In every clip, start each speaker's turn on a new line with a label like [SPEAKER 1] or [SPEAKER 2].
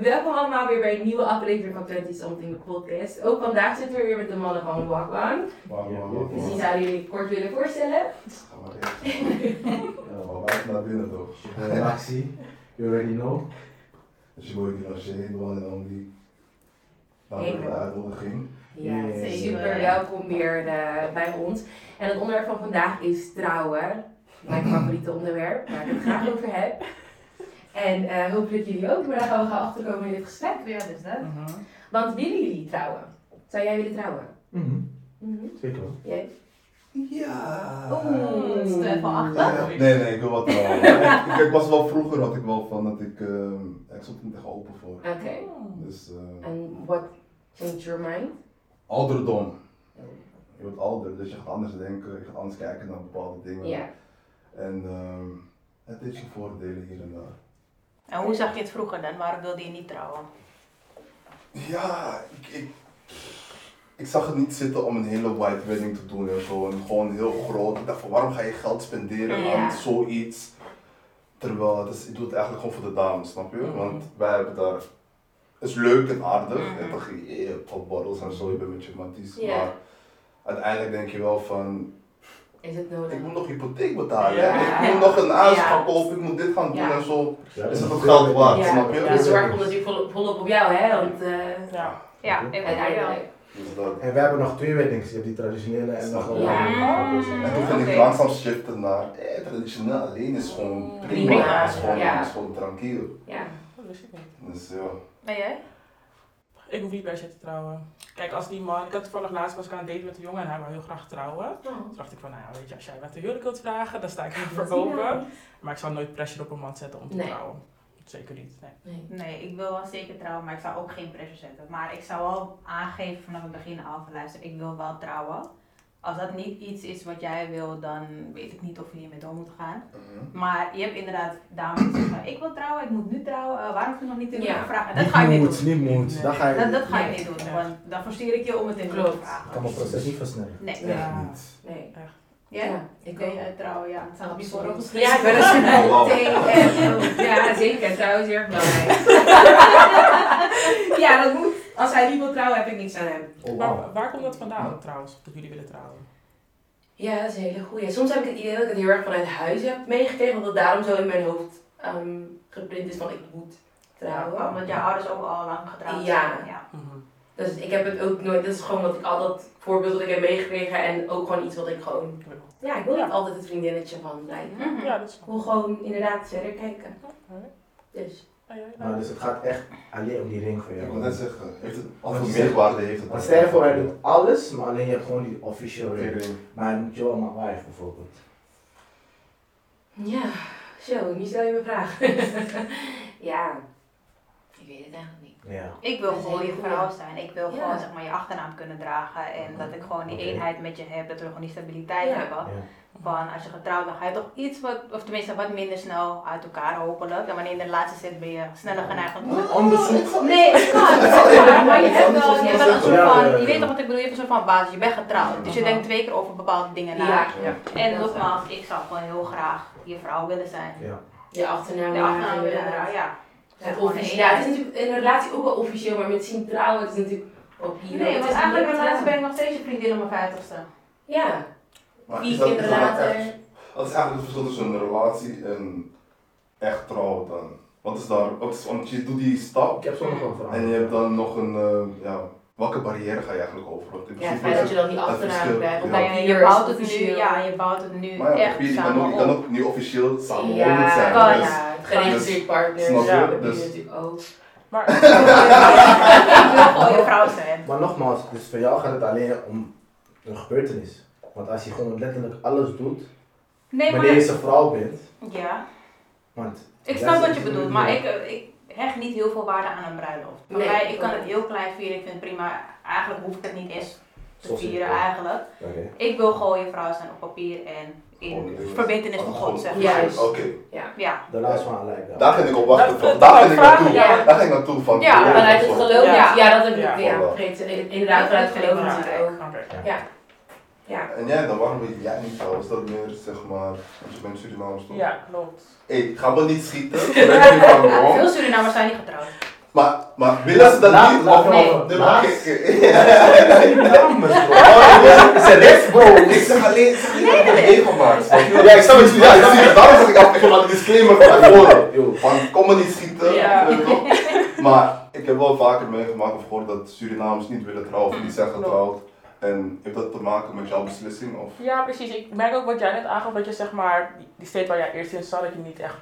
[SPEAKER 1] Welkom allemaal weer bij een nieuwe aflevering van 20 Something de podcast. Ook vandaag zitten we weer met de mannen van Wakwan.
[SPEAKER 2] Waarom
[SPEAKER 3] Ja,
[SPEAKER 2] waarom
[SPEAKER 1] Dus
[SPEAKER 3] Wagwan.
[SPEAKER 1] die zouden jullie kort willen voorstellen.
[SPEAKER 3] Ga maar even. Ja, maar laat naar binnen toch.
[SPEAKER 2] Relaxie, Eh, you already know.
[SPEAKER 3] Dus je wordt hier als je heen wil en dan die. Dan
[SPEAKER 1] Hey,
[SPEAKER 3] weer de
[SPEAKER 1] man.
[SPEAKER 3] uitnodiging.
[SPEAKER 1] Ja,
[SPEAKER 2] Yes.
[SPEAKER 1] super welkom weer eh, bij ons. En het onderwerp van vandaag is trouwen. Mijn favoriete onderwerp, waar ik het graag over heb. En eh, hopelijk jullie ook, maar daar gaan we gaan achterkomen in dit gesprek.
[SPEAKER 4] Ja, dus dat.
[SPEAKER 1] Want willen jullie trouwen? Zou jij willen trouwen?
[SPEAKER 2] Mhm,
[SPEAKER 1] Mhm.
[SPEAKER 2] Zeker wel.
[SPEAKER 1] Jij?
[SPEAKER 3] Ja!
[SPEAKER 5] Oh,
[SPEAKER 4] Oeh, dat is de van
[SPEAKER 3] Ja,
[SPEAKER 4] achter.
[SPEAKER 3] nee, nee, ik wil wat wel. Kijk, ik was wel vroeger had ik wel van dat ik. ehm, ik stond er niet echt open voor.
[SPEAKER 1] Oké.
[SPEAKER 3] Dus eh
[SPEAKER 1] En what changed your mind?
[SPEAKER 3] ouderdom. Je wordt ouder, dus je gaat anders denken, je gaat anders kijken naar bepaalde
[SPEAKER 1] Ja.
[SPEAKER 3] dingen. En ehm, het heeft zijn voordelen hier en daar.
[SPEAKER 5] En hoe zag je het vroeger dan? Waarom wilde je niet trouwen?
[SPEAKER 3] Ja, ik, ik, ik zag het niet zitten om een hele white wedding te doen en zo. En gewoon heel groot. Ik dacht van waarom ga je geld spenderen
[SPEAKER 1] Ja.
[SPEAKER 3] aan zoiets? Terwijl het is, ik doe het eigenlijk gewoon voor de dames, snap je?
[SPEAKER 5] Mhm.
[SPEAKER 3] Want wij hebben daar. Het is leuk en aardig.
[SPEAKER 5] Mhm.
[SPEAKER 3] En toch, je- je pop bottles en zo, je bent met je matties.
[SPEAKER 1] Ja.
[SPEAKER 3] Maar uiteindelijk denk je wel van,
[SPEAKER 1] Is het nodig?
[SPEAKER 3] ik moet nog hypotheek betalen.
[SPEAKER 5] Ja.
[SPEAKER 3] hè? Ik moet nog een huis
[SPEAKER 1] Ja.
[SPEAKER 3] gaan kopen, ik moet dit gaan doen
[SPEAKER 1] Ja.
[SPEAKER 3] en zo.
[SPEAKER 2] Ja,
[SPEAKER 3] Is het ook geld waard,
[SPEAKER 1] Ja.
[SPEAKER 3] snap je?
[SPEAKER 1] De zorg komt natuurlijk volop, volop op jou, hè? Want eh,
[SPEAKER 5] Ja, ja ik ja.
[SPEAKER 1] uiteindelijk.
[SPEAKER 3] Dus dat.
[SPEAKER 2] En we hebben nog twee weddings. Je hebt die traditionele en nog wel
[SPEAKER 1] Ja.
[SPEAKER 5] Oh.
[SPEAKER 3] En toen ging ik
[SPEAKER 5] Oké.
[SPEAKER 3] langzaam shiften naar eh, traditioneel alleen is gewoon prima.
[SPEAKER 1] Prima,
[SPEAKER 3] Is, gewoon,
[SPEAKER 1] ja.
[SPEAKER 3] is gewoon tranquil.
[SPEAKER 1] Ja.
[SPEAKER 6] Dat wist ik niet.
[SPEAKER 3] Dus ja.
[SPEAKER 5] Ben jij?
[SPEAKER 6] Ik hoef niet per se te trouwen. Kijk, als die man... Ik had toevallig laatst was ik aan het daten met een jongen en hij wou heel graag trouwen. Toen dacht ik van, nou ja, weet je, als jij wat te huwelijk wilt vragen, dan sta ik ervoor open. Maar ik zal nooit pressure op een man zetten om te
[SPEAKER 1] Nee.
[SPEAKER 6] trouwen. Zeker niet, nee.
[SPEAKER 1] Nee.
[SPEAKER 5] Nee, ik wil wel zeker trouwen, maar ik zou ook geen pressure zetten. Maar ik zou wel aangeven vanaf het begin af, luister, ik wil wel trouwen. Als dat niet iets is wat jij wil, dan weet ik niet of je hiermee door moet gaan.
[SPEAKER 3] Mhm.
[SPEAKER 5] Maar je hebt inderdaad dames die zeggen, ik wil trouwen, ik moet nu trouwen, eh, waarom heb je nog niet in
[SPEAKER 1] Ja.
[SPEAKER 5] ja. gevraagd? En dat
[SPEAKER 2] Niet
[SPEAKER 5] ga ik niet
[SPEAKER 2] moet,
[SPEAKER 5] doen.
[SPEAKER 2] niet moet.
[SPEAKER 6] Nee.
[SPEAKER 2] Dat ga je
[SPEAKER 5] Dat,
[SPEAKER 2] niet.
[SPEAKER 5] dat ga ik
[SPEAKER 1] Nee.
[SPEAKER 5] niet doen,
[SPEAKER 6] Ja.
[SPEAKER 5] want dan forceer ik je om het in te
[SPEAKER 1] Klopt.
[SPEAKER 2] Ik
[SPEAKER 5] vragen.
[SPEAKER 2] kan mijn proces niet versnellen.
[SPEAKER 5] Nee.
[SPEAKER 3] Echt
[SPEAKER 6] Ja.
[SPEAKER 3] niet.
[SPEAKER 1] Nee.
[SPEAKER 5] Ja?
[SPEAKER 1] ik
[SPEAKER 5] Ik
[SPEAKER 1] ook.
[SPEAKER 5] ben eh, trouwen, ja. Het staat op je
[SPEAKER 1] Absoluut.
[SPEAKER 5] voorhoofd geschreven.
[SPEAKER 1] Ja, ik ben er super
[SPEAKER 3] Wow.
[SPEAKER 2] Oh,
[SPEAKER 1] tegen. Ja, zeker. Trouwen is erg belangrijk. ja, dat moet. Als hij niet wil trouwen, heb ik niks aan hem.
[SPEAKER 2] Oh, wauw.
[SPEAKER 6] Waar, waar komt dat vandaan trouwens, dat jullie willen trouwen?
[SPEAKER 1] Ja, dat is een hele goeie. Soms heb ik het idee dat ik het heel erg vanuit huis heb meegekregen, omdat het daarom zo in mijn hoofd ehm, geprint is van ik moet trouwen.
[SPEAKER 5] Omdat jouw ouders ook al lang getrouwd
[SPEAKER 1] Ja.
[SPEAKER 5] zijn. Ja.
[SPEAKER 6] Mhm.
[SPEAKER 1] Dus ik heb het ook nooit, dat is gewoon wat ik al dat voorbeeld dat ik heb meegekregen en ook gewoon iets wat ik gewoon, ja, ik wil niet altijd het vriendinnetje van blijven.
[SPEAKER 5] Mhm.
[SPEAKER 6] Ja, dat is
[SPEAKER 1] Ik
[SPEAKER 6] wel.
[SPEAKER 1] wil gewoon inderdaad verder kijken.
[SPEAKER 6] Alright.
[SPEAKER 1] Dus,
[SPEAKER 6] Ah, jij, nou,
[SPEAKER 2] Maar dus het gaat echt alleen om die ring voor
[SPEAKER 3] Ik
[SPEAKER 2] jou.
[SPEAKER 3] wil net zeggen, heeft het, wat
[SPEAKER 2] Want
[SPEAKER 3] voor
[SPEAKER 2] je zegt-
[SPEAKER 3] meerwaarde heeft het?
[SPEAKER 2] Want stel je voor, hij doet alles, maar alleen je hebt gewoon die official ring.
[SPEAKER 3] Oké.
[SPEAKER 2] Maar hij moet je wel maar wife bijvoorbeeld.
[SPEAKER 1] ja, zo, nu stel je me vraag. ja, ik weet het eigenlijk niet.
[SPEAKER 2] Ja.
[SPEAKER 5] Ik wil
[SPEAKER 1] Dat is
[SPEAKER 5] gewoon
[SPEAKER 1] een
[SPEAKER 5] je
[SPEAKER 1] goeie.
[SPEAKER 5] vrouw zijn. Ik wil
[SPEAKER 1] Ja.
[SPEAKER 5] gewoon zeg maar, je achternaam kunnen dragen. En dat ik gewoon die
[SPEAKER 2] Oké.
[SPEAKER 5] eenheid met je heb. Dat we gewoon die stabiliteit
[SPEAKER 1] Ja.
[SPEAKER 5] hebben.
[SPEAKER 2] Ja.
[SPEAKER 5] Van als je getrouwd bent, ga je toch iets wat, of tenminste wat minder snel uit elkaar hopelijk. En wanneer je in de laatste zit, ben je sneller geneigd
[SPEAKER 2] Oh.
[SPEAKER 5] om. "Oh,
[SPEAKER 2] Onbezoek.
[SPEAKER 1] Oh.
[SPEAKER 5] Nee, het kan.
[SPEAKER 3] zal even-
[SPEAKER 5] Maar je
[SPEAKER 3] ik
[SPEAKER 5] hebt
[SPEAKER 3] zal
[SPEAKER 5] wel,
[SPEAKER 3] even
[SPEAKER 5] je hebt wel
[SPEAKER 3] zeggen.
[SPEAKER 5] een soort
[SPEAKER 2] Ja, ja,
[SPEAKER 5] van,
[SPEAKER 2] ja.
[SPEAKER 5] je weet toch wat ik bedoel, je hebt een soort van basis. Je bent getrouwd. Dus je
[SPEAKER 1] Mhm.
[SPEAKER 5] denkt twee keer over bepaalde dingen na.
[SPEAKER 1] Ja,
[SPEAKER 3] Ja.
[SPEAKER 5] En nogmaals, ik zou gewoon heel graag je vrouw willen zijn.
[SPEAKER 2] Ja.
[SPEAKER 1] je achternaam,
[SPEAKER 5] De achternaam willen
[SPEAKER 1] inderdaad.
[SPEAKER 5] dragen, ja.
[SPEAKER 1] Het officieel, ja, het is natuurlijk in een relatie ook wel officieel, maar met zien trouwen het is natuurlijk op hier.
[SPEAKER 5] Nee,
[SPEAKER 1] het
[SPEAKER 5] want
[SPEAKER 1] is
[SPEAKER 5] eigenlijk
[SPEAKER 1] niet
[SPEAKER 5] ben
[SPEAKER 1] trouwen.
[SPEAKER 5] ik nog steeds je vriendin op mijn vijftigste.
[SPEAKER 1] Ja,
[SPEAKER 3] Maar
[SPEAKER 1] vier
[SPEAKER 3] is dat- is
[SPEAKER 1] kinderen
[SPEAKER 3] dat nou
[SPEAKER 1] later.
[SPEAKER 3] echt- Dat is eigenlijk het verschil tussen een relatie en echt trouwen dan. Wat is daar, wat is, want je doet die
[SPEAKER 2] Ik
[SPEAKER 3] stap
[SPEAKER 2] heb sommige wel veranderd.
[SPEAKER 3] en je hebt dan nog een, eh, ja, welke barrière ga je eigenlijk over? Want in
[SPEAKER 1] ja,
[SPEAKER 3] principe
[SPEAKER 1] fijn
[SPEAKER 3] is
[SPEAKER 1] dat
[SPEAKER 3] het-
[SPEAKER 1] je dan die
[SPEAKER 3] dat
[SPEAKER 1] achternaam
[SPEAKER 3] verschil,
[SPEAKER 1] krijgt.
[SPEAKER 3] ja.
[SPEAKER 1] op
[SPEAKER 5] Nou Ja,
[SPEAKER 1] papier
[SPEAKER 5] je,
[SPEAKER 1] is
[SPEAKER 5] bouwt het nu,
[SPEAKER 1] officieel.
[SPEAKER 5] ja, je bouwt het nu
[SPEAKER 3] Maar ja,
[SPEAKER 5] echt
[SPEAKER 3] op papier, je kan,
[SPEAKER 5] samen
[SPEAKER 3] ook, je kan
[SPEAKER 5] op.
[SPEAKER 3] ook niet officieel samen
[SPEAKER 1] Ja,
[SPEAKER 3] zijn.
[SPEAKER 1] kan
[SPEAKER 3] dus-
[SPEAKER 1] ja. Het Geregistreerd partners.
[SPEAKER 3] Snap
[SPEAKER 6] je?
[SPEAKER 1] Ja, dat
[SPEAKER 3] Dus-
[SPEAKER 1] is natuurlijk ook.
[SPEAKER 6] Maar,
[SPEAKER 5] Ik wil gewoon je vrouw zijn.
[SPEAKER 2] Maar nogmaals, dus voor jou gaat het alleen om een gebeurtenis. Want als je gewoon letterlijk alles doet,
[SPEAKER 5] Nee, maar...
[SPEAKER 2] wanneer je zijn vrouw bent,
[SPEAKER 5] Ja,
[SPEAKER 2] want
[SPEAKER 5] ik
[SPEAKER 2] Ja,
[SPEAKER 5] snap
[SPEAKER 2] dat
[SPEAKER 5] wat
[SPEAKER 2] is-
[SPEAKER 5] je bedoelt, maar
[SPEAKER 2] ja.
[SPEAKER 5] ik, eh, ik hecht niet heel veel waarde aan een bruiloft. Voor
[SPEAKER 1] Nee,
[SPEAKER 5] mij, ik kan het
[SPEAKER 1] klopt.
[SPEAKER 5] heel klein vieren, ik vind het prima. Eigenlijk hoef ik het niet eens te
[SPEAKER 2] Zoals ik
[SPEAKER 5] vieren
[SPEAKER 2] wil.
[SPEAKER 5] eigenlijk.
[SPEAKER 2] Oké.
[SPEAKER 5] Ik wil gewoon je vrouw zijn op papier en in
[SPEAKER 3] Gewoon-
[SPEAKER 5] verbintenis met God, zeg maar.
[SPEAKER 1] Juist.
[SPEAKER 3] Oké,
[SPEAKER 5] Ja.
[SPEAKER 2] de laatste van lijkt dat.
[SPEAKER 3] daar ging ik op wachten.
[SPEAKER 6] Dat-
[SPEAKER 3] toch?
[SPEAKER 6] dat-
[SPEAKER 3] Daar
[SPEAKER 6] dat
[SPEAKER 3] ging ik naartoe.
[SPEAKER 1] vragen, ja.
[SPEAKER 3] Daar ging ik naartoe van.
[SPEAKER 5] Ja,
[SPEAKER 3] van-
[SPEAKER 1] Vanuit het
[SPEAKER 3] van-
[SPEAKER 1] geloof, ja.
[SPEAKER 5] Ja.
[SPEAKER 1] ja, dat heb ik, ja,
[SPEAKER 6] Ja.
[SPEAKER 1] vergeet- inderdaad, vanuit het geloof natuurlijk ook.
[SPEAKER 6] Oké.
[SPEAKER 1] Ja. Ja.
[SPEAKER 3] En jij dan, waarom wil jij niet trouwen? Is dat meer, zeg maar, als je bent Surinamers toch?
[SPEAKER 6] Ja, klopt.
[SPEAKER 3] Hé, ga me niet schieten. Ik ben niet van Rome.
[SPEAKER 5] Veel Surinamers zijn niet getrouwd.
[SPEAKER 3] Maar, maar willen ze dat
[SPEAKER 2] Laat-
[SPEAKER 3] niet?
[SPEAKER 2] laat
[SPEAKER 3] Of-
[SPEAKER 2] me
[SPEAKER 5] Nee.
[SPEAKER 2] over.
[SPEAKER 3] Nee,
[SPEAKER 2] Laat-
[SPEAKER 3] maar kijk, eh,
[SPEAKER 2] Het is een rest, bro.
[SPEAKER 3] Ik zeg alleen, ik zeg alleen dat ik regelmaat. snap je?
[SPEAKER 2] Ja, ik snap het.
[SPEAKER 3] Ja, ik snap het. Daarom zeg ik af, ik ga een disclaimer van tevoren. Van, kom me niet schieten.
[SPEAKER 6] Ja.
[SPEAKER 3] weet je wel. Maar ik heb wel vaker meegemaakt of gehoord dat Surinamers niet willen trouwen of niet zijn getrouwd. En heeft dat te maken met jouw beslissing? Of?
[SPEAKER 6] Ja, precies. Ik merk ook wat jij net aangaf, dat je zeg maar, die- die steed waar jij eerst in zat, dat je niet echt,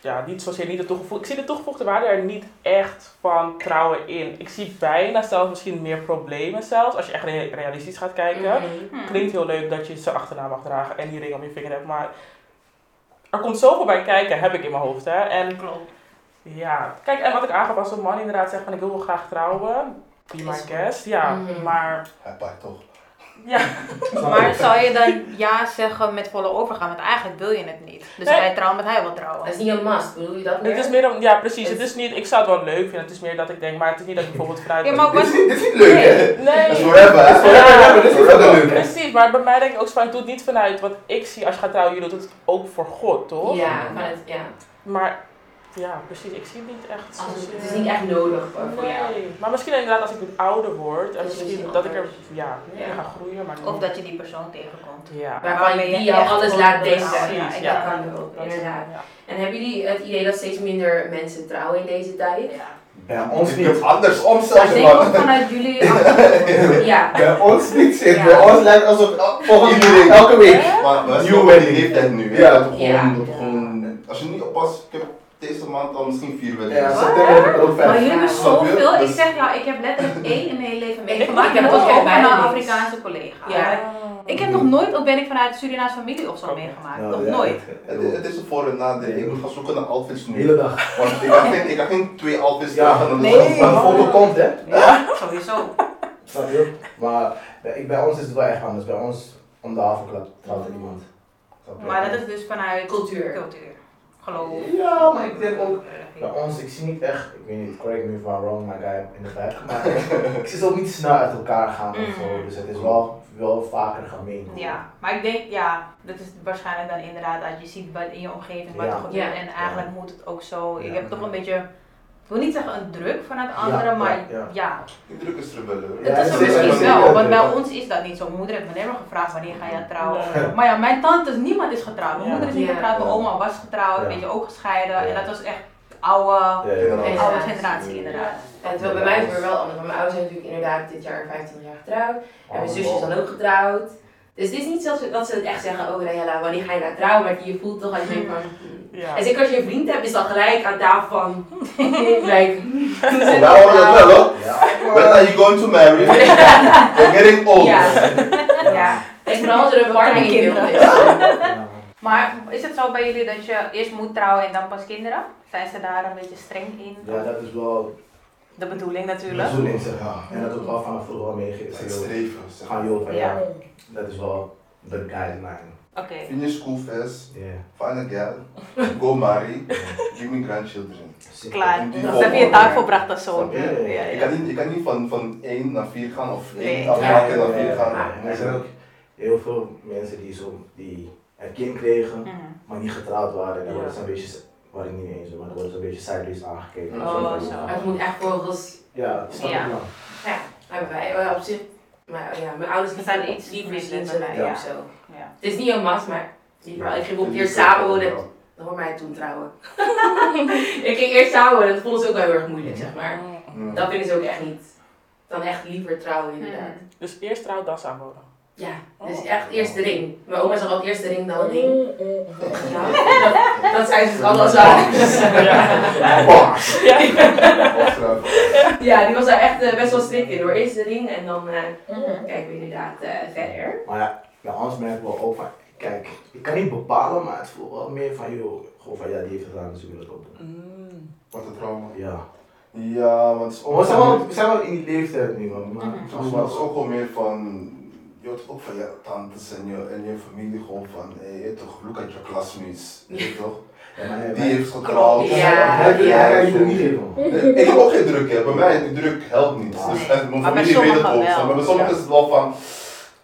[SPEAKER 6] ja, niet zozeer niet de toegevoegde, ik zie de toegevoegde waarde er niet echt van trouwen in. Ik zie bijna zelfs misschien meer problemen zelfs, als je echt re- realistisch gaat kijken.
[SPEAKER 5] Mhm.
[SPEAKER 1] Mhm. Hm.
[SPEAKER 5] Hm.
[SPEAKER 6] Klinkt heel leuk dat je ze achterna mag dragen en die ring om je vinger hebt, maar er komt zoveel bij kijken, heb ik in mijn hoofd, hè. En
[SPEAKER 5] Klopt.
[SPEAKER 6] ja, kijk, en wat ik aangaf, als een man inderdaad zegt van, ik wil wel graag trouwen, be my
[SPEAKER 5] Is goed.
[SPEAKER 6] guest, ja,
[SPEAKER 1] Mhm.
[SPEAKER 6] maar,
[SPEAKER 3] Hij paait toch.
[SPEAKER 6] ja.
[SPEAKER 5] Maar zou je dan ja zeggen met volle overgaan? Want eigenlijk wil je het niet. Dus
[SPEAKER 6] Nee.
[SPEAKER 5] hij trouwt met hij wil
[SPEAKER 1] Dat is
[SPEAKER 5] trouwen.
[SPEAKER 1] niet een must, bedoel je dat
[SPEAKER 6] Het
[SPEAKER 1] meer?
[SPEAKER 6] is meer om, ja precies, het
[SPEAKER 1] Het-
[SPEAKER 6] is niet, ik zou het wel leuk vinden, het is meer dat ik denk, maar het is niet dat ik bijvoorbeeld vanuit...
[SPEAKER 5] Ja, maar ook
[SPEAKER 3] Dit is
[SPEAKER 5] wat...
[SPEAKER 3] niet, dit is niet leuk, hè?
[SPEAKER 6] Nee,
[SPEAKER 3] Dat is forever, hè?
[SPEAKER 6] Ja.
[SPEAKER 3] Dit is niet forever leuk.
[SPEAKER 6] precies, maar bij mij denk ik ook zo van, doe het niet vanuit wat ik zie als je gaat trouwen, jullie doet het ook voor God, toch?
[SPEAKER 1] Ja, maar het, ja.
[SPEAKER 6] Maar, ja precies, ik zie het niet echt
[SPEAKER 1] Als het,
[SPEAKER 6] zozeer.
[SPEAKER 1] het is niet echt nodig voor, voor jou.
[SPEAKER 6] Nee, maar misschien inderdaad als ik wat ouder word
[SPEAKER 1] Dat
[SPEAKER 6] en
[SPEAKER 1] is
[SPEAKER 6] misschien
[SPEAKER 1] misschien
[SPEAKER 6] dat ik er,
[SPEAKER 1] anders.
[SPEAKER 6] ja, meer
[SPEAKER 1] Ja.
[SPEAKER 6] ga groeien, maar
[SPEAKER 5] Of
[SPEAKER 6] niet-
[SPEAKER 5] dat je die persoon tegenkomt.
[SPEAKER 6] Ja.
[SPEAKER 1] Waarvan
[SPEAKER 5] Waarmee
[SPEAKER 1] je
[SPEAKER 5] je
[SPEAKER 1] die jou
[SPEAKER 5] echt
[SPEAKER 1] alles
[SPEAKER 5] wil
[SPEAKER 1] laat
[SPEAKER 5] trouwen.
[SPEAKER 1] denken.
[SPEAKER 6] Ja,
[SPEAKER 1] en
[SPEAKER 6] ja.
[SPEAKER 1] dat kan ook,
[SPEAKER 6] Dat is-
[SPEAKER 1] inderdaad.
[SPEAKER 6] ja.
[SPEAKER 1] En hebben jullie het idee dat steeds minder mensen trouwen in deze tijd?
[SPEAKER 2] Ja, ons
[SPEAKER 3] Ik heb
[SPEAKER 2] niet.
[SPEAKER 3] andersom
[SPEAKER 1] Maar
[SPEAKER 3] zelfs,
[SPEAKER 1] ik denk
[SPEAKER 3] man.
[SPEAKER 1] ook vanuit jullie achtergrond. Ja.
[SPEAKER 2] Bij ons niet zit.
[SPEAKER 1] Ja.
[SPEAKER 2] Bij ons lijkt alsof el- volgende week, elke week.
[SPEAKER 3] Maar, maar
[SPEAKER 2] Nieuwe
[SPEAKER 3] New
[SPEAKER 2] wedding.
[SPEAKER 3] wedding heeft het nu.
[SPEAKER 2] Ja.
[SPEAKER 3] Ja. Dat we gewoon,
[SPEAKER 1] Ja.
[SPEAKER 3] dat we gewoon, als je niet oppast, ik heb deze maand al misschien vier weddingen. Dus
[SPEAKER 2] Ja, september heb ik er ook
[SPEAKER 5] Maar
[SPEAKER 2] vijf.
[SPEAKER 5] jullie hebben
[SPEAKER 3] Snap je?
[SPEAKER 5] zoveel. Ik
[SPEAKER 3] Dus-
[SPEAKER 5] zeg jou, ik heb letterlijk één in mijn hele leven meegemaakt.
[SPEAKER 1] Ik heb het ook
[SPEAKER 5] ook
[SPEAKER 1] echt
[SPEAKER 5] van een
[SPEAKER 1] bijna niks.
[SPEAKER 5] Afrikaanse collega.
[SPEAKER 1] Ja.
[SPEAKER 5] Ik heb nog nooit, ook ben ik vanuit Surinaamse familie of zo meegemaakt.
[SPEAKER 2] Ja,
[SPEAKER 5] nog
[SPEAKER 2] ja,
[SPEAKER 5] nooit.
[SPEAKER 3] Het, het is een voor- en nadeel. Ik moet gaan zoeken naar outfits
[SPEAKER 2] De
[SPEAKER 3] nu.
[SPEAKER 2] hele dag.
[SPEAKER 3] Want ik kan geen, ik kan geen twee outfits
[SPEAKER 2] Dus Ja.
[SPEAKER 3] dragen.
[SPEAKER 5] Nee.
[SPEAKER 3] dat is
[SPEAKER 2] Maar de
[SPEAKER 3] wel-
[SPEAKER 2] foto komt, hè?
[SPEAKER 5] Ja, sowieso.
[SPEAKER 2] Snap je? Maar bij, ik- bij ons is het wel echt anders. Bij ons om de havenklap trouwt er iemand. Snap je?
[SPEAKER 5] Maar dat is dus vanuit
[SPEAKER 1] Cultuur.
[SPEAKER 5] cultuur. Geloof.
[SPEAKER 2] Ja, maar ik denk ook. Bij
[SPEAKER 5] religie.
[SPEAKER 2] ons, ik zie niet echt, ik weet niet, correct me if I'm wrong, maar ik heb in de vijf maar ik zie ze ook niet snel uit elkaar gaan of zo. Dus het is wel, wel vaker gemeen.
[SPEAKER 5] Mm. Ja, maar ik denk, ja, dat is waarschijnlijk dan inderdaad dat je ziet wat in je omgeving wat
[SPEAKER 2] Ja.
[SPEAKER 5] er gebeurt.
[SPEAKER 1] Ja.
[SPEAKER 5] En eigenlijk moet het ook zo.
[SPEAKER 2] Ja.
[SPEAKER 5] Ik heb toch een beetje, ik wil niet zeggen een druk vanuit
[SPEAKER 2] Ja,
[SPEAKER 5] anderen,
[SPEAKER 2] ja,
[SPEAKER 5] maar
[SPEAKER 2] ja.
[SPEAKER 5] ja,
[SPEAKER 3] Die druk is rebellen. hoor.
[SPEAKER 2] Ja,
[SPEAKER 5] Dat is
[SPEAKER 2] dat
[SPEAKER 5] er
[SPEAKER 2] is
[SPEAKER 5] misschien
[SPEAKER 2] wel
[SPEAKER 5] wel,
[SPEAKER 2] een
[SPEAKER 5] want bij
[SPEAKER 2] beetje.
[SPEAKER 5] ons is dat niet zo. Mijn moeder heeft me helemaal gevraagd wanneer ga jij trouwen.
[SPEAKER 6] Nee.
[SPEAKER 5] Maar ja, mijn tante, is- niemand is getrouwd. Mijn
[SPEAKER 6] Ja.
[SPEAKER 5] moeder is niet
[SPEAKER 1] Ja.
[SPEAKER 5] getrouwd, mijn
[SPEAKER 2] Ja.
[SPEAKER 5] oma was getrouwd,
[SPEAKER 2] Ja.
[SPEAKER 5] weet je, ook gescheiden.
[SPEAKER 2] Ja.
[SPEAKER 5] En dat was echt oude,
[SPEAKER 2] Ja, ja.
[SPEAKER 3] Ja.
[SPEAKER 5] oude
[SPEAKER 1] Ja.
[SPEAKER 5] generatie inderdaad.
[SPEAKER 1] En terwijl bij mij is het weer wel anders. Want mijn ouders zijn natuurlijk inderdaad dit jaar 25 jaar getrouwd. En mijn zusje is dan ook getrouwd. Dus het is niet zo dat ze het echt zeggen, oh Rayella, wanneer ga je nou trouwen? Maar je voelt toch als je denkt van... hmm.
[SPEAKER 6] Ja.
[SPEAKER 1] En zeker als je een vriend hebt, is dat gelijk aan tafel van... like, toen ze
[SPEAKER 3] Wij horen dat wel hoor.
[SPEAKER 2] Ja.
[SPEAKER 3] When are you going to marry? We're getting old.
[SPEAKER 1] Ja.
[SPEAKER 5] Ja.
[SPEAKER 1] En vooral als er een partner in beeld is.
[SPEAKER 2] Ja.
[SPEAKER 5] Maar is het zo bij jullie dat je eerst moet trouwen en dan pas kinderen? Zijn ze daar een beetje streng in?
[SPEAKER 2] Ja, dat is wel
[SPEAKER 5] De bedoeling
[SPEAKER 2] de
[SPEAKER 5] natuurlijk.
[SPEAKER 2] bedoeling, zeg maar. En dat ook wel vanaf vroeger wel meegegeven.
[SPEAKER 3] Het
[SPEAKER 2] Ze
[SPEAKER 3] streven. zeg maar.
[SPEAKER 2] gaan joh, van
[SPEAKER 5] Ja.
[SPEAKER 2] ja, dat is wel de guideline.
[SPEAKER 5] Oké.
[SPEAKER 3] Finish school first.
[SPEAKER 2] Ja.
[SPEAKER 3] Find a girl. Go marry. Give me grandchildren.
[SPEAKER 5] Klaar.
[SPEAKER 3] In die
[SPEAKER 5] Dan heb je
[SPEAKER 3] volgorde.
[SPEAKER 5] je taak volbracht als zoon.
[SPEAKER 2] Snap je?
[SPEAKER 5] Ja,
[SPEAKER 3] Ik
[SPEAKER 5] ja.
[SPEAKER 3] kan niet, ik kan niet van, van 1 naar 4 gaan of 1
[SPEAKER 5] Nee.
[SPEAKER 3] afmaken naar 4
[SPEAKER 2] Ja,
[SPEAKER 3] gaan.
[SPEAKER 2] en er zijn ook heel veel mensen die, zo, die een kind kregen,
[SPEAKER 5] Mhm.
[SPEAKER 2] maar niet getrouwd waren. En dan
[SPEAKER 6] Ja.
[SPEAKER 2] worden ze een beetje, waar ik niet eens, maar dan worden ze een beetje sideways aangekeken.
[SPEAKER 3] Oh,
[SPEAKER 2] van,
[SPEAKER 5] zo.
[SPEAKER 1] Maar Het moet echt volgens...
[SPEAKER 2] Ja, snap
[SPEAKER 5] Ja.
[SPEAKER 2] ik wel.
[SPEAKER 1] Ja, hebben wij eh, op zich... Maar ja, mijn ouders die
[SPEAKER 5] We zijn
[SPEAKER 1] zijn iets
[SPEAKER 5] iets
[SPEAKER 1] liever
[SPEAKER 5] minder
[SPEAKER 1] zien ze
[SPEAKER 5] dan
[SPEAKER 1] mij
[SPEAKER 5] wij,
[SPEAKER 1] of
[SPEAKER 5] ja.
[SPEAKER 1] zo.
[SPEAKER 5] Ja.
[SPEAKER 1] Het is niet een mas, maar... Ja, ik ging ook
[SPEAKER 3] In die
[SPEAKER 1] eerst samen
[SPEAKER 3] volgorde
[SPEAKER 1] wonen. Dat hoor mij toen trouwen. ik ging eerst trouwen, dat vonden ze ook wel heel erg moeilijk, zeg maar.
[SPEAKER 3] wel. Mm.
[SPEAKER 1] Dat vinden ze ook echt niet. Dan echt liever trouwen, inderdaad.
[SPEAKER 5] Mhm.
[SPEAKER 6] Dus eerst trouw, das aanboden.
[SPEAKER 1] Ja, dus echt eerst de ring. Mijn oma zag ook eerst de ring, dan het ring. Ja, dat, dat zijn ze dus allemaal zo.
[SPEAKER 3] Bars.
[SPEAKER 6] Ja.
[SPEAKER 3] Opschrijven.
[SPEAKER 1] Ja, die was daar echt eh, best wel strikt in hoor. Eerst de ring en dan eh, kijken we inderdaad eh, verder.
[SPEAKER 2] Maar ja, bij ons merken we ook van, kijk, ik kan niet bepalen, maar het voelt wel meer van, joh, gewoon van, ja, die heeft het gedaan, dus ik wil het ook doen.
[SPEAKER 6] Mm.
[SPEAKER 3] Wat een trauma.
[SPEAKER 2] Ja.
[SPEAKER 3] Ja, want het is ook
[SPEAKER 2] We zijn
[SPEAKER 3] gewoon-
[SPEAKER 2] wel, we zijn wel in die leeftijd nu, man. Maar
[SPEAKER 5] Mhm.
[SPEAKER 2] het
[SPEAKER 3] Soms
[SPEAKER 2] was
[SPEAKER 3] was het
[SPEAKER 2] wel
[SPEAKER 3] ook gewoon meer van, je hoort ook van je tantes en je, en je familie gewoon van, hé, je toch, look at your classmates, je weet toch?
[SPEAKER 2] Ja, maar
[SPEAKER 3] Die
[SPEAKER 2] hij-
[SPEAKER 3] heeft getrouwd.
[SPEAKER 1] Ja,
[SPEAKER 2] Hij hij-
[SPEAKER 1] ja.
[SPEAKER 2] hij kan je niet geven.
[SPEAKER 3] Nee, Ik heb ook geen druk, hè. bij mij de druk helpt niet. Dus, en mijn
[SPEAKER 5] Maar bij
[SPEAKER 3] familie weet het
[SPEAKER 5] sommigen
[SPEAKER 3] ook,
[SPEAKER 5] wel.
[SPEAKER 3] zo. maar bij sommigen is het wel van,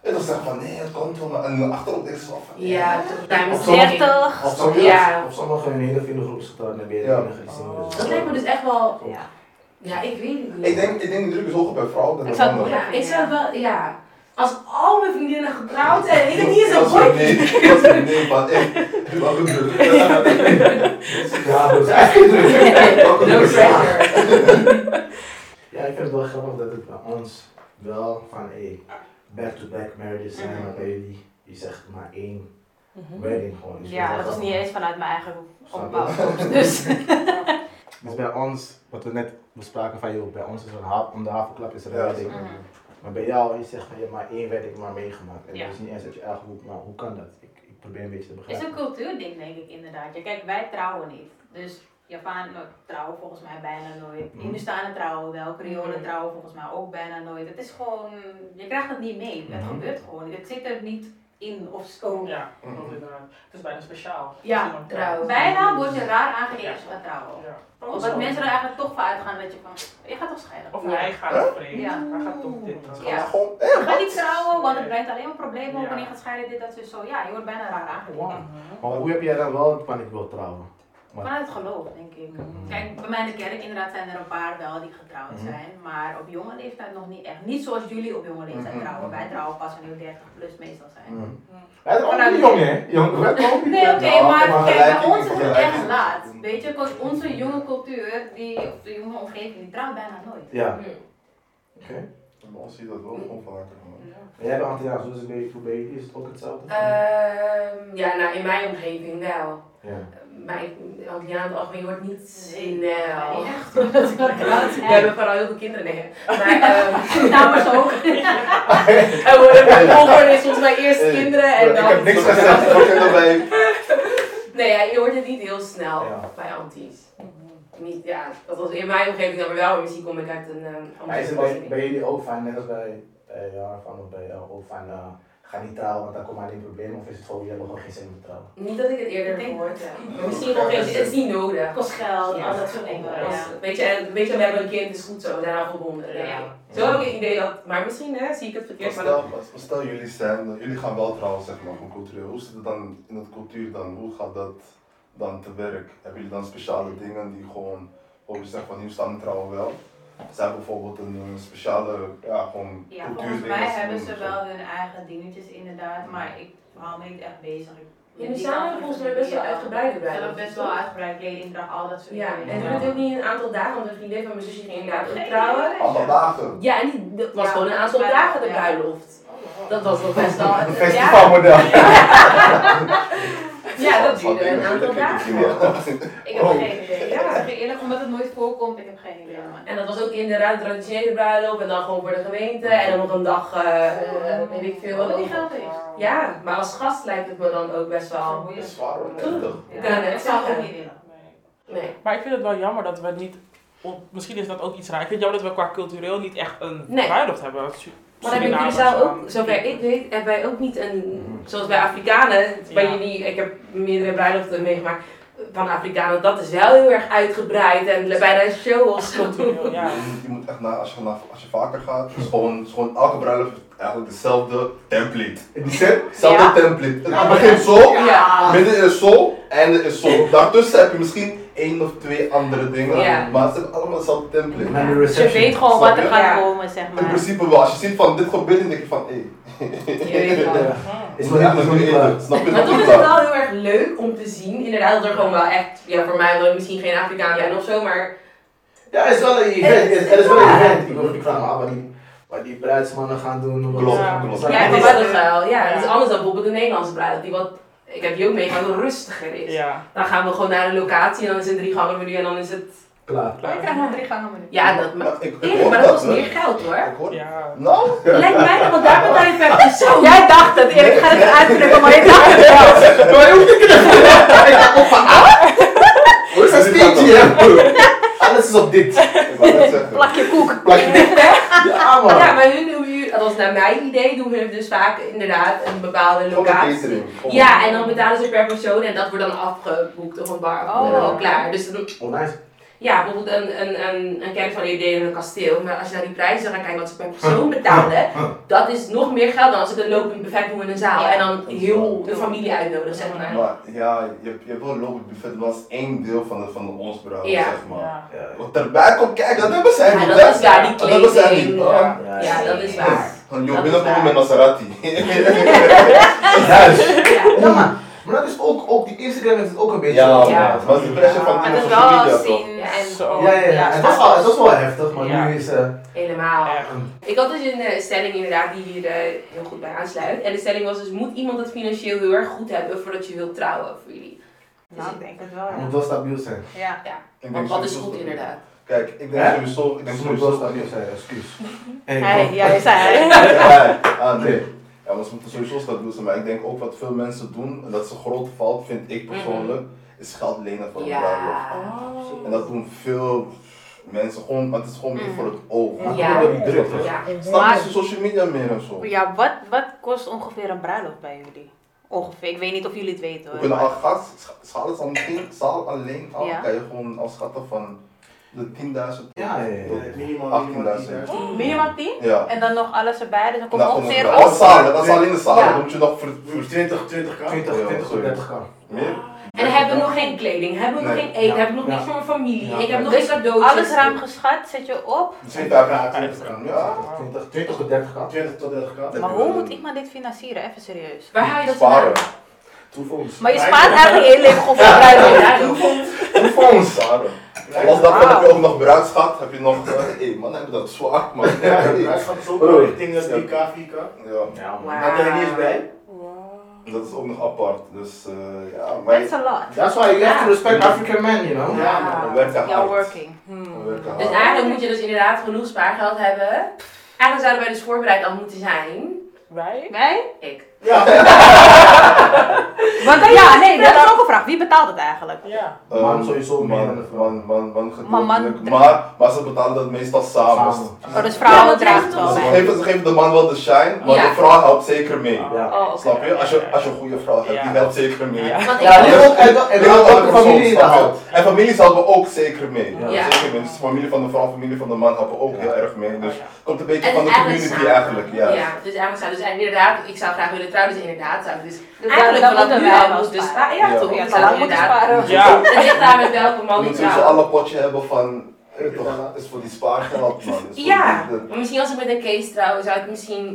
[SPEAKER 3] je toch zeggen van, nee, het komt wel, maar- en achterop denk je zo van,
[SPEAKER 1] Ja, toch tijdens de ring.
[SPEAKER 5] 30.
[SPEAKER 2] Of sommigen,
[SPEAKER 1] Ja.
[SPEAKER 2] of sommigen hun hele vriendengroep is getrouwd en ben je de
[SPEAKER 3] Ja.
[SPEAKER 2] enige die single is.
[SPEAKER 1] Dat lijkt me dus echt wel
[SPEAKER 5] Ja.
[SPEAKER 1] Ja, ik weet het niet.
[SPEAKER 3] Ik denk, ik denk de druk is hoger bij vrouwen dan
[SPEAKER 5] Ik
[SPEAKER 3] bij
[SPEAKER 5] zou-
[SPEAKER 3] mannen.
[SPEAKER 1] Ja, ik zou het wel, ja. Als al mijn vriendinnen getrouwd zijn en ik heb niet eens
[SPEAKER 3] Dat
[SPEAKER 1] een
[SPEAKER 3] is een
[SPEAKER 1] boy.
[SPEAKER 3] nee, dat is een nee van echt. Wat een druk.
[SPEAKER 2] Ja, dat is eigenlijk druk.
[SPEAKER 3] Wat een
[SPEAKER 1] No
[SPEAKER 3] druk.
[SPEAKER 1] pressure.
[SPEAKER 2] Ja, ik vind het wel grappig dat het bij ons wel van hey, back-to-back marriages zijn,
[SPEAKER 5] Mhm.
[SPEAKER 2] maar bij jullie, je zegt maar één
[SPEAKER 6] Mhm.
[SPEAKER 2] wedding gewoon. Dus
[SPEAKER 5] Ja,
[SPEAKER 2] is wel
[SPEAKER 5] dat was niet
[SPEAKER 2] grappig.
[SPEAKER 5] eens vanuit mijn eigen
[SPEAKER 2] Snap je?
[SPEAKER 5] opbouw. Dus.
[SPEAKER 2] Dus bij ons, wat we net bespraken van joh, bij ons is er een hap, om de havenklap is er een
[SPEAKER 3] Ja,
[SPEAKER 2] wedding.
[SPEAKER 5] Mhm.
[SPEAKER 2] Maar bij jou, je zegt van je hebt maar één wedding maar meegemaakt. En
[SPEAKER 5] Ja.
[SPEAKER 2] dat is niet eens uit je eigen hoek, maar hoe kan dat? Ik, ik probeer een beetje te
[SPEAKER 5] Het is
[SPEAKER 2] begrijpen.
[SPEAKER 5] een cultuurding, denk ik inderdaad. Ja, kijk, wij trouwen niet. Dus Japan trouwen volgens mij bijna nooit.
[SPEAKER 2] Mhm.
[SPEAKER 5] Hindustanen trouwen wel. Creolen
[SPEAKER 6] Mhm.
[SPEAKER 5] trouwen volgens mij ook bijna nooit. Het is gewoon, je krijgt het niet mee. Het
[SPEAKER 2] Mhm.
[SPEAKER 5] gebeurt gewoon niet. Het zit er niet in of zo.
[SPEAKER 6] Ja, want inderdaad. Het is bijna speciaal.
[SPEAKER 5] Ja,
[SPEAKER 6] Als iemand
[SPEAKER 1] trouw.
[SPEAKER 5] Bijna word je raar aangekeken als je gaat trouwen.
[SPEAKER 6] Ja.
[SPEAKER 5] Of dat mensen er eigenlijk toch van uitgaan dat je van, je gaat toch scheiden.
[SPEAKER 6] Of
[SPEAKER 1] Ja.
[SPEAKER 6] hij gaat vreemd.
[SPEAKER 5] Ja.
[SPEAKER 6] Hij gaat toch dit. dat
[SPEAKER 5] Ja.
[SPEAKER 6] gaat-
[SPEAKER 3] Gewoon, eh,
[SPEAKER 5] Ga niet trouwen, want het
[SPEAKER 6] Nee.
[SPEAKER 5] brengt alleen maar problemen op
[SPEAKER 6] Ja.
[SPEAKER 5] wanneer je gaat scheiden, dit, dat, zo, zo. Ja, je wordt bijna raar aangekeken.
[SPEAKER 2] Wow. Maar hoe heb jij dan wel van ik wil trouwen?
[SPEAKER 5] Vanuit het geloof, denk ik.
[SPEAKER 2] Mhm.
[SPEAKER 5] Kijk, bij mij in de kerk inderdaad zijn er een paar wel die getrouwd
[SPEAKER 2] Mhm.
[SPEAKER 5] zijn, maar op jonge leeftijd nog niet echt. Niet zoals jullie op jonge leeftijd
[SPEAKER 3] Mhm.
[SPEAKER 5] trouwen. Wij trouwen pas wanneer we 30 plus meestal zijn.
[SPEAKER 3] Hmm.
[SPEAKER 2] Wij zijn ook niet jong, hè? Jong, wij zijn ook niet
[SPEAKER 5] Nee, oké,
[SPEAKER 3] Nou,
[SPEAKER 5] maar
[SPEAKER 3] maar
[SPEAKER 5] kijk,
[SPEAKER 3] gelijk,
[SPEAKER 5] bij ons is het
[SPEAKER 3] gelijk.
[SPEAKER 5] echt laat. Weet je, want onze jonge cultuur, die, of de jonge omgeving, die trouwt bijna nooit.
[SPEAKER 2] Ja,
[SPEAKER 1] Hm.
[SPEAKER 2] oké.
[SPEAKER 3] Maar ons ziet dat wel gewoon vaker. man.
[SPEAKER 2] En jij bent Antilliaans, dus een beetje voor bij jullie is het ook hetzelfde?
[SPEAKER 5] Eh.
[SPEAKER 1] Ehm, ja, nou in mijn omgeving wel.
[SPEAKER 2] ja.
[SPEAKER 1] Mijn Antilliaan in het algemeen wordt niet
[SPEAKER 5] Maar
[SPEAKER 1] snel.
[SPEAKER 5] niet echt.
[SPEAKER 1] We hebben vooral heel veel kinderen nee. Maar ehm
[SPEAKER 5] Dames ook.
[SPEAKER 1] er worden- de volgorde is volgens mij eerst
[SPEAKER 3] Hey,
[SPEAKER 1] kinderen en
[SPEAKER 3] Ik
[SPEAKER 1] dan...
[SPEAKER 3] heb niks gezegd, ik ben erbij.
[SPEAKER 1] Nee, ja, je hoort het niet heel snel
[SPEAKER 2] Ja.
[SPEAKER 1] bij anties. Niet, ja, dat was in mijn omgeving dan maar wel, maar misschien kom ik uit een eh
[SPEAKER 2] Maar
[SPEAKER 1] andere
[SPEAKER 2] is het bij,
[SPEAKER 1] omgeving.
[SPEAKER 2] bij jullie ook van, net als bij, bij jou van, of bij jou ook van, eh, ga niet trouwen, want dan komt alleen problemen? Of is het gewoon, jullie hebben gewoon geen zin om te trouwen?
[SPEAKER 1] Niet dat ik het eerder
[SPEAKER 5] Ik
[SPEAKER 1] heb
[SPEAKER 5] denk-
[SPEAKER 1] gehoord heb. Maar misschien nog eens, het is niet nodig.
[SPEAKER 5] Kost geld,
[SPEAKER 1] Ja.
[SPEAKER 5] al dat soort dingen.
[SPEAKER 6] Ja.
[SPEAKER 5] Ja.
[SPEAKER 1] Weet, je, en- weet je, we hebben een kind, is goed zo, we zijn al verbonden. denk
[SPEAKER 5] Ja.
[SPEAKER 1] ik. Zo heb ik het idee dat, maar misschien hè, zie ik het
[SPEAKER 3] Maar
[SPEAKER 1] verkeerd. Maar dat,
[SPEAKER 3] Stel, maar stel jullie zijn, jullie gaan wel trouwen zeg maar gewoon cultureel. Hoe zit het dan in dat cultuur dan? Hoe gaat dat dan te werk? Hebben jullie dan speciale dingen die gewoon, ook je zegt van hier staan trouwen wel? Zijn bijvoorbeeld een eh, speciale, ja gewoon
[SPEAKER 5] Ja, volgens
[SPEAKER 3] cultuurdingen
[SPEAKER 5] mij
[SPEAKER 3] te
[SPEAKER 5] hebben
[SPEAKER 3] doen
[SPEAKER 5] ze
[SPEAKER 3] of zo?
[SPEAKER 5] wel hun eigen dingetjes inderdaad, maar ik hou me niet echt bezig. Ik-
[SPEAKER 1] jullie
[SPEAKER 5] die
[SPEAKER 1] samen
[SPEAKER 5] kant
[SPEAKER 1] hebben volgens
[SPEAKER 5] van
[SPEAKER 1] mij best wel
[SPEAKER 5] de
[SPEAKER 1] uitgebreide
[SPEAKER 5] wereld. Ze hebben
[SPEAKER 1] bruiloft.
[SPEAKER 5] best wel uitgebreid kleding, draag, al dat soort
[SPEAKER 1] Ja,
[SPEAKER 5] dingen.
[SPEAKER 1] en toen het ook niet een aantal dagen, want een vriendin van mijn zusje ging inderdaad ook
[SPEAKER 5] Geen
[SPEAKER 1] trouwen.
[SPEAKER 5] idee.
[SPEAKER 3] Allemaal dagen.
[SPEAKER 1] Ja, en die, dat was
[SPEAKER 5] Ja.
[SPEAKER 1] gewoon een aantal
[SPEAKER 5] Ja.
[SPEAKER 1] dagen de
[SPEAKER 5] Ja.
[SPEAKER 1] bruiloft. Dat was nog best wel.
[SPEAKER 2] Een festivalmodel.
[SPEAKER 1] Ja, dat
[SPEAKER 3] Wat
[SPEAKER 1] duurde een
[SPEAKER 3] dingen,
[SPEAKER 1] aantal
[SPEAKER 3] dat klinkt
[SPEAKER 1] dagen.
[SPEAKER 3] misschien wel.
[SPEAKER 5] Ik heb
[SPEAKER 3] Oh.
[SPEAKER 5] geen idee.
[SPEAKER 1] Ja.
[SPEAKER 5] Ik zeg je eerlijk, omdat het nooit voorkomt, ik heb geen idee. man.
[SPEAKER 1] En dat was ook inderdaad traditionele bruiloft en dan gewoon voor de gemeente en dan nog een dag, eh, eh, weet ik veel
[SPEAKER 5] Al
[SPEAKER 1] wat.
[SPEAKER 5] die geld heeft.
[SPEAKER 1] Ja, maar als gast lijkt het me dan ook best wel.
[SPEAKER 3] Dat is zwaar hoor, 30.
[SPEAKER 5] Ja,
[SPEAKER 1] Ja, nee,
[SPEAKER 5] ik zou het
[SPEAKER 1] ja.
[SPEAKER 5] ook niet willen.
[SPEAKER 6] Nee.
[SPEAKER 1] Nee.
[SPEAKER 6] Maar ik vind het wel jammer dat we niet. Op, misschien is dat ook iets raar. Ik vind het jammer dat we qua cultureel niet echt een
[SPEAKER 1] Nee.
[SPEAKER 6] bruiloft hebben. Su-
[SPEAKER 1] Maar hebben jullie
[SPEAKER 6] Surinamers
[SPEAKER 1] zelf ook,
[SPEAKER 6] aan-
[SPEAKER 1] zover ik weet, hebben wij ook niet een, zoals bij Afrikanen, bij
[SPEAKER 6] Ja.
[SPEAKER 1] jullie, ik heb meerdere bruiloften meegemaakt van Afrikanen, dat is wel heel erg uitgebreid en bijna een show of zo.
[SPEAKER 6] Cultureel, ja.
[SPEAKER 3] Je moet- Je moet echt na, als je, na- als je vaker gaat, is gewoon, is gewoon elke bruiloft eigenlijk dezelfde template.
[SPEAKER 2] In die zin?
[SPEAKER 3] Hetzelfde
[SPEAKER 1] Ja.
[SPEAKER 3] template. Het begint zo,
[SPEAKER 1] Ja.
[SPEAKER 3] midden is zo, einde is zo. Daartussen heb je misschien één of twee andere dingen,
[SPEAKER 1] Ja.
[SPEAKER 3] maar ze hebben allemaal hetzelfde template.
[SPEAKER 2] Naar de
[SPEAKER 5] Je
[SPEAKER 2] reception.
[SPEAKER 5] weet gewoon
[SPEAKER 3] Snap
[SPEAKER 5] wat er
[SPEAKER 3] je?
[SPEAKER 5] gaat
[SPEAKER 1] Ja.
[SPEAKER 5] komen, zeg
[SPEAKER 3] In
[SPEAKER 5] maar.
[SPEAKER 3] principe wel, als je ziet van dit gebeurt, dan denk je van hé.
[SPEAKER 1] Je weet wel.
[SPEAKER 2] Is nog niet- is nog niet klaar.
[SPEAKER 3] Snap je
[SPEAKER 1] Maar
[SPEAKER 3] dat
[SPEAKER 1] toch
[SPEAKER 3] niet
[SPEAKER 1] is het
[SPEAKER 3] klaar?
[SPEAKER 1] wel heel erg leuk om te zien. Inderdaad, dat er gewoon wel echt, ja, voor mij wel misschien geen Afrikaan zijn of zo, maar
[SPEAKER 2] Ja, het is wel een event. Het is- het is wel een event. Ik bedoel, ik vraag me af wat die, wat die bruidsmannen gaan doen. wat-
[SPEAKER 3] Klopt,
[SPEAKER 6] Ja.
[SPEAKER 3] klopt.
[SPEAKER 2] Ja,
[SPEAKER 1] ja,
[SPEAKER 2] het
[SPEAKER 1] maar
[SPEAKER 2] is-
[SPEAKER 1] dat is wel. Ja, het is
[SPEAKER 6] Ja.
[SPEAKER 1] anders dan bijvoorbeeld de Nederlandse bruiloft, die wat, ik heb die ook meegemaakt, wat rustiger is.
[SPEAKER 6] Ja,
[SPEAKER 1] Dan gaan we gewoon naar een locatie en dan is het een drie gangen menu en dan is het,
[SPEAKER 2] Klaar.
[SPEAKER 5] Maar ik
[SPEAKER 6] klaar.
[SPEAKER 5] krijg nog drie gangen menu.
[SPEAKER 1] ja, dat, maar,
[SPEAKER 3] Maar ik, ik
[SPEAKER 1] eerlijk,
[SPEAKER 3] hoor
[SPEAKER 1] maar dat kost meer
[SPEAKER 3] hè.
[SPEAKER 1] geld hoor.
[SPEAKER 3] Ik hoor
[SPEAKER 6] Ja.
[SPEAKER 3] Nou,
[SPEAKER 1] Lijkt mij dat, want daar betaal je per persoon. Jij dacht het, ik ga het eruit drukken, maar je dacht het
[SPEAKER 2] Maar hoe ik "Ah!" Hoe is dat steentje? hè? Alles is op dit.
[SPEAKER 3] ik wou net zeggen.
[SPEAKER 5] Plakje koek.
[SPEAKER 2] Plakje. Ja, man.
[SPEAKER 1] Ja, maar hun, doen hier- dat is naar mijn idee, doen hun dus vaak inderdaad een bepaalde
[SPEAKER 3] Gewoon een
[SPEAKER 1] locatie.
[SPEAKER 3] catering. Gewoon-
[SPEAKER 1] Ja, en dan betalen ze per persoon en dat wordt dan afgeboekt op een bar.
[SPEAKER 5] Oh.
[SPEAKER 1] Oh, klaar. Dus dan,
[SPEAKER 2] Oh, nice.
[SPEAKER 1] Ja, bijvoorbeeld een, een, een, een kern van een idee in een kasteel. Maar als je naar die prijzen gaat kijken wat ze per persoon betalen, dat is nog meer geld dan als ik een lopend buffet doe in een zaal.
[SPEAKER 5] Ja.
[SPEAKER 1] En dan heel de familie uitnodigen, zeg maar.
[SPEAKER 3] Maar ja, je, hebt- je hebt wel een lopend buffet, maar dat is één deel van de, van de ons brouw,
[SPEAKER 1] Ja.
[SPEAKER 3] zeg maar.
[SPEAKER 6] Ja.
[SPEAKER 2] Ja,
[SPEAKER 3] Wat erbij komt kijken, dat hebben zij
[SPEAKER 1] Ja,
[SPEAKER 3] niet.
[SPEAKER 1] dat
[SPEAKER 3] hè?
[SPEAKER 1] is waar, die
[SPEAKER 3] Dat hebben zij niet.
[SPEAKER 1] kleding.
[SPEAKER 3] hoor.
[SPEAKER 1] Ja,
[SPEAKER 2] ja,
[SPEAKER 1] Ja, dat is waar.
[SPEAKER 3] Van, joh,
[SPEAKER 1] Dat is
[SPEAKER 3] binnenkomen met
[SPEAKER 1] waar.
[SPEAKER 3] Maserati.
[SPEAKER 2] Juist.
[SPEAKER 1] Ja.
[SPEAKER 2] Ja, maar, maar dat is ook, ook, die Instagram heeft het ook een beetje.
[SPEAKER 3] Ja,
[SPEAKER 1] Ja.
[SPEAKER 3] maar het was de pressure van
[SPEAKER 5] Maar
[SPEAKER 3] iemand
[SPEAKER 5] het is
[SPEAKER 3] van social
[SPEAKER 5] wel
[SPEAKER 3] media toch?
[SPEAKER 5] zien en
[SPEAKER 6] Zo.
[SPEAKER 2] Ja, ja, ja. Het was, al, het was wel heftig, maar
[SPEAKER 6] Ja.
[SPEAKER 2] nu is eh
[SPEAKER 1] Helemaal.
[SPEAKER 6] Echt.
[SPEAKER 1] Ik had dus een eh, stelling inderdaad die hier eh, heel goed bij aansluit. En de stelling was dus, moet iemand het financieel heel erg goed hebben voordat je wilt trouwen voor jullie? Dus
[SPEAKER 5] Nou, ik denk het wel.
[SPEAKER 2] het
[SPEAKER 5] ja.
[SPEAKER 2] moet wel stabiel zijn.
[SPEAKER 5] Ja.
[SPEAKER 3] Ik denk
[SPEAKER 1] Want wat is
[SPEAKER 3] sowieso
[SPEAKER 1] goed
[SPEAKER 3] dat-
[SPEAKER 1] inderdaad?
[SPEAKER 3] Kijk, ik denk
[SPEAKER 2] Hè?
[SPEAKER 3] sowieso, ik denk
[SPEAKER 2] Het moet wel
[SPEAKER 3] sowieso stabiel.
[SPEAKER 2] stabiel zijn, excuus. En
[SPEAKER 5] Hij, ja, je zei hij.
[SPEAKER 3] Ja, ah, nee. Ja, maar ze moeten sowieso stabiel zijn. Maar ik denk ook wat veel mensen doen, en dat is een grote fout, vind
[SPEAKER 5] Mhm.
[SPEAKER 3] ik persoonlijk, is geld lenen voor een bruiloft.
[SPEAKER 1] Ja.
[SPEAKER 3] En dat doen veel mensen gewoon, want het is gewoon
[SPEAKER 5] Mhm.
[SPEAKER 3] meer voor het oog.
[SPEAKER 1] Ja.
[SPEAKER 3] Ja. Dat die druk is.
[SPEAKER 1] Ja.
[SPEAKER 3] Snap
[SPEAKER 5] Maar-
[SPEAKER 3] je social media meer en zo?
[SPEAKER 5] Ja, wat, wat kost ongeveer een bruiloft bij jullie? Ongeveer, ik weet niet of jullie het weten
[SPEAKER 3] We
[SPEAKER 5] hoor.
[SPEAKER 3] kunnen al
[SPEAKER 5] maar-
[SPEAKER 3] gas, scha- schaal is al misschien, zaal alleen al,
[SPEAKER 5] Ja.
[SPEAKER 3] kan je gewoon al schatten van de 10.000
[SPEAKER 2] Ja, ja, ja.
[SPEAKER 3] tot
[SPEAKER 4] Minimaal
[SPEAKER 3] 18.000.
[SPEAKER 5] Minimaal 10
[SPEAKER 3] Ja,
[SPEAKER 5] en dan nog alles erbij, dus dan komt
[SPEAKER 3] Nou,
[SPEAKER 5] ongeveer
[SPEAKER 3] dat
[SPEAKER 5] op.
[SPEAKER 3] is zaal, hè, dat is alleen de zaal.
[SPEAKER 1] Ja.
[SPEAKER 3] Dan moet je nog voor, voor
[SPEAKER 4] 20, 20 kan.
[SPEAKER 2] 20, 20 tot 30 kan.
[SPEAKER 3] meer.
[SPEAKER 1] En hebben we nog geen kleding, hebben we nog
[SPEAKER 3] Nee.
[SPEAKER 1] geen eten,
[SPEAKER 2] Ja.
[SPEAKER 1] hebben we nog
[SPEAKER 2] Ja.
[SPEAKER 1] niks voor mijn familie,
[SPEAKER 2] Ja.
[SPEAKER 1] ik heb nog
[SPEAKER 5] Dus
[SPEAKER 1] geen cadeautjes.
[SPEAKER 5] Alles ruim geschat, zet je op.
[SPEAKER 3] Misschien
[SPEAKER 4] 50
[SPEAKER 3] 50.000.
[SPEAKER 4] kan.
[SPEAKER 3] Ja.
[SPEAKER 6] Ah.
[SPEAKER 2] 20, 20 tot 30 kan.
[SPEAKER 4] 20 tot 30 kan.
[SPEAKER 5] Maar hoe moet iemand dit financieren? Even serieus.
[SPEAKER 1] Waar haal je dat
[SPEAKER 3] Sparen.
[SPEAKER 1] vandaan?
[SPEAKER 2] Toefonds.
[SPEAKER 5] Maar je spaart eigenlijk heel leven gewoon voor een bruiloft.
[SPEAKER 1] Ja, dat komt.
[SPEAKER 2] Toefonds!
[SPEAKER 3] Sparen. Los daarvan heb je ook nog bruidsgat, heb je nog... eh, Hé man, heb je dat zwaar man.
[SPEAKER 4] Ja,
[SPEAKER 3] Hey.
[SPEAKER 4] het gaat zo wel richting eh, 3K, 4K.
[SPEAKER 3] Oh. Ja,
[SPEAKER 2] Ja, man.
[SPEAKER 4] Dat er niet eens bij.
[SPEAKER 3] dat is ook nog apart. Dus eh, ja, maar
[SPEAKER 5] That's a lot.
[SPEAKER 2] That's why you have to respect African men, you know?
[SPEAKER 4] Ja,
[SPEAKER 3] we werken hard.
[SPEAKER 5] Jouw working.
[SPEAKER 3] We
[SPEAKER 6] Hmm.
[SPEAKER 3] werken
[SPEAKER 1] Dus
[SPEAKER 3] hard.
[SPEAKER 1] eigenlijk moet je dus inderdaad genoeg spaargeld hebben. Eigenlijk zouden wij dus voorbereid al moeten zijn.
[SPEAKER 6] Wij?
[SPEAKER 5] Wij?
[SPEAKER 1] Ik.
[SPEAKER 5] Want dan- ja, nee, dat is ook een vraag. Wie betaalt het eigenlijk?
[SPEAKER 6] Ja.
[SPEAKER 3] Eh,
[SPEAKER 2] Man sowieso meer dan de
[SPEAKER 3] Man,
[SPEAKER 2] vrouw.
[SPEAKER 3] man, man, man,
[SPEAKER 5] Maar man-
[SPEAKER 3] gedeeltelijk. Maar, maar ze betalen dat meestal samen.
[SPEAKER 2] Samen.
[SPEAKER 5] Oh, dus
[SPEAKER 1] Ja,
[SPEAKER 5] vrouwen
[SPEAKER 1] want
[SPEAKER 5] dragen het
[SPEAKER 1] jij
[SPEAKER 3] Dus
[SPEAKER 5] wel
[SPEAKER 3] ze,
[SPEAKER 5] bij.
[SPEAKER 3] geven, ze geven de man wel de shine, maar
[SPEAKER 1] Ja.
[SPEAKER 3] de vrouw helpt zeker mee.
[SPEAKER 2] Ja.
[SPEAKER 5] Oh, oké.
[SPEAKER 3] Snap je? Als je, als je een goede vrouw hebt, die
[SPEAKER 6] Ja.
[SPEAKER 3] helpt zeker mee.
[SPEAKER 6] Ja.
[SPEAKER 1] Want ik
[SPEAKER 2] Ja,
[SPEAKER 1] doe-
[SPEAKER 2] en ook, en ook- en
[SPEAKER 3] Ja,
[SPEAKER 2] ook de
[SPEAKER 3] persoon,
[SPEAKER 2] familie
[SPEAKER 3] snap je?
[SPEAKER 2] daar.
[SPEAKER 3] En families helpen ook zeker mee.
[SPEAKER 2] Ja.
[SPEAKER 1] Ja.
[SPEAKER 3] Zeker mee. Dus familie van de vrouw, familie van de man helpen ook
[SPEAKER 2] Ja.
[SPEAKER 3] heel erg mee. Dus
[SPEAKER 6] Oh, ja.
[SPEAKER 3] het komt een beetje
[SPEAKER 1] Het
[SPEAKER 3] van de
[SPEAKER 1] is eigenlijk
[SPEAKER 3] community
[SPEAKER 1] samen.
[SPEAKER 3] eigenlijk. Ja.
[SPEAKER 1] dus eigenlijk zou dus en inderdaad, ik zou graag willen trouwen, dus inderdaad zou ik dus
[SPEAKER 5] Dus
[SPEAKER 1] eigenlijk
[SPEAKER 5] daar-
[SPEAKER 1] vanaf
[SPEAKER 5] daar moeten
[SPEAKER 1] nu
[SPEAKER 5] wij
[SPEAKER 1] al
[SPEAKER 5] wel
[SPEAKER 1] moeten
[SPEAKER 5] sparen.
[SPEAKER 1] sparen. dus- Ja,
[SPEAKER 3] Ja.
[SPEAKER 1] toch?
[SPEAKER 5] Ja,
[SPEAKER 1] Ik
[SPEAKER 5] zo
[SPEAKER 1] zou
[SPEAKER 5] lang moeten
[SPEAKER 1] inderdaad-
[SPEAKER 5] sparen.
[SPEAKER 6] Ja.
[SPEAKER 1] Het ligt daar met welke
[SPEAKER 3] Je
[SPEAKER 1] man ik
[SPEAKER 3] moet sowieso
[SPEAKER 1] trouw.
[SPEAKER 3] alle potje hebben van, eh, toch, het is voor die spaargeld man. Het is voor
[SPEAKER 1] Ja,
[SPEAKER 3] die- dat-
[SPEAKER 1] maar misschien als ik met een case trouw, zou ik misschien,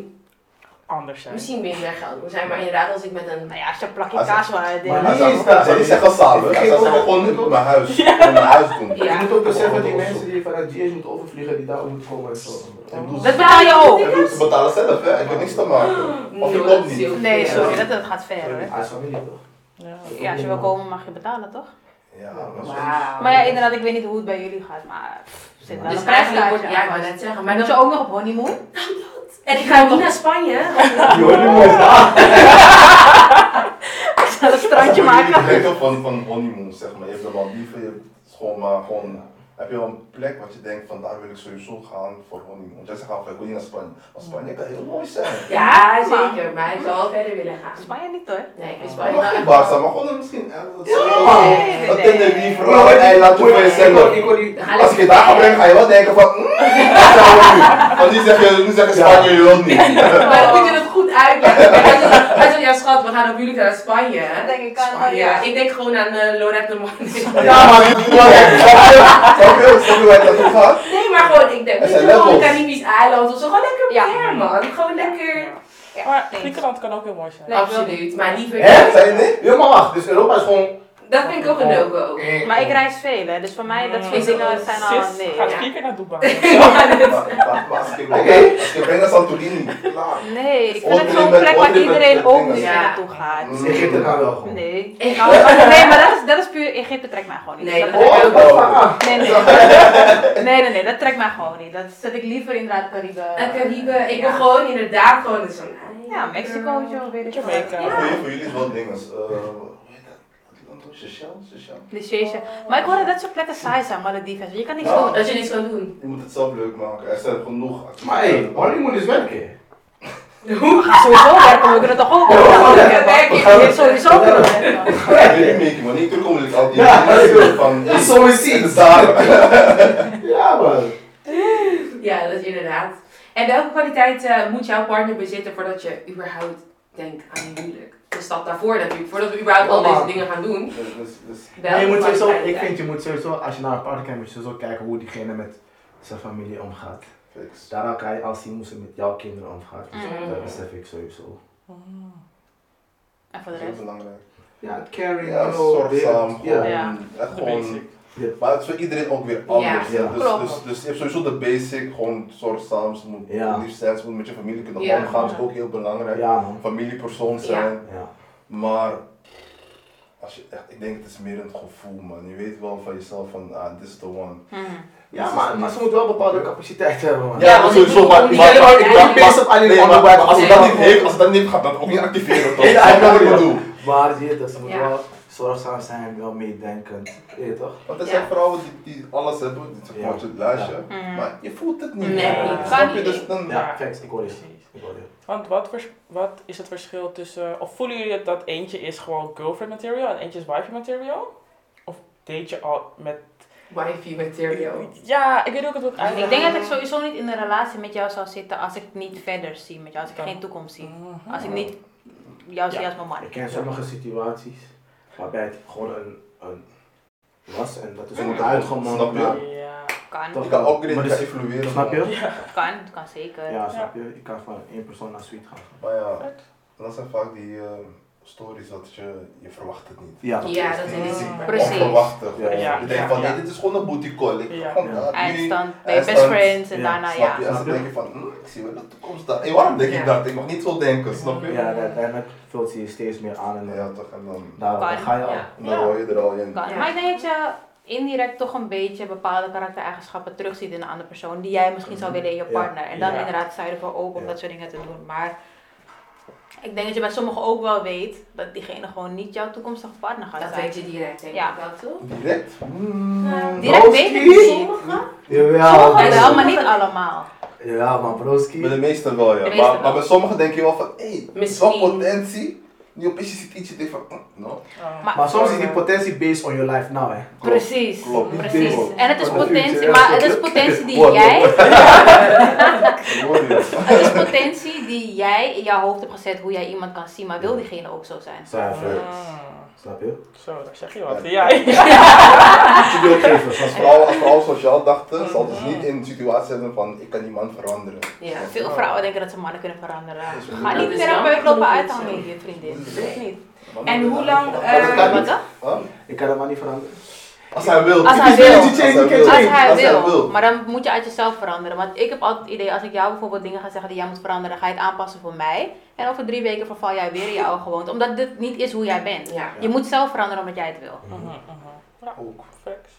[SPEAKER 6] Anders zijn.
[SPEAKER 1] misschien minder geld moeten zijn. Maar inderdaad, als ik met een...
[SPEAKER 5] Nou ja, als je een plakje kaas wil
[SPEAKER 2] Maar
[SPEAKER 3] Hij
[SPEAKER 5] uitdelen.
[SPEAKER 2] niet-
[SPEAKER 3] zou-
[SPEAKER 2] is
[SPEAKER 3] Hij
[SPEAKER 2] dat-
[SPEAKER 3] zou niet zeggen samen, hij zou zeggen gewoon met mijn huis. Met mijn huis doen.
[SPEAKER 1] Ja.
[SPEAKER 2] Je moet ook beseffen die mensen die vanuit GS moeten overvliegen, die daar ook moeten komen en zo.
[SPEAKER 3] Ik bedoel,
[SPEAKER 5] Dat betaal je ook.
[SPEAKER 3] Ik bedoel, ze betalen zelf, hè? Ik heb niks te maken. Of je
[SPEAKER 1] No,
[SPEAKER 3] komt
[SPEAKER 1] dat is
[SPEAKER 3] niet.
[SPEAKER 1] heel
[SPEAKER 5] Nee,
[SPEAKER 1] veel.
[SPEAKER 5] sorry, dat, dat gaat ver hoor.
[SPEAKER 2] Hij is familie toch?
[SPEAKER 6] Ja.
[SPEAKER 5] Ja, als je wil komen mag je betalen toch?
[SPEAKER 3] Ja, maar soms-
[SPEAKER 1] Wauw.
[SPEAKER 5] Maar ja, inderdaad, ik weet niet hoe het bij jullie gaat, maar pff, zit wel
[SPEAKER 1] Dus
[SPEAKER 5] een prijskaartje
[SPEAKER 1] eigenlijk wordt... Ja, ik wou
[SPEAKER 5] aan.
[SPEAKER 1] net zeggen,
[SPEAKER 5] Maar
[SPEAKER 1] maar
[SPEAKER 5] moet je
[SPEAKER 1] dan...
[SPEAKER 5] ook nog op honeymoon?
[SPEAKER 1] En ik ga ook niet naar Spanje.
[SPEAKER 2] Joh, die moet daar.
[SPEAKER 5] een strandje
[SPEAKER 3] Je
[SPEAKER 5] maken?
[SPEAKER 3] hebt van, van honeymoon, zeg maar. Je hebt de Maldiven, je hebt gewoon maar gewoon... Heb je wel een plek wat je denkt van daar wil ik sowieso gaan voor honeymoon? Jij zegt al, ik wil niet naar Spanje. Maar Spanje kan heel mooi zijn.
[SPEAKER 1] Ja, zeker, maar ik zou wel verder willen gaan.
[SPEAKER 5] Spanje niet hoor.
[SPEAKER 1] Nee, in
[SPEAKER 3] Maar
[SPEAKER 1] Spanje...
[SPEAKER 3] Ah, mag geen
[SPEAKER 1] wel-
[SPEAKER 3] Barca, maar gewoon misschien... eh, dat-
[SPEAKER 5] nee, nee.
[SPEAKER 3] Dat Tenerife, een eilandje voor jezelf.
[SPEAKER 2] Ik wil die...
[SPEAKER 1] Dan ga
[SPEAKER 3] Als ik je daar ga brengen, ga je wel denken van... mm, wat zou ik nu? Want nu zeg je, nu zeg je Spanje, je wilt niet.
[SPEAKER 1] Maar dan moet je het goed uitleggen. Kijk, Hij zegt, hij zegt, ja schat, we gaan op jullie naar Spanje.
[SPEAKER 5] Dan denk ik aan,
[SPEAKER 1] Spanje.
[SPEAKER 5] oh ja.
[SPEAKER 1] Ik denk gewoon aan eh Lorette de Mondi.
[SPEAKER 3] Ja, maar niet belangrijk. Snap je? Snap je waar ik naartoe ga?
[SPEAKER 1] Nee, maar gewoon, ik denk,
[SPEAKER 3] Er
[SPEAKER 1] weet je,
[SPEAKER 3] zijn
[SPEAKER 1] gewoon
[SPEAKER 3] levels.
[SPEAKER 1] Caribisch eiland of zo. Gewoon lekker
[SPEAKER 5] Ja.
[SPEAKER 1] ver, man. Gewoon lekker.
[SPEAKER 5] Ja,
[SPEAKER 6] Maar
[SPEAKER 5] eens.
[SPEAKER 6] Griekenland kan ook heel mooi zijn.
[SPEAKER 5] Nee,
[SPEAKER 1] Absoluut, maar liever
[SPEAKER 2] Hè?
[SPEAKER 1] niet.
[SPEAKER 3] Zei je nee?
[SPEAKER 2] Ja, maar wacht, dus Europa is gewoon...
[SPEAKER 1] Dat vind ik ook een
[SPEAKER 2] Oh.
[SPEAKER 1] no-go.
[SPEAKER 5] Maar ik reis veel hè, dus voor mij dat soort
[SPEAKER 1] Is het
[SPEAKER 5] dingen
[SPEAKER 1] een
[SPEAKER 5] zijn al
[SPEAKER 6] Sis
[SPEAKER 5] Ah, nee.
[SPEAKER 6] gaat
[SPEAKER 1] ja.
[SPEAKER 6] vier keer naar Dubai.
[SPEAKER 3] Maar- Maar maar als ik je als ik je breng naar Santorini, klaar.
[SPEAKER 5] Nee, ik vind
[SPEAKER 3] Onderling
[SPEAKER 5] het zo'n
[SPEAKER 3] met-
[SPEAKER 5] plek waar
[SPEAKER 3] onderling met-
[SPEAKER 5] iedereen
[SPEAKER 3] met Mm.
[SPEAKER 5] ook
[SPEAKER 3] dingen.
[SPEAKER 5] nu
[SPEAKER 1] Ja.
[SPEAKER 5] naartoe gaat.
[SPEAKER 2] Dus Egypte kan wel gewoon.
[SPEAKER 5] Nee.
[SPEAKER 1] Ik-
[SPEAKER 5] Nou, nee, maar dat is, dat is puur Egypte trekt mij gewoon niet.
[SPEAKER 1] Nee,
[SPEAKER 5] Dat
[SPEAKER 1] dat-
[SPEAKER 5] trekt mij
[SPEAKER 2] Oh,
[SPEAKER 5] gewoon
[SPEAKER 2] dat ah.
[SPEAKER 5] niet. nee, nee. nee, nee, nee, dat trekt mij gewoon niet. Dat zet ik liever inderdaad Caribe.
[SPEAKER 1] En Eh, Caribe, ik wil
[SPEAKER 5] Ja.
[SPEAKER 1] gewoon inderdaad gewoon zo'n
[SPEAKER 5] Ja, Mexico, joh, weet ik veel.
[SPEAKER 6] Jamaica.
[SPEAKER 3] Voor
[SPEAKER 1] Ja.
[SPEAKER 3] jullie- voor jullie is wel dingen. eh, hoe heet dat? Dat land ook? Seychelles? Seychelles?
[SPEAKER 5] Clichés. Maar ik hoorde dat soort plekken saai zijn, Malediven. Je kan niks
[SPEAKER 3] Ja.
[SPEAKER 5] doen.
[SPEAKER 1] Oh, Dat je niks kan doen.
[SPEAKER 3] Je moet het zelf leuk maken. Er zijn genoeg
[SPEAKER 2] Maar hé, honeymoon is werken.
[SPEAKER 7] Sowieso werken we kunnen toch ook
[SPEAKER 2] Ja,
[SPEAKER 7] wel
[SPEAKER 2] Oh, ja,
[SPEAKER 7] werken.
[SPEAKER 2] ja.
[SPEAKER 7] Ik wil sowieso kunnen werken.
[SPEAKER 3] Ik weet niet, Mickey, maar niet terugkomen ik al die
[SPEAKER 2] Ja,
[SPEAKER 3] mensen
[SPEAKER 2] ik weet
[SPEAKER 3] van...
[SPEAKER 2] Dat is zo is
[SPEAKER 3] Het is
[SPEAKER 2] iets.
[SPEAKER 3] daar.
[SPEAKER 2] Ja, man.
[SPEAKER 1] Ja, dat is inderdaad. En welke kwaliteit eh, moet jouw partner bezitten voordat je überhaupt denkt aan een huwelijk? De stap daarvoor natuurlijk, voordat we überhaupt al deze dingen gaan doen.
[SPEAKER 3] Dus- dus- dus-
[SPEAKER 1] Welke
[SPEAKER 2] je moet sowieso,
[SPEAKER 1] kwaliteiten?
[SPEAKER 2] ik vind je moet sowieso, als je naar een partner kijkt, moet je sowieso kijken hoe diegene met zijn familie omgaat.
[SPEAKER 3] fix.
[SPEAKER 2] Daarna kan je al zien hoe ze met jouw kinderen omgaat. Dus
[SPEAKER 5] Mm.
[SPEAKER 2] dat besef ik sowieso.
[SPEAKER 5] En voor
[SPEAKER 3] Dat is
[SPEAKER 5] de
[SPEAKER 3] heel
[SPEAKER 5] rest.
[SPEAKER 3] belangrijk.
[SPEAKER 2] Ja, caring,
[SPEAKER 3] Ja,
[SPEAKER 2] oh,
[SPEAKER 3] zorgzaam,
[SPEAKER 2] dit, ja.
[SPEAKER 3] gewoon, echt
[SPEAKER 6] De
[SPEAKER 3] gewoon...
[SPEAKER 6] basic.
[SPEAKER 3] Maar het is voor iedereen ook weer anders.
[SPEAKER 2] Ja.
[SPEAKER 3] Dus,
[SPEAKER 5] Klopt.
[SPEAKER 3] dus, dus je hebt sowieso de basic, gewoon zorgzaam, ze moet
[SPEAKER 2] Ja.
[SPEAKER 3] lief zijn, ze moet met je familie kunnen
[SPEAKER 1] Ja.
[SPEAKER 3] omgaan, dat is ook heel belangrijk.
[SPEAKER 2] Ja, man.
[SPEAKER 3] Familiepersoon zijn,
[SPEAKER 2] Ja.
[SPEAKER 3] maar als je echt, ik denk het is meer een gevoel man. Je weet wel van jezelf van, ah, this is the one.
[SPEAKER 5] Mhm.
[SPEAKER 2] Ja, maar, maar ze moet wel bepaalde capaciteit hebben, man.
[SPEAKER 3] Ja, dat
[SPEAKER 1] want
[SPEAKER 3] sowieso,
[SPEAKER 1] ik- om
[SPEAKER 3] maar, maar,
[SPEAKER 1] die
[SPEAKER 3] maar,
[SPEAKER 1] hele
[SPEAKER 3] maar,
[SPEAKER 1] partij-
[SPEAKER 3] ik ben best op alleen
[SPEAKER 2] Nee,
[SPEAKER 3] maar,
[SPEAKER 2] maar-
[SPEAKER 3] maar
[SPEAKER 2] maar
[SPEAKER 3] als
[SPEAKER 2] nee,
[SPEAKER 3] het dat
[SPEAKER 2] maar-
[SPEAKER 3] niet heeft, als het dat niet heeft, gaat dat ook niet activeren toch?
[SPEAKER 2] Nee,
[SPEAKER 3] Snap je wat ik
[SPEAKER 2] ja.
[SPEAKER 3] bedoel?
[SPEAKER 2] Maar je, weet, dus ze moet
[SPEAKER 1] Ja.
[SPEAKER 2] wel zorgzaam zijn, wel meedenkend. Je weet toch?
[SPEAKER 3] Want er
[SPEAKER 1] Ja.
[SPEAKER 3] zijn vrouwen die, die alles hebben, die
[SPEAKER 2] Ja.
[SPEAKER 3] support het lijstje,
[SPEAKER 5] Mhm.
[SPEAKER 3] maar je voelt het niet.
[SPEAKER 5] Nee,
[SPEAKER 3] man.
[SPEAKER 2] kan
[SPEAKER 3] Snap je?
[SPEAKER 5] niet.
[SPEAKER 3] Dus dan,
[SPEAKER 2] Ja, facts, ik hoor je.
[SPEAKER 6] Precies.
[SPEAKER 2] Ik hoor je.
[SPEAKER 6] Want wat, vers- wat is het verschil tussen. Of voelen jullie het dat eentje is gewoon girlfriend material en eentje is wife material? Of date je al met.
[SPEAKER 1] Wifey material.
[SPEAKER 6] Ja, ik weet ook het wordt uit.
[SPEAKER 5] Ik denk dat ik sowieso niet in een relatie met jou zou zitten als ik niet verder zie met jou, als ik
[SPEAKER 6] Ja.
[SPEAKER 5] geen toekomst zie. Als ik niet jou zie
[SPEAKER 6] Ja.
[SPEAKER 5] als mijn man.
[SPEAKER 2] Ik ken sommige situaties waarbij het gewoon een, een was en dat is
[SPEAKER 3] Ja,
[SPEAKER 2] wordt
[SPEAKER 3] ja.
[SPEAKER 2] uitgemaakt.
[SPEAKER 3] Snap je?
[SPEAKER 2] maar-
[SPEAKER 6] Ja.
[SPEAKER 5] Kan,
[SPEAKER 2] Toch?
[SPEAKER 3] Je kan ook
[SPEAKER 2] Maar
[SPEAKER 3] erin
[SPEAKER 2] dus-
[SPEAKER 3] gaan evolueren.
[SPEAKER 2] Snap je?
[SPEAKER 3] man.
[SPEAKER 6] Ja.
[SPEAKER 5] kan, kan zeker.
[SPEAKER 2] Ja, snap je? Ik kan van één persoon naar suite gaan.
[SPEAKER 3] Maar ja, dat zijn vaak die eh, stories dat je, je verwacht het niet.
[SPEAKER 2] Ja,
[SPEAKER 1] Ja, dat
[SPEAKER 3] Die
[SPEAKER 1] is
[SPEAKER 3] die
[SPEAKER 5] Precies.
[SPEAKER 3] Onverwachte. gewoon.
[SPEAKER 2] Ja,
[SPEAKER 3] Je denkt van,
[SPEAKER 6] ja.
[SPEAKER 3] nee, dit is gewoon een booty call. Ik
[SPEAKER 6] Ja.
[SPEAKER 3] ga gewoon ah,
[SPEAKER 2] Ja.
[SPEAKER 3] daar, nu,
[SPEAKER 5] Eindstand, bij je best
[SPEAKER 3] Eindstand.
[SPEAKER 5] friends en
[SPEAKER 2] Ja,
[SPEAKER 5] daarna
[SPEAKER 3] Snap
[SPEAKER 5] Nou ja.
[SPEAKER 3] je? En dan
[SPEAKER 2] Snap je?
[SPEAKER 3] denk je van, hm, ik zie wel de toekomst daar. Hé, waarom denk
[SPEAKER 1] Ja.
[SPEAKER 3] ik dat? Ik mag niet zo denken, snap je?
[SPEAKER 2] Ja, en uiteindelijk vult ze je steeds meer aan en
[SPEAKER 3] Ja,
[SPEAKER 2] dan,
[SPEAKER 3] toch, en dan,
[SPEAKER 2] daar, daar ga je al.
[SPEAKER 5] Ja.
[SPEAKER 3] dan hoor je er al in.
[SPEAKER 5] Kan.
[SPEAKER 1] Ja.
[SPEAKER 5] Maar ik denk dat je indirect toch een beetje bepaalde karaktereigenschappen terugziet in een andere persoon die jij misschien zou willen in je
[SPEAKER 2] Mm-hmm. Ja.
[SPEAKER 5] partner. En dan
[SPEAKER 6] Ja.
[SPEAKER 5] inderdaad sta je ervoor open om
[SPEAKER 2] Ja.
[SPEAKER 5] dat soort dingen te doen. Maar ik denk dat je bij sommigen ook wel weet dat diegene gewoon niet jouw toekomstige partner gaat
[SPEAKER 1] Dat
[SPEAKER 5] zijn.
[SPEAKER 1] weet je direct, denk ik
[SPEAKER 5] Ja.
[SPEAKER 1] wel, toch?
[SPEAKER 3] Direct? Hmm.
[SPEAKER 1] Nou,
[SPEAKER 5] Direct weet ik
[SPEAKER 2] Broski?
[SPEAKER 5] niet.
[SPEAKER 2] Jawel,
[SPEAKER 5] Sommigen
[SPEAKER 1] Ja,
[SPEAKER 5] wel,
[SPEAKER 2] man.
[SPEAKER 5] maar niet allemaal.
[SPEAKER 2] Jawel, man, broski.
[SPEAKER 3] Bij de meesten wel, ja.
[SPEAKER 5] De meesten
[SPEAKER 3] maar, maar
[SPEAKER 5] wel.
[SPEAKER 3] bij sommigen denk je wel van, hé, hey,
[SPEAKER 1] Misschien.
[SPEAKER 3] wat potentie. Nu opeens je ziet iets, je denkt van, hm, no.
[SPEAKER 6] Oh.
[SPEAKER 5] Maar,
[SPEAKER 2] Maar soms is die potentie based on your life now, hè.
[SPEAKER 5] precies,
[SPEAKER 3] klopt, niet
[SPEAKER 5] precies.
[SPEAKER 3] klopt.
[SPEAKER 5] En het is
[SPEAKER 2] Van de
[SPEAKER 5] potentie,
[SPEAKER 2] future,
[SPEAKER 5] maar
[SPEAKER 2] ja,
[SPEAKER 5] het is
[SPEAKER 2] klopt.
[SPEAKER 5] potentie die
[SPEAKER 2] Wow,
[SPEAKER 5] jij,
[SPEAKER 3] Ik hoor je.
[SPEAKER 5] het is potentie die jij in jouw hoofd hebt gezet hoe jij iemand kan zien, maar wil diegene ook zo zijn?
[SPEAKER 2] Cijfer.
[SPEAKER 6] Ah.
[SPEAKER 2] Snap je?
[SPEAKER 6] Zo, daar zeg je wat. Ja, ja.
[SPEAKER 2] Wat je wil geven, zoals
[SPEAKER 3] Als vrouwen, als vrouwen sociaal dachten, zal dus niet in de situatie hebben van, ik kan die man veranderen.
[SPEAKER 1] Ja.
[SPEAKER 5] Veel vrouwen denken dat ze mannen kunnen veranderen. Ga
[SPEAKER 3] dat
[SPEAKER 5] niet
[SPEAKER 1] is
[SPEAKER 5] meer aan
[SPEAKER 1] jammer
[SPEAKER 5] beuk lopen
[SPEAKER 1] genoeg
[SPEAKER 5] uithangen
[SPEAKER 1] niet
[SPEAKER 5] hier, vriendin.
[SPEAKER 3] Nee.
[SPEAKER 5] Dat is niet.
[SPEAKER 1] En hoe lang,
[SPEAKER 3] Dat
[SPEAKER 1] eh,
[SPEAKER 3] kan
[SPEAKER 5] Wat
[SPEAKER 3] niet.
[SPEAKER 5] dan?
[SPEAKER 3] Huh?
[SPEAKER 2] Ik kan dat maar niet veranderen.
[SPEAKER 3] Als hij wil.
[SPEAKER 5] Als hij
[SPEAKER 3] Ik wil
[SPEAKER 5] wil.
[SPEAKER 3] niet die change,
[SPEAKER 2] Als hij
[SPEAKER 3] ik
[SPEAKER 5] Als
[SPEAKER 3] change.
[SPEAKER 5] hij wil. Maar dan moet je uit jezelf veranderen. Want ik heb altijd het idee, als ik jou bijvoorbeeld dingen ga zeggen die jij moet veranderen, ga je het aanpassen voor mij. En over drie weken verval jij weer in je oude gewoonte. Omdat dit niet is hoe jij bent.
[SPEAKER 1] Ja.
[SPEAKER 5] Je moet zelf veranderen omdat jij het wil.
[SPEAKER 6] Mhm, mhm. Ja,
[SPEAKER 3] Ook.
[SPEAKER 6] facts.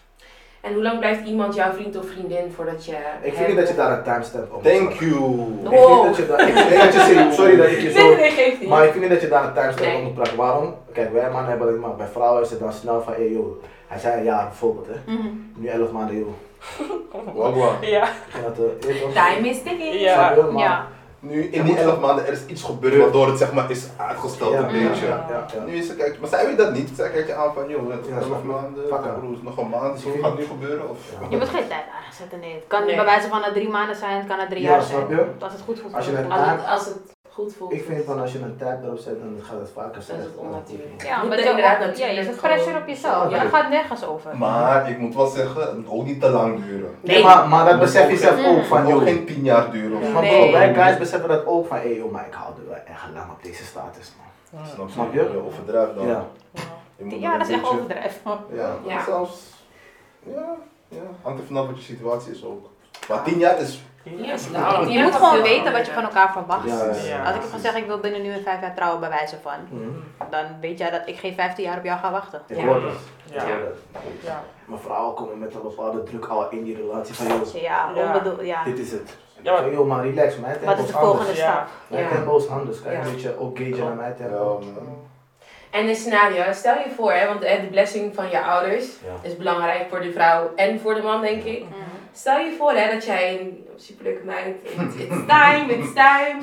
[SPEAKER 1] En hoe lang blijft iemand jouw vriend of vriendin voordat je.
[SPEAKER 2] Ik vind niet dat je daar een timestamp op moet
[SPEAKER 3] Thank
[SPEAKER 2] zetten.
[SPEAKER 3] you.
[SPEAKER 2] Ik vind niet dat je daar... Ik vind niet dat je... Sorry dat ik je zo...
[SPEAKER 7] nee, geeft niet.
[SPEAKER 2] Maar ik vind niet dat je daar een timestamp
[SPEAKER 1] Nee.
[SPEAKER 2] op moet plakken. Waarom? Kijk, wij mannen hebben dat niet, maar bij vrouwen is het dan snel van, hé hey, joh, hij zei een jaar bijvoorbeeld, hè.
[SPEAKER 5] Mhm.
[SPEAKER 2] Nu 11 maanden, joh.
[SPEAKER 3] Wagwan.
[SPEAKER 6] Ja,
[SPEAKER 2] Ik vind dat, eh, weet je wat?
[SPEAKER 1] Time is ticking.
[SPEAKER 6] ja.
[SPEAKER 2] Snap je? Maar-
[SPEAKER 5] Ja.
[SPEAKER 3] Nu in die 11 maanden er is iets gebeurd waardoor het zeg maar is uitgesteld
[SPEAKER 2] Ja,
[SPEAKER 3] een beetje.
[SPEAKER 2] ja, ja, ja.
[SPEAKER 3] Nu is het kijk, maar zij weet dat niet. Zij kijkt je aan van joh, het is
[SPEAKER 2] Ja,
[SPEAKER 3] nog
[SPEAKER 2] snap ik.
[SPEAKER 3] maanden,
[SPEAKER 2] Fuck ja.
[SPEAKER 3] broer, het is nog een maand, zo
[SPEAKER 2] Ja.
[SPEAKER 3] gaat het nu gebeuren of.
[SPEAKER 2] Ja.
[SPEAKER 5] Je moet geen tijd aanzetten, nee. Het kan
[SPEAKER 1] Nee.
[SPEAKER 5] bij wijze van na drie maanden zijn, het kan na drie
[SPEAKER 2] Ja,
[SPEAKER 5] jaar
[SPEAKER 2] snap
[SPEAKER 5] zijn.
[SPEAKER 2] je?
[SPEAKER 5] Als het goed voelt.
[SPEAKER 2] Als je
[SPEAKER 5] voelt
[SPEAKER 2] het
[SPEAKER 5] het
[SPEAKER 1] Als
[SPEAKER 2] aan-
[SPEAKER 5] goed.
[SPEAKER 1] het, als het goed voelt.
[SPEAKER 2] Ik vind van als je een tijd erop zet, dan gaat het vaker
[SPEAKER 1] Dan
[SPEAKER 2] zijn.
[SPEAKER 1] is het onnatuurlijk.
[SPEAKER 5] Ja,
[SPEAKER 1] Moet
[SPEAKER 5] maar
[SPEAKER 1] er inderdaad
[SPEAKER 5] je, ja, je
[SPEAKER 1] natuurlijk
[SPEAKER 5] zet pressure op jezelf. Ja, dat gaat nergens over.
[SPEAKER 3] Maar ik moet wel zeggen, het moet ook niet te lang duren.
[SPEAKER 2] Nee, maar, maar dat besef je zelf ook
[SPEAKER 3] Het
[SPEAKER 2] van,
[SPEAKER 3] moet ook
[SPEAKER 2] joh.
[SPEAKER 3] geen 10 jaar duren. of
[SPEAKER 2] Maar
[SPEAKER 3] zo.
[SPEAKER 2] bro, wij guys beseffen dat ook van, hé joh, maar ik hou er wel echt lang op deze status, man.
[SPEAKER 3] Snap je?
[SPEAKER 2] Snap je?
[SPEAKER 3] Je overdrijft dan.
[SPEAKER 2] Ja.
[SPEAKER 3] Je moet
[SPEAKER 5] Ja,
[SPEAKER 3] een
[SPEAKER 5] dat is echt
[SPEAKER 3] beetje-
[SPEAKER 5] overdreven.
[SPEAKER 3] Ja,
[SPEAKER 1] Ja.
[SPEAKER 3] zelfs. Ja, ja. Hangt er vanaf wat je situatie is ook. Maar 10 jaar is.
[SPEAKER 1] Ja, is
[SPEAKER 6] Ja.
[SPEAKER 1] lang.
[SPEAKER 5] Je moet gewoon weten wat je van elkaar verwacht.
[SPEAKER 2] Ja, ja,
[SPEAKER 6] Ja.
[SPEAKER 5] Als ik ervan zeg, ik wil binnen nu en vijf jaar trouwen, bij wijze van,
[SPEAKER 2] Mhm.
[SPEAKER 5] dan weet jij dat ik geen 15 jaar op jou ga wachten.
[SPEAKER 2] Ik
[SPEAKER 1] Ja.
[SPEAKER 2] hoor dat. Ik
[SPEAKER 6] Ja.
[SPEAKER 2] hoor dat.
[SPEAKER 6] Ja.
[SPEAKER 2] Maar vrouwen komen met een bepaalde druk al in die relatie van, joh,
[SPEAKER 5] Ja,
[SPEAKER 6] Ja.
[SPEAKER 5] onbedoel, ja.
[SPEAKER 2] dit is het.
[SPEAKER 6] Ja, maar-
[SPEAKER 2] Van, joh, maar relax, mijn tempo
[SPEAKER 5] Wat is
[SPEAKER 2] is
[SPEAKER 5] de
[SPEAKER 2] anders.
[SPEAKER 5] volgende
[SPEAKER 6] Ja.
[SPEAKER 5] stap?
[SPEAKER 2] Mijn
[SPEAKER 1] Ja.
[SPEAKER 2] tempo is anders. Kijk,
[SPEAKER 1] Ja.
[SPEAKER 2] een beetje ook gauge naar mijn
[SPEAKER 3] Ja,
[SPEAKER 2] tempo.
[SPEAKER 3] man.
[SPEAKER 1] En een scenario, stel je voor, hè, want eh, de blessing van je ouders
[SPEAKER 2] Ja.
[SPEAKER 1] is belangrijk voor de vrouw en voor de man, denk ik.
[SPEAKER 5] Mhm.
[SPEAKER 1] Stel je voor hè, dat jij een superleuke meid, it's, it's time, it's time.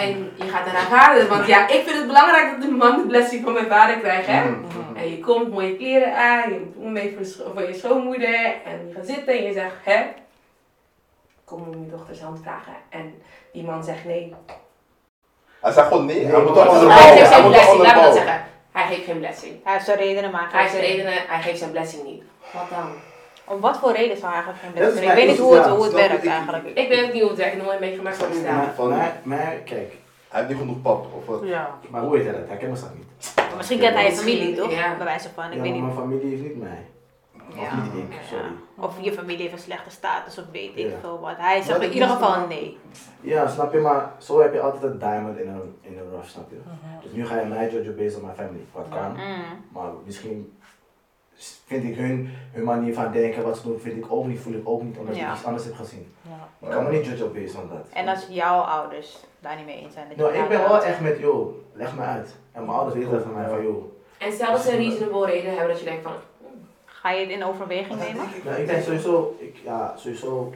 [SPEAKER 1] En je gaat naar haar vader, want ja, ik vind het belangrijk dat de man de blessing van mijn vader krijgt. Hè? En je komt mooie kleren aan, je moet mee voor, scho- voor je schoonmoeder en je gaat zitten en je zegt, hè, kom om je dochters hand vragen. En die man zegt nee.
[SPEAKER 3] Hij zei gewoon nee, hij
[SPEAKER 2] Nee,
[SPEAKER 3] moet
[SPEAKER 2] maar-
[SPEAKER 3] toch
[SPEAKER 2] Hij
[SPEAKER 1] Hij
[SPEAKER 3] onderbouwen.
[SPEAKER 1] geeft
[SPEAKER 3] Hij
[SPEAKER 1] zijn
[SPEAKER 3] moet toch
[SPEAKER 1] blessing, laat me dat
[SPEAKER 3] onderbouwen.
[SPEAKER 1] zeggen. Hij geeft geen blessing.
[SPEAKER 5] Hij heeft zijn redenen, maar
[SPEAKER 1] Hij heeft zijn redenen, hij geeft zijn blessing niet. Wat dan?
[SPEAKER 5] Om wat voor reden zou hij eigenlijk geen
[SPEAKER 2] Dat is
[SPEAKER 5] best Ik
[SPEAKER 2] mijn-
[SPEAKER 5] weet niet hoe het, hoe het
[SPEAKER 2] ja, snap
[SPEAKER 5] werkt
[SPEAKER 2] ik.
[SPEAKER 5] eigenlijk.
[SPEAKER 1] Ik weet het niet hoe het werkt, ik heb nooit meegemaakt van bestaan.
[SPEAKER 3] Van-
[SPEAKER 2] Maar, maar kijk,
[SPEAKER 3] Hij heeft niet genoeg pap, of wat?
[SPEAKER 6] Ja.
[SPEAKER 2] maar hoe heet hij dat? Hij kent dat niet.
[SPEAKER 5] Maar misschien kent hij je familie, toch?
[SPEAKER 1] Ja.
[SPEAKER 5] Bij wijze van, ik
[SPEAKER 2] ja,
[SPEAKER 5] weet
[SPEAKER 2] maar
[SPEAKER 5] niet.
[SPEAKER 2] mijn familie heeft niet mij.
[SPEAKER 5] Ja.
[SPEAKER 2] Of niet ik, sorry.
[SPEAKER 5] Of je familie heeft een slechte status, of weet ik
[SPEAKER 2] Ja.
[SPEAKER 5] veel wat. Hij
[SPEAKER 2] Maar
[SPEAKER 5] zegt in
[SPEAKER 2] dat
[SPEAKER 5] ieder
[SPEAKER 2] is-
[SPEAKER 5] geval nee.
[SPEAKER 2] Ja, snap je, maar zo heb je altijd een diamond in een, in een rough, snap je?
[SPEAKER 5] Mhm.
[SPEAKER 2] Dus nu ga je mij judgen based on my family, wat kan.
[SPEAKER 5] Mm.
[SPEAKER 2] Maar misschien s- vind ik hun, hun manier van denken, wat ze doen, vind ik ook niet, voel ik ook niet, omdat
[SPEAKER 5] Ja.
[SPEAKER 2] ik iets anders heb gezien.
[SPEAKER 6] Ja.
[SPEAKER 2] Ik kan me niet judgen based on dat.
[SPEAKER 5] En als jouw ouders daar niet mee eens zijn. dat je
[SPEAKER 2] Nou, ik
[SPEAKER 5] daar
[SPEAKER 2] ben
[SPEAKER 5] wel-
[SPEAKER 2] wel echt met, joh, leg me uit. En mijn ouders weten dat van mij, van joh,
[SPEAKER 1] En stel dat ze een reasonable reden hebben dat je denkt van,
[SPEAKER 5] Ga je het in overweging nemen?
[SPEAKER 2] Ja, Nou, ik denk sowieso, ik, ja, sowieso,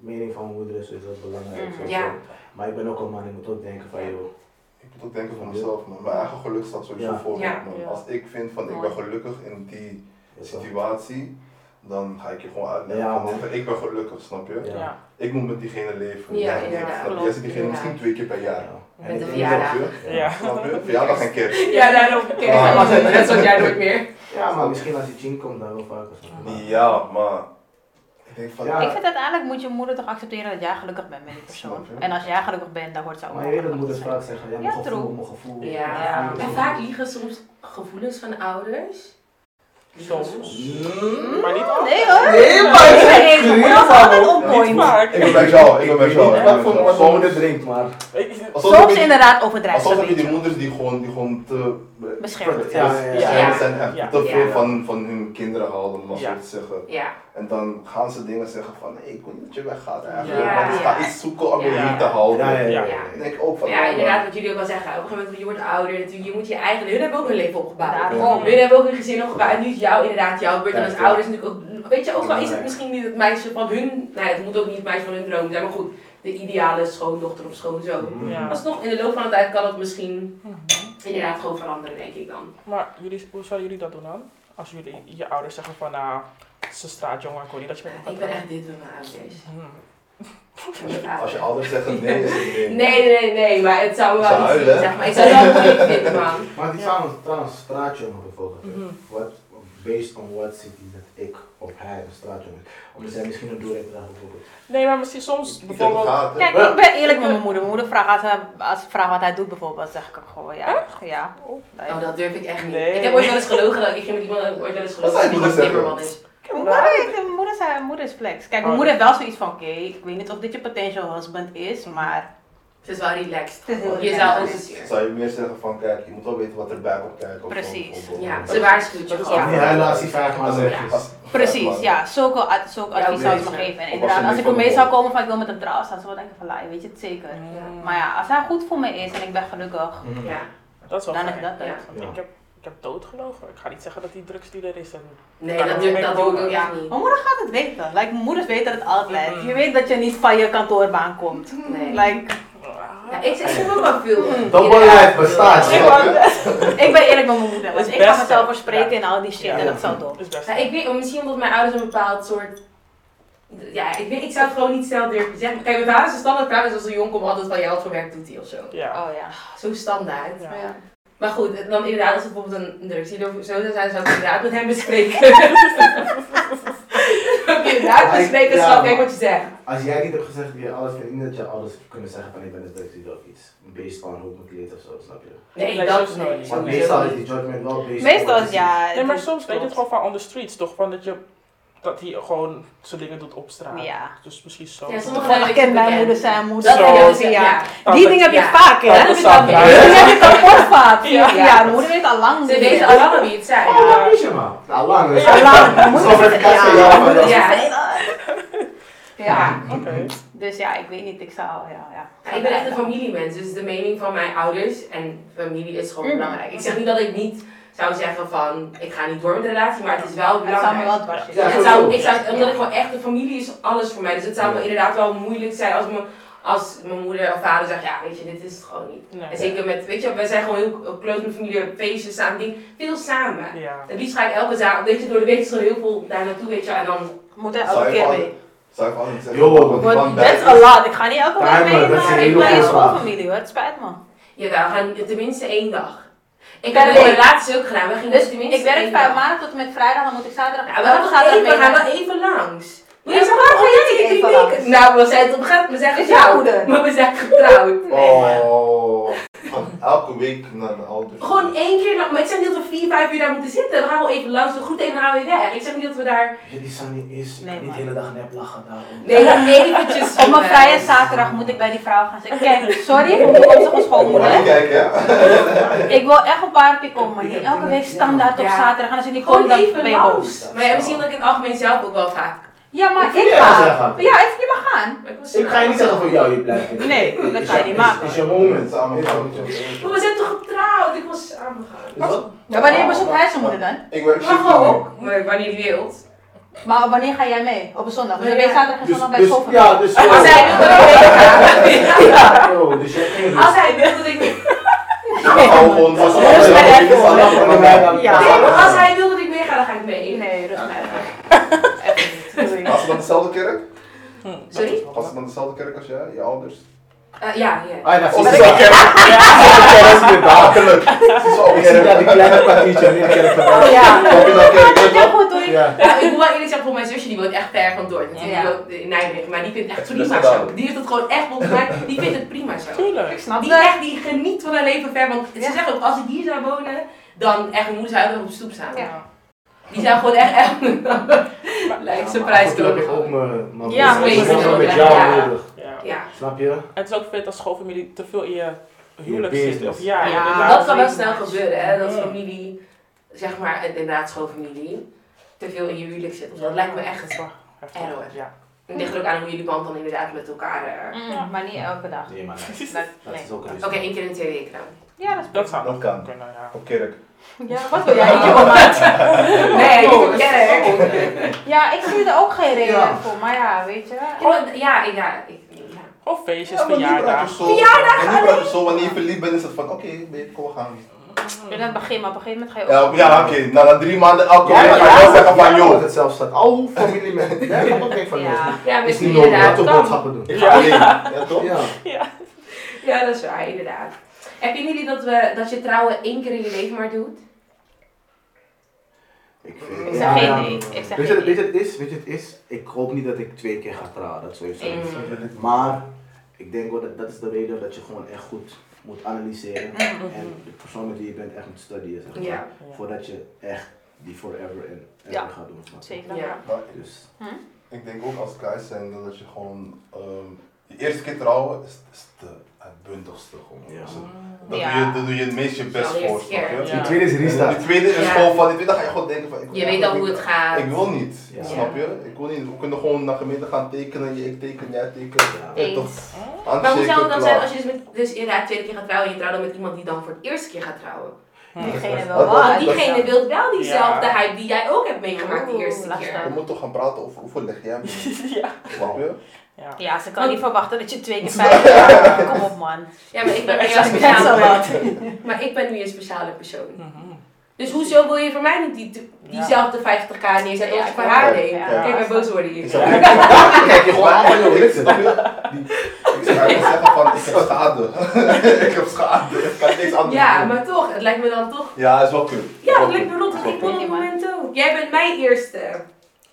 [SPEAKER 2] mening van moeder is sowieso belangrijk.
[SPEAKER 5] Mhm.
[SPEAKER 2] sowieso.
[SPEAKER 1] Ja.
[SPEAKER 2] Maar ik ben ook een man, ik moet ook denken van, joh,
[SPEAKER 3] Ik moet ook denken van mezelf, man. Mijn eigen geluk staat sowieso
[SPEAKER 2] Ja.
[SPEAKER 3] voor me,
[SPEAKER 1] Ja.
[SPEAKER 3] man.
[SPEAKER 6] Ja.
[SPEAKER 3] Als ik vind van ik
[SPEAKER 5] Mooi.
[SPEAKER 3] ben gelukkig in die
[SPEAKER 2] is dat-
[SPEAKER 3] situatie, dan ga ik je gewoon uitleggen
[SPEAKER 2] Ja,
[SPEAKER 3] van
[SPEAKER 2] man.
[SPEAKER 3] dit- ik ben gelukkig, snap je?
[SPEAKER 2] Ja.
[SPEAKER 6] Ja.
[SPEAKER 3] Ik moet met diegene
[SPEAKER 1] Ja,
[SPEAKER 3] leven. jij niet,
[SPEAKER 1] ja,
[SPEAKER 3] snap je?
[SPEAKER 1] klopt,
[SPEAKER 3] Jij ziet diegene
[SPEAKER 1] ja.
[SPEAKER 3] misschien twee keer per jaar.
[SPEAKER 2] Ja. nou,
[SPEAKER 1] Met
[SPEAKER 2] ik
[SPEAKER 1] de
[SPEAKER 2] denk dat-
[SPEAKER 1] verjaardag.
[SPEAKER 6] Ja.
[SPEAKER 3] Snap je? Verjaardag en kerst.
[SPEAKER 1] ja, daarom, oké,
[SPEAKER 3] Ah.
[SPEAKER 1] dat was het, net zoals jij nooit meer.
[SPEAKER 2] Ja, maar misschien als je tien komt, dan wel vaker. zo.
[SPEAKER 3] Ja, maar ik denk van
[SPEAKER 2] Ja.
[SPEAKER 5] Ik vind uiteindelijk moet je moeder toch accepteren dat jij gelukkig bent met die persoon.
[SPEAKER 3] Snap je?
[SPEAKER 5] En als jij gelukkig bent, dan hoort ze ook
[SPEAKER 2] Maar je weet dat
[SPEAKER 5] gelukkig
[SPEAKER 2] moeders
[SPEAKER 5] zijn.
[SPEAKER 2] vaak zeggen, ja,
[SPEAKER 5] Ja,
[SPEAKER 2] mijn gevoel,
[SPEAKER 5] true.
[SPEAKER 2] mijn gevoel.
[SPEAKER 1] Ja.
[SPEAKER 2] mijn gevoel.
[SPEAKER 1] En vaak liegen soms gevoelens van ouders. Dus-
[SPEAKER 6] Soms.
[SPEAKER 2] Mm.
[SPEAKER 6] Maar niet altijd.
[SPEAKER 5] Nee hoor!
[SPEAKER 2] Nee, maar
[SPEAKER 5] Ik ben deze moeder was altijd on
[SPEAKER 6] Niet
[SPEAKER 5] point.
[SPEAKER 6] vaak.
[SPEAKER 3] Ik ben bij jou, ik ben bij jou. ik ben
[SPEAKER 2] Wat
[SPEAKER 3] bij
[SPEAKER 2] voor
[SPEAKER 3] jou.
[SPEAKER 2] wat voor
[SPEAKER 3] Soms-
[SPEAKER 2] moeder drinkt, maar.
[SPEAKER 6] Ik-
[SPEAKER 3] soms heb
[SPEAKER 5] Soms
[SPEAKER 3] je die-
[SPEAKER 5] inderdaad overdrijft
[SPEAKER 3] Soms
[SPEAKER 5] ze een
[SPEAKER 3] heb je die
[SPEAKER 5] beetje.
[SPEAKER 3] moeders die gewoon, die gewoon te be-
[SPEAKER 5] Beschermd.
[SPEAKER 2] Ja, ja, ja.
[SPEAKER 3] beschermd zijn en
[SPEAKER 6] Ja.
[SPEAKER 3] te veel
[SPEAKER 1] Ja.
[SPEAKER 3] van, van hun kinderen houden, om dat
[SPEAKER 6] Ja.
[SPEAKER 3] zo te zeggen.
[SPEAKER 1] Ja,
[SPEAKER 3] En dan gaan ze dingen zeggen van, hey, ik wil niet dat je weggaat eigenlijk,
[SPEAKER 6] Ja.
[SPEAKER 3] want ik ga
[SPEAKER 1] Ja.
[SPEAKER 3] iets zoeken om je
[SPEAKER 1] Ja.
[SPEAKER 3] hier te houden.
[SPEAKER 2] Ja, ja, ja.
[SPEAKER 6] Ja.
[SPEAKER 3] En ik denk ook van,
[SPEAKER 1] ja,
[SPEAKER 3] oh,
[SPEAKER 1] inderdaad, wat jullie ook al zeggen. Op een gegeven moment, je wordt ouder, natuurlijk, je moet je eigen... Hun hebben ook hun leven opgebouwd.
[SPEAKER 5] Daarom.
[SPEAKER 1] Hun hebben ook hun gezin opgebouwd. En nu is jou inderdaad jouw beurt. En als
[SPEAKER 2] Ja, ja.
[SPEAKER 1] ouders natuurlijk ook... Weet je, ook al is het
[SPEAKER 2] Belangrijk.
[SPEAKER 1] misschien niet het meisje van hun... Nou, het moet ook niet het meisje van hun droom zijn. Maar goed, de ideale schoondochter of schoonzoon.
[SPEAKER 6] Ja.
[SPEAKER 1] Alsnog, in de loop van de tijd kan het misschien inderdaad gewoon veranderen, denk ik dan.
[SPEAKER 6] Maar jullie, hoe zouden jullie dat doen dan? Als jullie je ouders zeggen van, nou, ze straatjongen, ik wil niet dat je met hem gaat
[SPEAKER 1] Ik ben
[SPEAKER 6] trouwen.
[SPEAKER 1] echt dit met mijn ouders.
[SPEAKER 6] Hmm.
[SPEAKER 3] Als je ouders zeggen nee, is het nee.
[SPEAKER 1] Nee, nee, nee, nee, maar het zou wel
[SPEAKER 3] Zou
[SPEAKER 1] iets
[SPEAKER 3] huilen?
[SPEAKER 1] zijn, zeg maar. Ik zou het wel moeilijk vinden, man.
[SPEAKER 2] Maar die staan trouwens straatjongen bijvoorbeeld. hè.
[SPEAKER 6] Mhm.
[SPEAKER 2] Wat, based on what city dat ik of hij een straatjongen is. Omdat zij misschien een doel heeft daar bijvoorbeeld.
[SPEAKER 6] Nee, maar misschien soms
[SPEAKER 3] Ik heb het
[SPEAKER 6] bijvoorbeeld...
[SPEAKER 3] gehad, hè.
[SPEAKER 5] Kijk, ik ben eerlijk met mijn moeder. Mijn moeder vraagt als, hij- als ze vraagt wat hij doet bijvoorbeeld, dan zeg ik ook gewoon ja. Ja.
[SPEAKER 1] Oh, dat durf ik echt niet.
[SPEAKER 6] Nee.
[SPEAKER 1] Ik heb ooit wel eens gelogen dat ik ging met iemand ooit wel eens
[SPEAKER 3] Dat
[SPEAKER 1] gelogen
[SPEAKER 3] zou
[SPEAKER 1] dat
[SPEAKER 3] je
[SPEAKER 1] iemand
[SPEAKER 3] moeten zeggen.
[SPEAKER 1] timmerman is.
[SPEAKER 5] Mijn moeder, heeft- mijn moeder, zei, mijn moeder is flex. Kijk, mijn
[SPEAKER 6] Oh.
[SPEAKER 5] moeder heeft wel zoiets van, oké, ik weet niet of dit je potential husband is, maar...
[SPEAKER 1] Het is Dus wel relaxed.
[SPEAKER 5] Het is heel
[SPEAKER 1] Je
[SPEAKER 5] relaxed.
[SPEAKER 1] zou ons eens
[SPEAKER 3] Zou je meer zeggen van, kijk, je moet wel weten wat erbij komt kijken. of zo,
[SPEAKER 5] Precies.
[SPEAKER 3] bijvoorbeeld.
[SPEAKER 1] Ja, ze waarschuwt je
[SPEAKER 6] Dat is
[SPEAKER 1] gewoon.
[SPEAKER 2] Ja, ja laat die vraag maar
[SPEAKER 3] Als-
[SPEAKER 2] weg.
[SPEAKER 1] Ja.
[SPEAKER 3] als-
[SPEAKER 5] Precies, ja. Zulke, ad- zulke
[SPEAKER 1] Ja,
[SPEAKER 5] advies zou ik
[SPEAKER 1] oké.
[SPEAKER 5] me geven. En
[SPEAKER 3] Of
[SPEAKER 5] inderdaad,
[SPEAKER 3] als
[SPEAKER 5] als
[SPEAKER 3] je
[SPEAKER 5] ik ermee
[SPEAKER 3] niet
[SPEAKER 5] zou
[SPEAKER 3] van-
[SPEAKER 5] komen van, ik wil met hem trouwen, zou ze wel denken van, la, je weet je het zeker.
[SPEAKER 6] Hmm.
[SPEAKER 5] Maar ja, als hij goed voor me is en ik ben gelukkig,
[SPEAKER 6] Mm.
[SPEAKER 2] Mhm.
[SPEAKER 1] Ja.
[SPEAKER 6] Dat is wel
[SPEAKER 5] dan is
[SPEAKER 6] fijn.
[SPEAKER 5] dat het.
[SPEAKER 6] Want
[SPEAKER 2] Ja.
[SPEAKER 6] Ik, heb, ik heb doodgelogen. Ik ga niet zeggen dat die drugsdealer is. En...
[SPEAKER 1] Nee,
[SPEAKER 6] Ja,
[SPEAKER 1] dat,
[SPEAKER 6] dat
[SPEAKER 1] doe-
[SPEAKER 6] ben ik
[SPEAKER 1] dat doe ik
[SPEAKER 6] ook.
[SPEAKER 1] ook echt niet.
[SPEAKER 5] Mijn moeder gaat het weten. Like, mijn moeders weten het altijd.
[SPEAKER 1] Mm.
[SPEAKER 6] Mhm.
[SPEAKER 5] Je weet dat je niet van je kantoorbaan komt.
[SPEAKER 1] Nee.
[SPEAKER 5] Like,
[SPEAKER 1] Ja, ik, ik heb ook wel veel.
[SPEAKER 2] Double life bestaat.
[SPEAKER 5] ik,
[SPEAKER 2] Ja.
[SPEAKER 5] wou- ik ben eerlijk met mijn moeder. want
[SPEAKER 6] Het
[SPEAKER 5] ik ga
[SPEAKER 6] beste.
[SPEAKER 5] mezelf verspreken en al die shit
[SPEAKER 2] Ja.
[SPEAKER 5] en dat zou dom.
[SPEAKER 6] is best.
[SPEAKER 1] Ja, ik weet, misschien omdat mijn ouders een bepaald soort. Ja, ik, weet, ik zou het gewoon niet zelf durven zeggen. Kijk, mijn vader is een standaard praat, dus als een jong komt altijd van jou wat voor werk doet hij of zo.
[SPEAKER 6] Ja.
[SPEAKER 5] Oh ja.
[SPEAKER 1] Zo standaard.
[SPEAKER 6] Ja.
[SPEAKER 5] Ja.
[SPEAKER 1] Maar goed, dan inderdaad, als het bijvoorbeeld een drugsdealer of zo zou zijn, zou ik inderdaad met hem bespreken. Zou ik inderdaad bespreken,
[SPEAKER 2] Ja,
[SPEAKER 1] snap
[SPEAKER 2] maar-
[SPEAKER 1] ik wat je zegt.
[SPEAKER 2] Als jij niet hebt gezegd dat je alles vindt, niet dat je alles kunnen zeggen van ik ben een drugsdealer of iets. Based on hoe ik me kleed of zo, snap je?
[SPEAKER 1] Nee,
[SPEAKER 6] Nee,
[SPEAKER 1] dat is
[SPEAKER 6] sowieso niet.
[SPEAKER 1] niet.
[SPEAKER 2] Want
[SPEAKER 1] Sowieso
[SPEAKER 2] meestal is
[SPEAKER 1] niet.
[SPEAKER 2] die judgment wel based
[SPEAKER 5] Meestal
[SPEAKER 2] on
[SPEAKER 5] is ja.
[SPEAKER 6] Nee, maar
[SPEAKER 5] het-
[SPEAKER 6] soms weet je het
[SPEAKER 5] klopt.
[SPEAKER 6] gewoon van on the streets, toch? Van dat, je, dat hij gewoon zijn dingen doet op straat.
[SPEAKER 5] Ja.
[SPEAKER 6] Dus misschien zo.
[SPEAKER 1] Ja, sommige-
[SPEAKER 5] Toevallig kent mijn moeder zijn moeder.
[SPEAKER 6] Zo.
[SPEAKER 5] Ja,
[SPEAKER 1] Ja.
[SPEAKER 5] ja.
[SPEAKER 6] Ja.
[SPEAKER 5] Die dingen heb je
[SPEAKER 1] Ja.
[SPEAKER 5] vaak, hè?
[SPEAKER 6] Ja.
[SPEAKER 5] Die
[SPEAKER 1] Dat is dan
[SPEAKER 6] Ja.
[SPEAKER 1] weer.
[SPEAKER 5] dingen heb je kapot vaak.
[SPEAKER 6] Ja.
[SPEAKER 5] Ja, ja, mijn moeder weet al lang.
[SPEAKER 1] Ze weten al lang wie het zijn.
[SPEAKER 2] Oh, dat weet je maar. Nou, lang.
[SPEAKER 5] Al lang. Mijn
[SPEAKER 2] Zo
[SPEAKER 5] moeder
[SPEAKER 2] even
[SPEAKER 5] weet
[SPEAKER 2] kijken, ja, maar dat-
[SPEAKER 1] Ja.
[SPEAKER 5] Ja.
[SPEAKER 6] Oké.
[SPEAKER 5] Dus ja, ik weet niet, ik zou, ja, ja.
[SPEAKER 1] Ja, ik ben echt een familiemens, dus de mening van mijn ouders en familie is gewoon
[SPEAKER 5] Mm.
[SPEAKER 1] belangrijk. Ik zeg niet dat ik niet zou zeggen van, ik ga niet door met de relatie, maar het is wel
[SPEAKER 5] Het zou me
[SPEAKER 1] belangrijk.
[SPEAKER 5] wel dwars
[SPEAKER 2] Ja,
[SPEAKER 5] zitten.
[SPEAKER 1] Het
[SPEAKER 2] sowieso.
[SPEAKER 1] zou, ik zou, omdat ik gewoon echt, de familie is alles voor mij, dus het zou me
[SPEAKER 2] Ja.
[SPEAKER 1] inderdaad wel moeilijk zijn als, me, als mijn moeder of vader zegt, ja weet je, dit is het gewoon niet. En
[SPEAKER 6] Nee.
[SPEAKER 1] zeker met, weet je, wij zijn gewoon heel, heel close met familie, feestjes samen, ding, veel samen.
[SPEAKER 6] Ja.
[SPEAKER 1] Het liefst ga ik elke zaterdag, weet je, door de week is er heel veel daar naartoe, weet je, en dan...
[SPEAKER 5] Moet er
[SPEAKER 3] Zou
[SPEAKER 5] elke
[SPEAKER 3] je
[SPEAKER 5] keer
[SPEAKER 3] altijd-
[SPEAKER 5] mee.
[SPEAKER 3] Zou ik altijd zeggen,
[SPEAKER 2] Yo,
[SPEAKER 3] want die man
[SPEAKER 5] Want
[SPEAKER 3] bij-
[SPEAKER 5] that's a lot. Ik ga niet elke
[SPEAKER 2] Daar
[SPEAKER 5] week
[SPEAKER 2] hebben we-
[SPEAKER 5] mee
[SPEAKER 2] dat is een
[SPEAKER 5] naar ik
[SPEAKER 2] hele
[SPEAKER 5] ben je
[SPEAKER 2] goede vraag.
[SPEAKER 5] schoolfamilie hoor, het spijt me.
[SPEAKER 1] Jawel, we gaan tenminste één dag. Ik
[SPEAKER 5] Per
[SPEAKER 1] heb het
[SPEAKER 5] week.
[SPEAKER 1] laatst ook gedaan, we gingen
[SPEAKER 5] Dus
[SPEAKER 1] tenminste
[SPEAKER 5] ik werk
[SPEAKER 1] één
[SPEAKER 5] vijf
[SPEAKER 1] dag.
[SPEAKER 5] maandag tot en met vrijdag, dan moet ik zaterdag.
[SPEAKER 1] Ja, we,
[SPEAKER 5] elke
[SPEAKER 1] gaan
[SPEAKER 5] zaterdag
[SPEAKER 1] even, we
[SPEAKER 5] mee
[SPEAKER 1] gaan
[SPEAKER 5] naar-
[SPEAKER 1] wel even langs.
[SPEAKER 5] Ja, maar waarom ga je niet even langs?
[SPEAKER 1] Nou, we zijn op gaat, we zijn
[SPEAKER 5] Is jouw
[SPEAKER 1] getrouwd.
[SPEAKER 5] moeder?
[SPEAKER 1] Maar we zijn getrouwd.
[SPEAKER 3] Oh, van elke week naar de ouders.
[SPEAKER 1] Gewoon één keer, lang- maar ik zeg niet dat we vier, vijf uur daar moeten zitten. We gaan wel even langs, we groeten even en dan gaan we weer weg. Ik zeg niet dat we daar...
[SPEAKER 2] Jullie zijn niet eens,
[SPEAKER 5] Nee,
[SPEAKER 2] niet
[SPEAKER 5] man.
[SPEAKER 2] de hele dag nep lachen daarom.
[SPEAKER 1] Nee, eventjes...
[SPEAKER 5] Op mijn vrije zaterdag moet ik bij die vrouw gaan zeggen. Kijk, sorry voor mijn toekomstige
[SPEAKER 3] Moet je
[SPEAKER 5] schoonmoeder.
[SPEAKER 3] kijken, hè?
[SPEAKER 5] Ik wil echt op haar keer komen, maar niet elke week standaard op
[SPEAKER 1] Ja.
[SPEAKER 5] zaterdag. En als je niet
[SPEAKER 1] Gewoon
[SPEAKER 5] komt, dan
[SPEAKER 1] even
[SPEAKER 5] ben je boos.
[SPEAKER 1] langs. Maar ja, misschien dat ik in het algemeen zelf ook wel vaak...
[SPEAKER 5] Ja, maar
[SPEAKER 2] Wil
[SPEAKER 5] ik
[SPEAKER 2] je wel
[SPEAKER 5] ga.
[SPEAKER 2] zeggen?
[SPEAKER 5] Ja, even, je mag gaan.
[SPEAKER 1] Maar was-
[SPEAKER 2] Ik ga je niet zeggen van jou, je blijft niet.
[SPEAKER 5] Nee, dat
[SPEAKER 2] Is
[SPEAKER 5] kan je
[SPEAKER 2] jou-
[SPEAKER 5] niet
[SPEAKER 2] is-
[SPEAKER 5] maken.
[SPEAKER 2] Is je moment.
[SPEAKER 3] Samen
[SPEAKER 2] Is
[SPEAKER 3] gaan.
[SPEAKER 1] Maar we zijn toch getrouwd? Ik was samengegaan.
[SPEAKER 2] Is dat?
[SPEAKER 5] Maar wanneer bezoekt hij zijn moeder dan?
[SPEAKER 3] Ik werk
[SPEAKER 1] Mag
[SPEAKER 3] shift
[SPEAKER 1] ook. Maar wanneer je wilt.
[SPEAKER 5] Maar wanneer ga jij mee? Op een zondag? Dus dan
[SPEAKER 1] Ja.
[SPEAKER 5] ben je zaterdag en
[SPEAKER 2] Dus,
[SPEAKER 5] zondag bij
[SPEAKER 2] dus,
[SPEAKER 5] school.
[SPEAKER 2] ja, dus.
[SPEAKER 1] Als hij wil dat ik meega.
[SPEAKER 2] Oh, dus je hebt geen
[SPEAKER 1] Als
[SPEAKER 2] rust.
[SPEAKER 1] hij wil dat ik meega.
[SPEAKER 3] Oh, gewoon.
[SPEAKER 2] Dat is
[SPEAKER 3] Ja,
[SPEAKER 2] wel
[SPEAKER 3] ja,
[SPEAKER 2] leuk.
[SPEAKER 3] ja,
[SPEAKER 2] Dat is wel
[SPEAKER 3] ja,
[SPEAKER 2] leuk voor mij dan.
[SPEAKER 7] Ja.
[SPEAKER 1] Nee, maar als hij wil dat ik meega, dan ga ik mee.
[SPEAKER 5] Nee, rust mij even.
[SPEAKER 3] Was ze dan dezelfde kerk?
[SPEAKER 1] Sorry?
[SPEAKER 3] Was ze dan dezelfde kerk als jij, je ouders?
[SPEAKER 1] Eh, ja, ja.
[SPEAKER 2] Ah, dat
[SPEAKER 3] Oh,
[SPEAKER 2] is
[SPEAKER 3] ze is wel kerk.
[SPEAKER 2] kerk. is weer daar.
[SPEAKER 3] Makkelijk. Ze is wel
[SPEAKER 2] Ik zie dat
[SPEAKER 3] kerk.
[SPEAKER 2] die kleine kwartiertje meer kerk van
[SPEAKER 5] Oh ja.
[SPEAKER 3] Kom je naar kerk, weet je wel?
[SPEAKER 5] Heel goed hoor.
[SPEAKER 2] Ja.
[SPEAKER 1] Nou, ik moet wel eerlijk zeggen, voor mijn zusje die woont echt ver van Dordrecht. Die
[SPEAKER 5] Ja.
[SPEAKER 1] woont in Nijmegen, maar die vindt het echt
[SPEAKER 3] Dus
[SPEAKER 1] prima
[SPEAKER 3] dat-
[SPEAKER 1] zo. Die heeft het gewoon echt ontmaakt. Die vindt het prima zo.
[SPEAKER 6] Tuurlijk.
[SPEAKER 5] Ik snap
[SPEAKER 1] Die,
[SPEAKER 5] dat.
[SPEAKER 1] echt, die geniet van haar leven ver. Want ze
[SPEAKER 5] Ja.
[SPEAKER 1] zeggen ook, als ik hier zou wonen, dan echt mijn moeder zou altijd op de stoep staan.
[SPEAKER 5] Ja.
[SPEAKER 1] Die zou gewoon echt... echt Lijkt ze prijs
[SPEAKER 2] Toen heb ik
[SPEAKER 1] door.
[SPEAKER 2] ook mijn mijn
[SPEAKER 5] Ja,
[SPEAKER 2] moeder.
[SPEAKER 1] maar-
[SPEAKER 2] Ik heb ook met jou
[SPEAKER 1] Ja.
[SPEAKER 2] nodig.
[SPEAKER 6] Ja.
[SPEAKER 1] Ja,
[SPEAKER 2] Snap je?
[SPEAKER 6] Het is ook vet als schoolfamilie te veel in je huwelijk
[SPEAKER 2] Je
[SPEAKER 6] zit.
[SPEAKER 2] business.
[SPEAKER 6] Of ja,
[SPEAKER 5] Ja,
[SPEAKER 6] inderdaad.
[SPEAKER 1] dat kan wel snel gebeuren, hè. Dat
[SPEAKER 6] Ja.
[SPEAKER 1] familie, zeg maar, inderdaad schoonfamilie, te veel in je huwelijk zit. of zo. Dat lijkt me echt...
[SPEAKER 6] wel
[SPEAKER 1] erg.
[SPEAKER 6] heftig. Ja.
[SPEAKER 1] Het ligt er ook aan hoe jullie band dan inderdaad met elkaar... eh.
[SPEAKER 5] Mm, Maar niet elke dag.
[SPEAKER 2] Nee, maar
[SPEAKER 5] Dat-
[SPEAKER 2] dat
[SPEAKER 5] nee.
[SPEAKER 2] is ook
[SPEAKER 1] Oké, één keer in de twee weken dan.
[SPEAKER 5] Ja, dat is
[SPEAKER 6] Dat zou
[SPEAKER 3] Dat
[SPEAKER 6] nog
[SPEAKER 3] kan.
[SPEAKER 6] kunnen, ja.
[SPEAKER 3] Op kerk.
[SPEAKER 5] Ja, wat wil jij eentje van maat?
[SPEAKER 1] Nee,
[SPEAKER 2] Oh,
[SPEAKER 1] ik ken haar.
[SPEAKER 5] Ja, ik zie er ook geen reden
[SPEAKER 2] Ja.
[SPEAKER 5] voor, maar ja, weet je.
[SPEAKER 1] Gewoon, Oh, ja, ik- ja, ik, ja.
[SPEAKER 6] Gewoon feestjes,
[SPEAKER 3] Ja, maar Libra
[SPEAKER 6] verjaardag.
[SPEAKER 3] is toch zo- Libra is toch zo, wanneer je verliefd bent, is het van, oké, babe, kom, we gaan.
[SPEAKER 5] In het begin, maar op een gegeven moment ga je ook.
[SPEAKER 3] Ja, op- ja, oké. Na, na drie maanden elke
[SPEAKER 2] Ja,
[SPEAKER 3] week
[SPEAKER 2] maar
[SPEAKER 3] ga je wel
[SPEAKER 2] ja,
[SPEAKER 3] zeggen van,
[SPEAKER 2] ja,
[SPEAKER 3] joh,
[SPEAKER 2] dat het zelf staat. Al familie met. Ja, dat ook denk van
[SPEAKER 5] Ja.
[SPEAKER 2] ons.
[SPEAKER 1] Ja,
[SPEAKER 2] Is
[SPEAKER 1] misschien
[SPEAKER 2] niet nodig. Laat
[SPEAKER 1] inderdaad.
[SPEAKER 2] ook boodschappen doen.
[SPEAKER 3] ik ga alleen. Ja, toch?
[SPEAKER 2] Ja.
[SPEAKER 1] Ja, dat is waar, inderdaad. En vinden jullie dat, we, dat je trouwen één keer in je leven maar doet?
[SPEAKER 2] Ik
[SPEAKER 5] Ik
[SPEAKER 2] vind-
[SPEAKER 5] zeg
[SPEAKER 2] ja,
[SPEAKER 5] geen
[SPEAKER 2] ja.
[SPEAKER 5] nee. Ik zeg
[SPEAKER 2] Weet je,
[SPEAKER 5] geen
[SPEAKER 2] weet
[SPEAKER 5] nee.
[SPEAKER 2] je wat het is? Weet je wat het is? Ik hoop niet dat ik twee keer ga trouwen, dat sowieso
[SPEAKER 1] Mm.
[SPEAKER 2] niet. Maar ik denk wel dat dat is de reden dat je gewoon echt goed moet analyseren.
[SPEAKER 5] Mm.
[SPEAKER 2] En de persoon met wie je bent echt moet studeren, zeg maar.
[SPEAKER 1] Ja.
[SPEAKER 2] Voordat je echt die forever en ever
[SPEAKER 5] Ja.
[SPEAKER 2] gaat doen. snap je?
[SPEAKER 5] Zeker.
[SPEAKER 1] Ja.
[SPEAKER 3] Maar ik-
[SPEAKER 2] Dus
[SPEAKER 3] ik denk ook als guys zijn dat je gewoon, ehm, je eerste keer trouwen is, is de uitbundigste gewoon.
[SPEAKER 2] Ja.
[SPEAKER 3] Dus
[SPEAKER 6] Mm.
[SPEAKER 3] dat
[SPEAKER 5] Ja.
[SPEAKER 3] doe je, daar doe je het meest je best
[SPEAKER 1] Wel de
[SPEAKER 3] voor,
[SPEAKER 1] eerste
[SPEAKER 3] snap je?
[SPEAKER 1] keer.
[SPEAKER 6] Ja.
[SPEAKER 2] die tweede is
[SPEAKER 3] En
[SPEAKER 2] restart.
[SPEAKER 3] de tweede is
[SPEAKER 1] Ja.
[SPEAKER 3] gewoon van, die tweede ga je gewoon denken van... Ik
[SPEAKER 1] Je weet al hoe het gaat.
[SPEAKER 3] Ik wil niet,
[SPEAKER 2] Ja.
[SPEAKER 3] snap je? Ik wil niet. We kunnen gewoon naar gemeente gaan tekenen, je- ik teken, jij teken.
[SPEAKER 2] Ja.
[SPEAKER 3] Ja, toch?
[SPEAKER 1] Eens. Maar hoe
[SPEAKER 3] Handshake,
[SPEAKER 1] zou het dan
[SPEAKER 3] klaar.
[SPEAKER 1] zijn als je dus, met, dus inderdaad tweede keer gaat trouwen en je trouwt dan met iemand die dan voor het eerste keer gaat trouwen?
[SPEAKER 5] Diegene
[SPEAKER 3] Dat-
[SPEAKER 5] wel
[SPEAKER 3] dat-
[SPEAKER 5] wat.
[SPEAKER 1] Want diegene wil wel diezelfde
[SPEAKER 6] Ja.
[SPEAKER 1] hype die jij ook hebt meegemaakt de
[SPEAKER 5] Oeh,
[SPEAKER 1] eerste
[SPEAKER 5] lastig.
[SPEAKER 1] keer.
[SPEAKER 3] We moeten toch gaan praten over hoeveel leg jij me,
[SPEAKER 6] ja.
[SPEAKER 3] snap je?
[SPEAKER 6] ja.
[SPEAKER 5] Ja, ze kan niet verwachten dat je twee keer vijf jaar. Kom op man.
[SPEAKER 1] Ja, maar ik ben weer een
[SPEAKER 5] That's a
[SPEAKER 1] speciale,
[SPEAKER 5] lot.
[SPEAKER 1] maar ik ben nu een speciale persoon.
[SPEAKER 6] Mhm.
[SPEAKER 1] Dus hoezo wil je voor mij niet die, diezelfde 50k neerzetten als je voor haar deed?
[SPEAKER 5] Ja.
[SPEAKER 1] Kijk, mijn boos worden hier.
[SPEAKER 3] Ik zou ik
[SPEAKER 2] Kijk je gewoon aan van joh, dit is het.
[SPEAKER 3] snap je? Die- Ik zou eigenlijk zeggen van, ik heb schade. ik heb schade, ik kan niks anders
[SPEAKER 1] Ja,
[SPEAKER 3] doen.
[SPEAKER 1] maar toch, het lijkt me dan toch.
[SPEAKER 3] Ja, is wel kut.
[SPEAKER 1] Ja, het
[SPEAKER 3] Is wel
[SPEAKER 1] lijkt me
[SPEAKER 3] kut.
[SPEAKER 1] rot,
[SPEAKER 3] Is
[SPEAKER 1] want
[SPEAKER 3] wel
[SPEAKER 1] ik wil
[SPEAKER 3] kut.
[SPEAKER 1] op dit moment ook. Jij bent mijn eerste.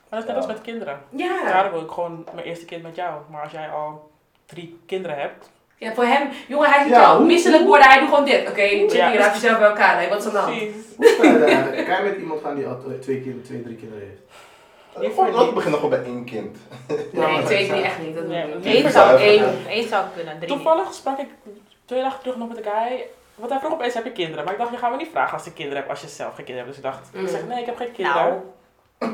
[SPEAKER 6] Maar dat is net als met kinderen.
[SPEAKER 1] Ja.
[SPEAKER 6] Daarom wil ik gewoon mijn eerste kind met jou. Maar als jij al drie kinderen hebt.
[SPEAKER 1] Ja, voor hem, jongen, hij
[SPEAKER 2] Ja,
[SPEAKER 1] kan
[SPEAKER 2] hoe-
[SPEAKER 1] misselijk worden, hij doet gewoon dit. Oké, check
[SPEAKER 6] Ja.
[SPEAKER 1] hier, laat jezelf bij elkaar lijkt. Wat is er dan?
[SPEAKER 6] Precies.
[SPEAKER 2] Hoe ver, eh, Kan je met iemand gaan die al twee, kinderen- twee, drie kinderen heeft?
[SPEAKER 3] Gewoon, laten we beginnen gewoon bij één kind.
[SPEAKER 1] Nee, twee, drie, echt niet. Dat
[SPEAKER 6] Nee,
[SPEAKER 1] doe ik
[SPEAKER 5] Eén
[SPEAKER 1] niet.
[SPEAKER 5] zou
[SPEAKER 3] Eén.
[SPEAKER 5] kunnen. Eén zou kunnen. Drie niet.
[SPEAKER 6] Toevallig sprak ik twee dagen terug nog met een guy. Want hij vroeg opeens, heb je kinderen? Maar ik dacht, je gaat me niet vragen als je kinderen hebt, als je zelf geen kinderen hebt. Dus ik dacht, ik
[SPEAKER 1] Mm.
[SPEAKER 6] zeg, nee, ik heb geen kinderen.
[SPEAKER 5] Nou,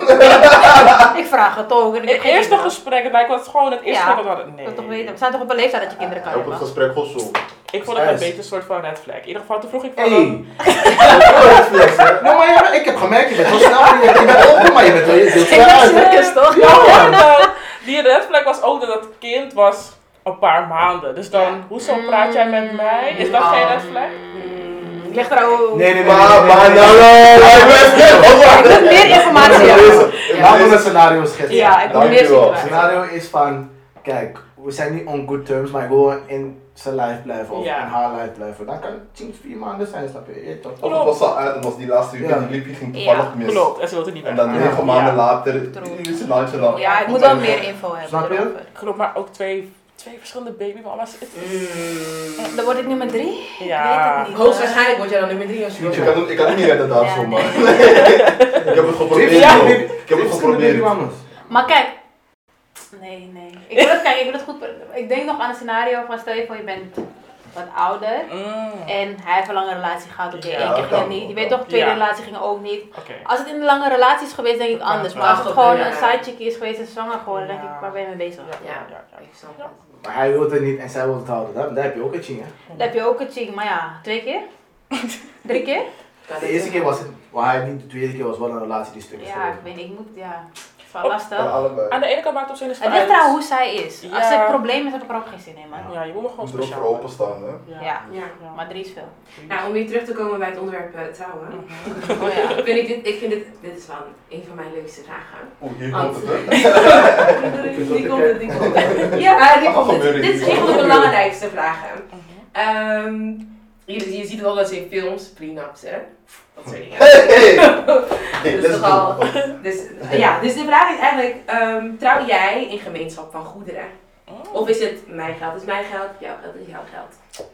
[SPEAKER 7] Ik vraag het
[SPEAKER 5] Eh,
[SPEAKER 7] ook. en ik heb
[SPEAKER 6] Het
[SPEAKER 7] geen
[SPEAKER 6] eerste
[SPEAKER 7] idee.
[SPEAKER 6] gesprek, het lijkt wel gewoon het eerste
[SPEAKER 7] Ja,
[SPEAKER 6] gesprek dat we hadden.
[SPEAKER 7] Ik wil toch
[SPEAKER 6] Nee.
[SPEAKER 7] weten. We zijn toch op een leeftijd dat je kinderen kan
[SPEAKER 3] Op het
[SPEAKER 7] hebben?
[SPEAKER 3] gesprek van zo.
[SPEAKER 6] Ik vond het een
[SPEAKER 2] Yes.
[SPEAKER 6] beetje een soort van red flag. In ieder geval, toen vroeg ik van...
[SPEAKER 2] Hey! Red flags, hè? Nou, maar ja, ik heb gemerkt, je bent wel snel, je je bent open, maar je bent wel je deelt
[SPEAKER 7] Ik
[SPEAKER 2] snel
[SPEAKER 7] ben
[SPEAKER 2] uit, hè?
[SPEAKER 7] circus toch?
[SPEAKER 6] Ja, en dan, die red flag was ook dat het kind was een paar maanden. Dus dan,
[SPEAKER 5] Ja.
[SPEAKER 6] hoezo praat jij met mij? Is dat geen red flag?
[SPEAKER 7] Mm, Ik leg er ook.
[SPEAKER 2] Nee, nee, nee.
[SPEAKER 3] Maar,
[SPEAKER 2] nee,
[SPEAKER 3] maar,
[SPEAKER 2] nee, nee.
[SPEAKER 3] nou, ik ben
[SPEAKER 7] Ik wil meer informatie hebben.
[SPEAKER 2] Laten we een scenario schetsen.
[SPEAKER 7] Ja, ik wil meer
[SPEAKER 3] Dankjewel.
[SPEAKER 2] Het
[SPEAKER 7] zien.
[SPEAKER 2] scenario is van, kijk, we zijn niet on good terms, maar ik wil in zijn lijf blijven of
[SPEAKER 6] Ja.
[SPEAKER 2] in haar lijf blijven. Dan kan het tien, vier maanden zijn, snap je? Je weet toch?
[SPEAKER 3] Of het was al uit en was die laatste week en die liepje ging toevallig mis.
[SPEAKER 6] Klopt, en ze wilde niet meer.
[SPEAKER 3] En dan
[SPEAKER 2] Ja.
[SPEAKER 3] negen maanden later,
[SPEAKER 5] True.
[SPEAKER 3] nu is het landje dan.
[SPEAKER 5] Ja,
[SPEAKER 7] Ja, ik moet wel meer info hebben.
[SPEAKER 2] Snap je?
[SPEAKER 7] erover.
[SPEAKER 6] Klopt, maar ook twee, twee verschillende babymama's. Het is-
[SPEAKER 3] Hmm. Mm.
[SPEAKER 7] Eh, Dan word ik nummer drie.
[SPEAKER 6] Ja.
[SPEAKER 5] weet het niet.
[SPEAKER 1] Hoogstwaarschijnlijk word jij dan nummer 3 als je
[SPEAKER 3] Ik
[SPEAKER 1] wil.
[SPEAKER 3] kan, het- ik kan het niet redden daar
[SPEAKER 5] Ja.
[SPEAKER 3] zomaar. ik heb het geprobeerd.
[SPEAKER 2] Ja.
[SPEAKER 3] joh. Ik heb het geprobeerd.
[SPEAKER 5] Maar kijk. Nee, nee. Ik wil het, kijk, ik wil het goed. pro- Ik denk nog aan een scenario van stel je voor je bent wat ouder.
[SPEAKER 6] Mm, Oké.
[SPEAKER 5] En hij heeft een lange relatie gehad. Oké,
[SPEAKER 6] Ja,
[SPEAKER 5] één keer
[SPEAKER 3] dat
[SPEAKER 5] ging het
[SPEAKER 3] kan.
[SPEAKER 5] niet. Je weet toch, tweede
[SPEAKER 6] Ja.
[SPEAKER 5] relatie ging ook niet. Als het in een lange relatie is geweest, denk ik
[SPEAKER 6] Dat kan
[SPEAKER 5] anders.
[SPEAKER 6] wel.
[SPEAKER 5] Maar als het
[SPEAKER 1] Ach,
[SPEAKER 5] gewoon
[SPEAKER 1] ja.
[SPEAKER 5] een sidechick is geweest en zwanger geworden, denk
[SPEAKER 6] Ja.
[SPEAKER 5] ik, waar ben je mee bezig?
[SPEAKER 6] Ja, ja, ja, ja.
[SPEAKER 1] Ik snap het.
[SPEAKER 2] Maar hij wil het niet en zij wil het houden. Dan, dan heb je ook een ching, hè?
[SPEAKER 5] Dan heb je ook een chick, maar ja, twee keer? Drie keer?
[SPEAKER 1] Kan
[SPEAKER 2] De
[SPEAKER 1] ik
[SPEAKER 2] eerste
[SPEAKER 1] zeggen.
[SPEAKER 2] keer was het, maar hij niet de tweede keer was wel een relatie die stuk is
[SPEAKER 5] Ja, ik
[SPEAKER 2] geworden.
[SPEAKER 5] weet niet, ik moet, ja. Het is wel
[SPEAKER 6] Oh.
[SPEAKER 5] lastig.
[SPEAKER 3] Van allebei.
[SPEAKER 6] Aan de ene kant maakt het op zich niet
[SPEAKER 5] Het
[SPEAKER 6] uit.
[SPEAKER 5] ligt eraan hoe zij is. Als
[SPEAKER 6] Ja.
[SPEAKER 5] het probleem is, heb ik er ook geen zin in, man.
[SPEAKER 6] Ja, je moet me
[SPEAKER 3] Je
[SPEAKER 6] gewoon
[SPEAKER 3] moet er ook
[SPEAKER 6] speciaal
[SPEAKER 3] voor openstaan, hè.
[SPEAKER 6] maken.
[SPEAKER 5] Ja,
[SPEAKER 1] Ja.
[SPEAKER 6] Ja.
[SPEAKER 5] maar drie is veel.
[SPEAKER 1] Nou, om weer terug te komen bij het onderwerp eh, trouwen.
[SPEAKER 6] Mhm.
[SPEAKER 5] Oh ja.
[SPEAKER 1] Ik, vind ik dit, ik vind dit, dit is wel een van mijn leukste vragen.
[SPEAKER 3] Oeh, Oh, hier komt het, hè.
[SPEAKER 1] Die komt het, die komt het. Ja, die
[SPEAKER 3] Wat
[SPEAKER 1] komt het.
[SPEAKER 3] gebeurt hier?
[SPEAKER 1] Dit is een van
[SPEAKER 3] Wat
[SPEAKER 1] de
[SPEAKER 3] gebeurt?
[SPEAKER 1] belangrijkste vragen. Ehm, je, je ziet het al dat ze in films, prenups, hè? Dat soort dingen.
[SPEAKER 3] Hey, hey. Hey,
[SPEAKER 1] Dat is
[SPEAKER 3] let's
[SPEAKER 1] toch al-
[SPEAKER 3] go. Oh,
[SPEAKER 1] Dus, ja, dus de vraag is eigenlijk, ehm, trouw jij in gemeenschap van goederen?
[SPEAKER 6] Oh.
[SPEAKER 1] Of is het mijn geld is mijn geld, jouw geld is jouw geld?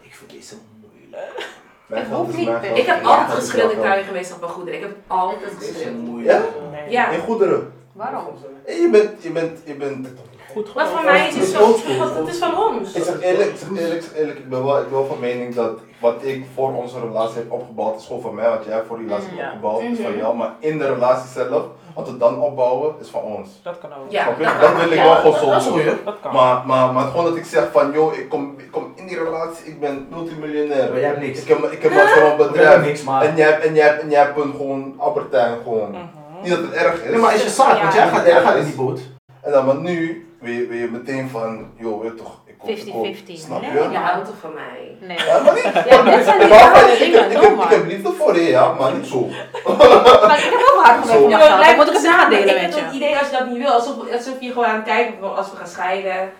[SPEAKER 2] Ik vind deze moeilijk.
[SPEAKER 3] Mijn
[SPEAKER 5] Ik
[SPEAKER 3] geld
[SPEAKER 5] hoef
[SPEAKER 3] is
[SPEAKER 5] niet,
[SPEAKER 3] mijn
[SPEAKER 5] hè.
[SPEAKER 3] geld.
[SPEAKER 1] Ik heb
[SPEAKER 3] Ja,
[SPEAKER 1] altijd
[SPEAKER 3] dat is
[SPEAKER 1] geschreeuwd, ik
[SPEAKER 3] jouw
[SPEAKER 1] trouw in
[SPEAKER 3] geld.
[SPEAKER 1] gemeenschap van goederen. Ik heb altijd
[SPEAKER 2] Deze
[SPEAKER 1] geschreeuwd.
[SPEAKER 2] moeilijk.
[SPEAKER 6] Nee.
[SPEAKER 1] Ja.
[SPEAKER 3] In goederen.
[SPEAKER 5] Waarom?
[SPEAKER 3] Hey, Je bent, je bent, je bent...
[SPEAKER 6] Goed,
[SPEAKER 1] Wat voor
[SPEAKER 6] goed.
[SPEAKER 1] mij is het
[SPEAKER 3] is
[SPEAKER 1] zo,
[SPEAKER 3] oldschool.
[SPEAKER 1] want het is van ons.
[SPEAKER 3] Ik zeg eerlijk, ik zeg eerlijk, ik zeg eerlijk, ik ben wel, ik ben wel van mening dat wat ik voor onze relatie heb opgebouwd is gewoon van mij, wat jij voor die relatie hebt
[SPEAKER 6] Ja.
[SPEAKER 3] opgebouwd is van jou, maar in de relatie zelf, wat we dan opbouwen is van ons.
[SPEAKER 6] Dat kan ook.
[SPEAKER 1] Ja.
[SPEAKER 3] Snap je?
[SPEAKER 1] dat-
[SPEAKER 3] Dat wil ik
[SPEAKER 1] ja,
[SPEAKER 3] wel gewoon
[SPEAKER 2] Dat is
[SPEAKER 3] zo
[SPEAKER 2] een
[SPEAKER 3] doen.
[SPEAKER 2] goeie.
[SPEAKER 6] Dat kan.
[SPEAKER 3] Maar, maar, maar gewoon dat ik zeg van joh, ik kom, ik kom in die relatie, ik ben multimiljonair.
[SPEAKER 2] Maar jij hebt niks.
[SPEAKER 3] Ik heb, ik heb wat van mijn
[SPEAKER 2] Dat is
[SPEAKER 3] bedrijf.
[SPEAKER 2] niks, maar...
[SPEAKER 3] En jij, hebt- en jij, hebt- en jij hebt een gewoon Albertijn gewoon.
[SPEAKER 6] Mhm.
[SPEAKER 3] Niet dat het erg is.
[SPEAKER 2] Nee, maar is je zaak, want jij gaat, jij gaat in die boot.
[SPEAKER 3] En dan maar nu wil je, wil je meteen van joh, weet je toch, ik kom, ik kom.
[SPEAKER 5] 50-50.
[SPEAKER 3] Snap je?
[SPEAKER 1] Nee, je houdt toch van mij?
[SPEAKER 5] Nee.
[SPEAKER 3] Ja, maar niet-
[SPEAKER 5] Ja, dat zijn die
[SPEAKER 3] Maar
[SPEAKER 5] rare
[SPEAKER 3] ik, ik,
[SPEAKER 5] dingen,
[SPEAKER 3] heb, ik,
[SPEAKER 5] doe
[SPEAKER 3] heb, ik
[SPEAKER 5] maar.
[SPEAKER 3] heb liefde voor je, ja, maar niet zo.
[SPEAKER 5] Maar ik heb ook hard gewerkt
[SPEAKER 3] Zo.
[SPEAKER 5] voor mijn geld, dan
[SPEAKER 1] lijkt
[SPEAKER 5] moet ik het
[SPEAKER 1] samen.
[SPEAKER 5] nadelen
[SPEAKER 1] Ik heb
[SPEAKER 5] met
[SPEAKER 1] het
[SPEAKER 5] je.
[SPEAKER 1] idee als je dat niet wil, alsof, alsof je gewoon aan het kijken bent als we gaan scheiden.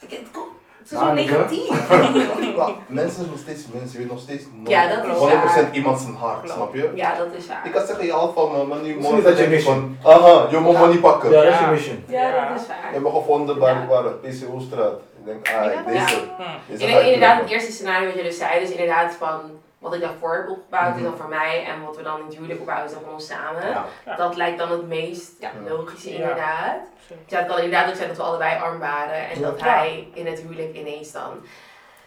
[SPEAKER 1] Ik- Het komt- het is zo
[SPEAKER 2] Nou,
[SPEAKER 1] negatief.
[SPEAKER 3] Maar mensen zijn nog steeds mensen, je weet nog steeds nooit
[SPEAKER 1] Ja, dat is
[SPEAKER 3] 100%
[SPEAKER 1] waar.
[SPEAKER 3] iemand zijn hart, snap je?
[SPEAKER 1] Ja, dat is
[SPEAKER 3] Ik
[SPEAKER 1] waar.
[SPEAKER 3] kan zeggen, je haalt van me, maar nu
[SPEAKER 2] Misschien
[SPEAKER 3] morgen
[SPEAKER 2] dat je
[SPEAKER 3] denk ik
[SPEAKER 2] mission.
[SPEAKER 3] van, aha, je moet me niet pakken.
[SPEAKER 2] Ja, dat is je
[SPEAKER 6] Ja.
[SPEAKER 2] mission.
[SPEAKER 1] Ja, dat is waar.
[SPEAKER 3] Je hebt me gevonden bij
[SPEAKER 1] Ja.
[SPEAKER 3] waar het PCO-straat. Ik denk,
[SPEAKER 5] Ja.
[SPEAKER 3] ah, deze.
[SPEAKER 6] Hm.
[SPEAKER 3] deze
[SPEAKER 1] Ik
[SPEAKER 3] ga
[SPEAKER 1] denk
[SPEAKER 3] ik
[SPEAKER 1] inderdaad het
[SPEAKER 3] doen.
[SPEAKER 1] eerste scenario wat je dus zei, dus inderdaad van wat ik daarvoor heb opgebouwd
[SPEAKER 3] Mhm.
[SPEAKER 1] is dan voor mij en wat we dan in het huwelijk opbouwen is dan van ons samen.
[SPEAKER 2] Ja.
[SPEAKER 6] Ja.
[SPEAKER 1] Dat lijkt dan het meest
[SPEAKER 5] Ja.
[SPEAKER 1] logische
[SPEAKER 6] Ja.
[SPEAKER 1] inderdaad. Ja, het kan inderdaad ook zijn dat we allebei arm waren en dat
[SPEAKER 6] Ja.
[SPEAKER 1] hij in het huwelijk ineens dan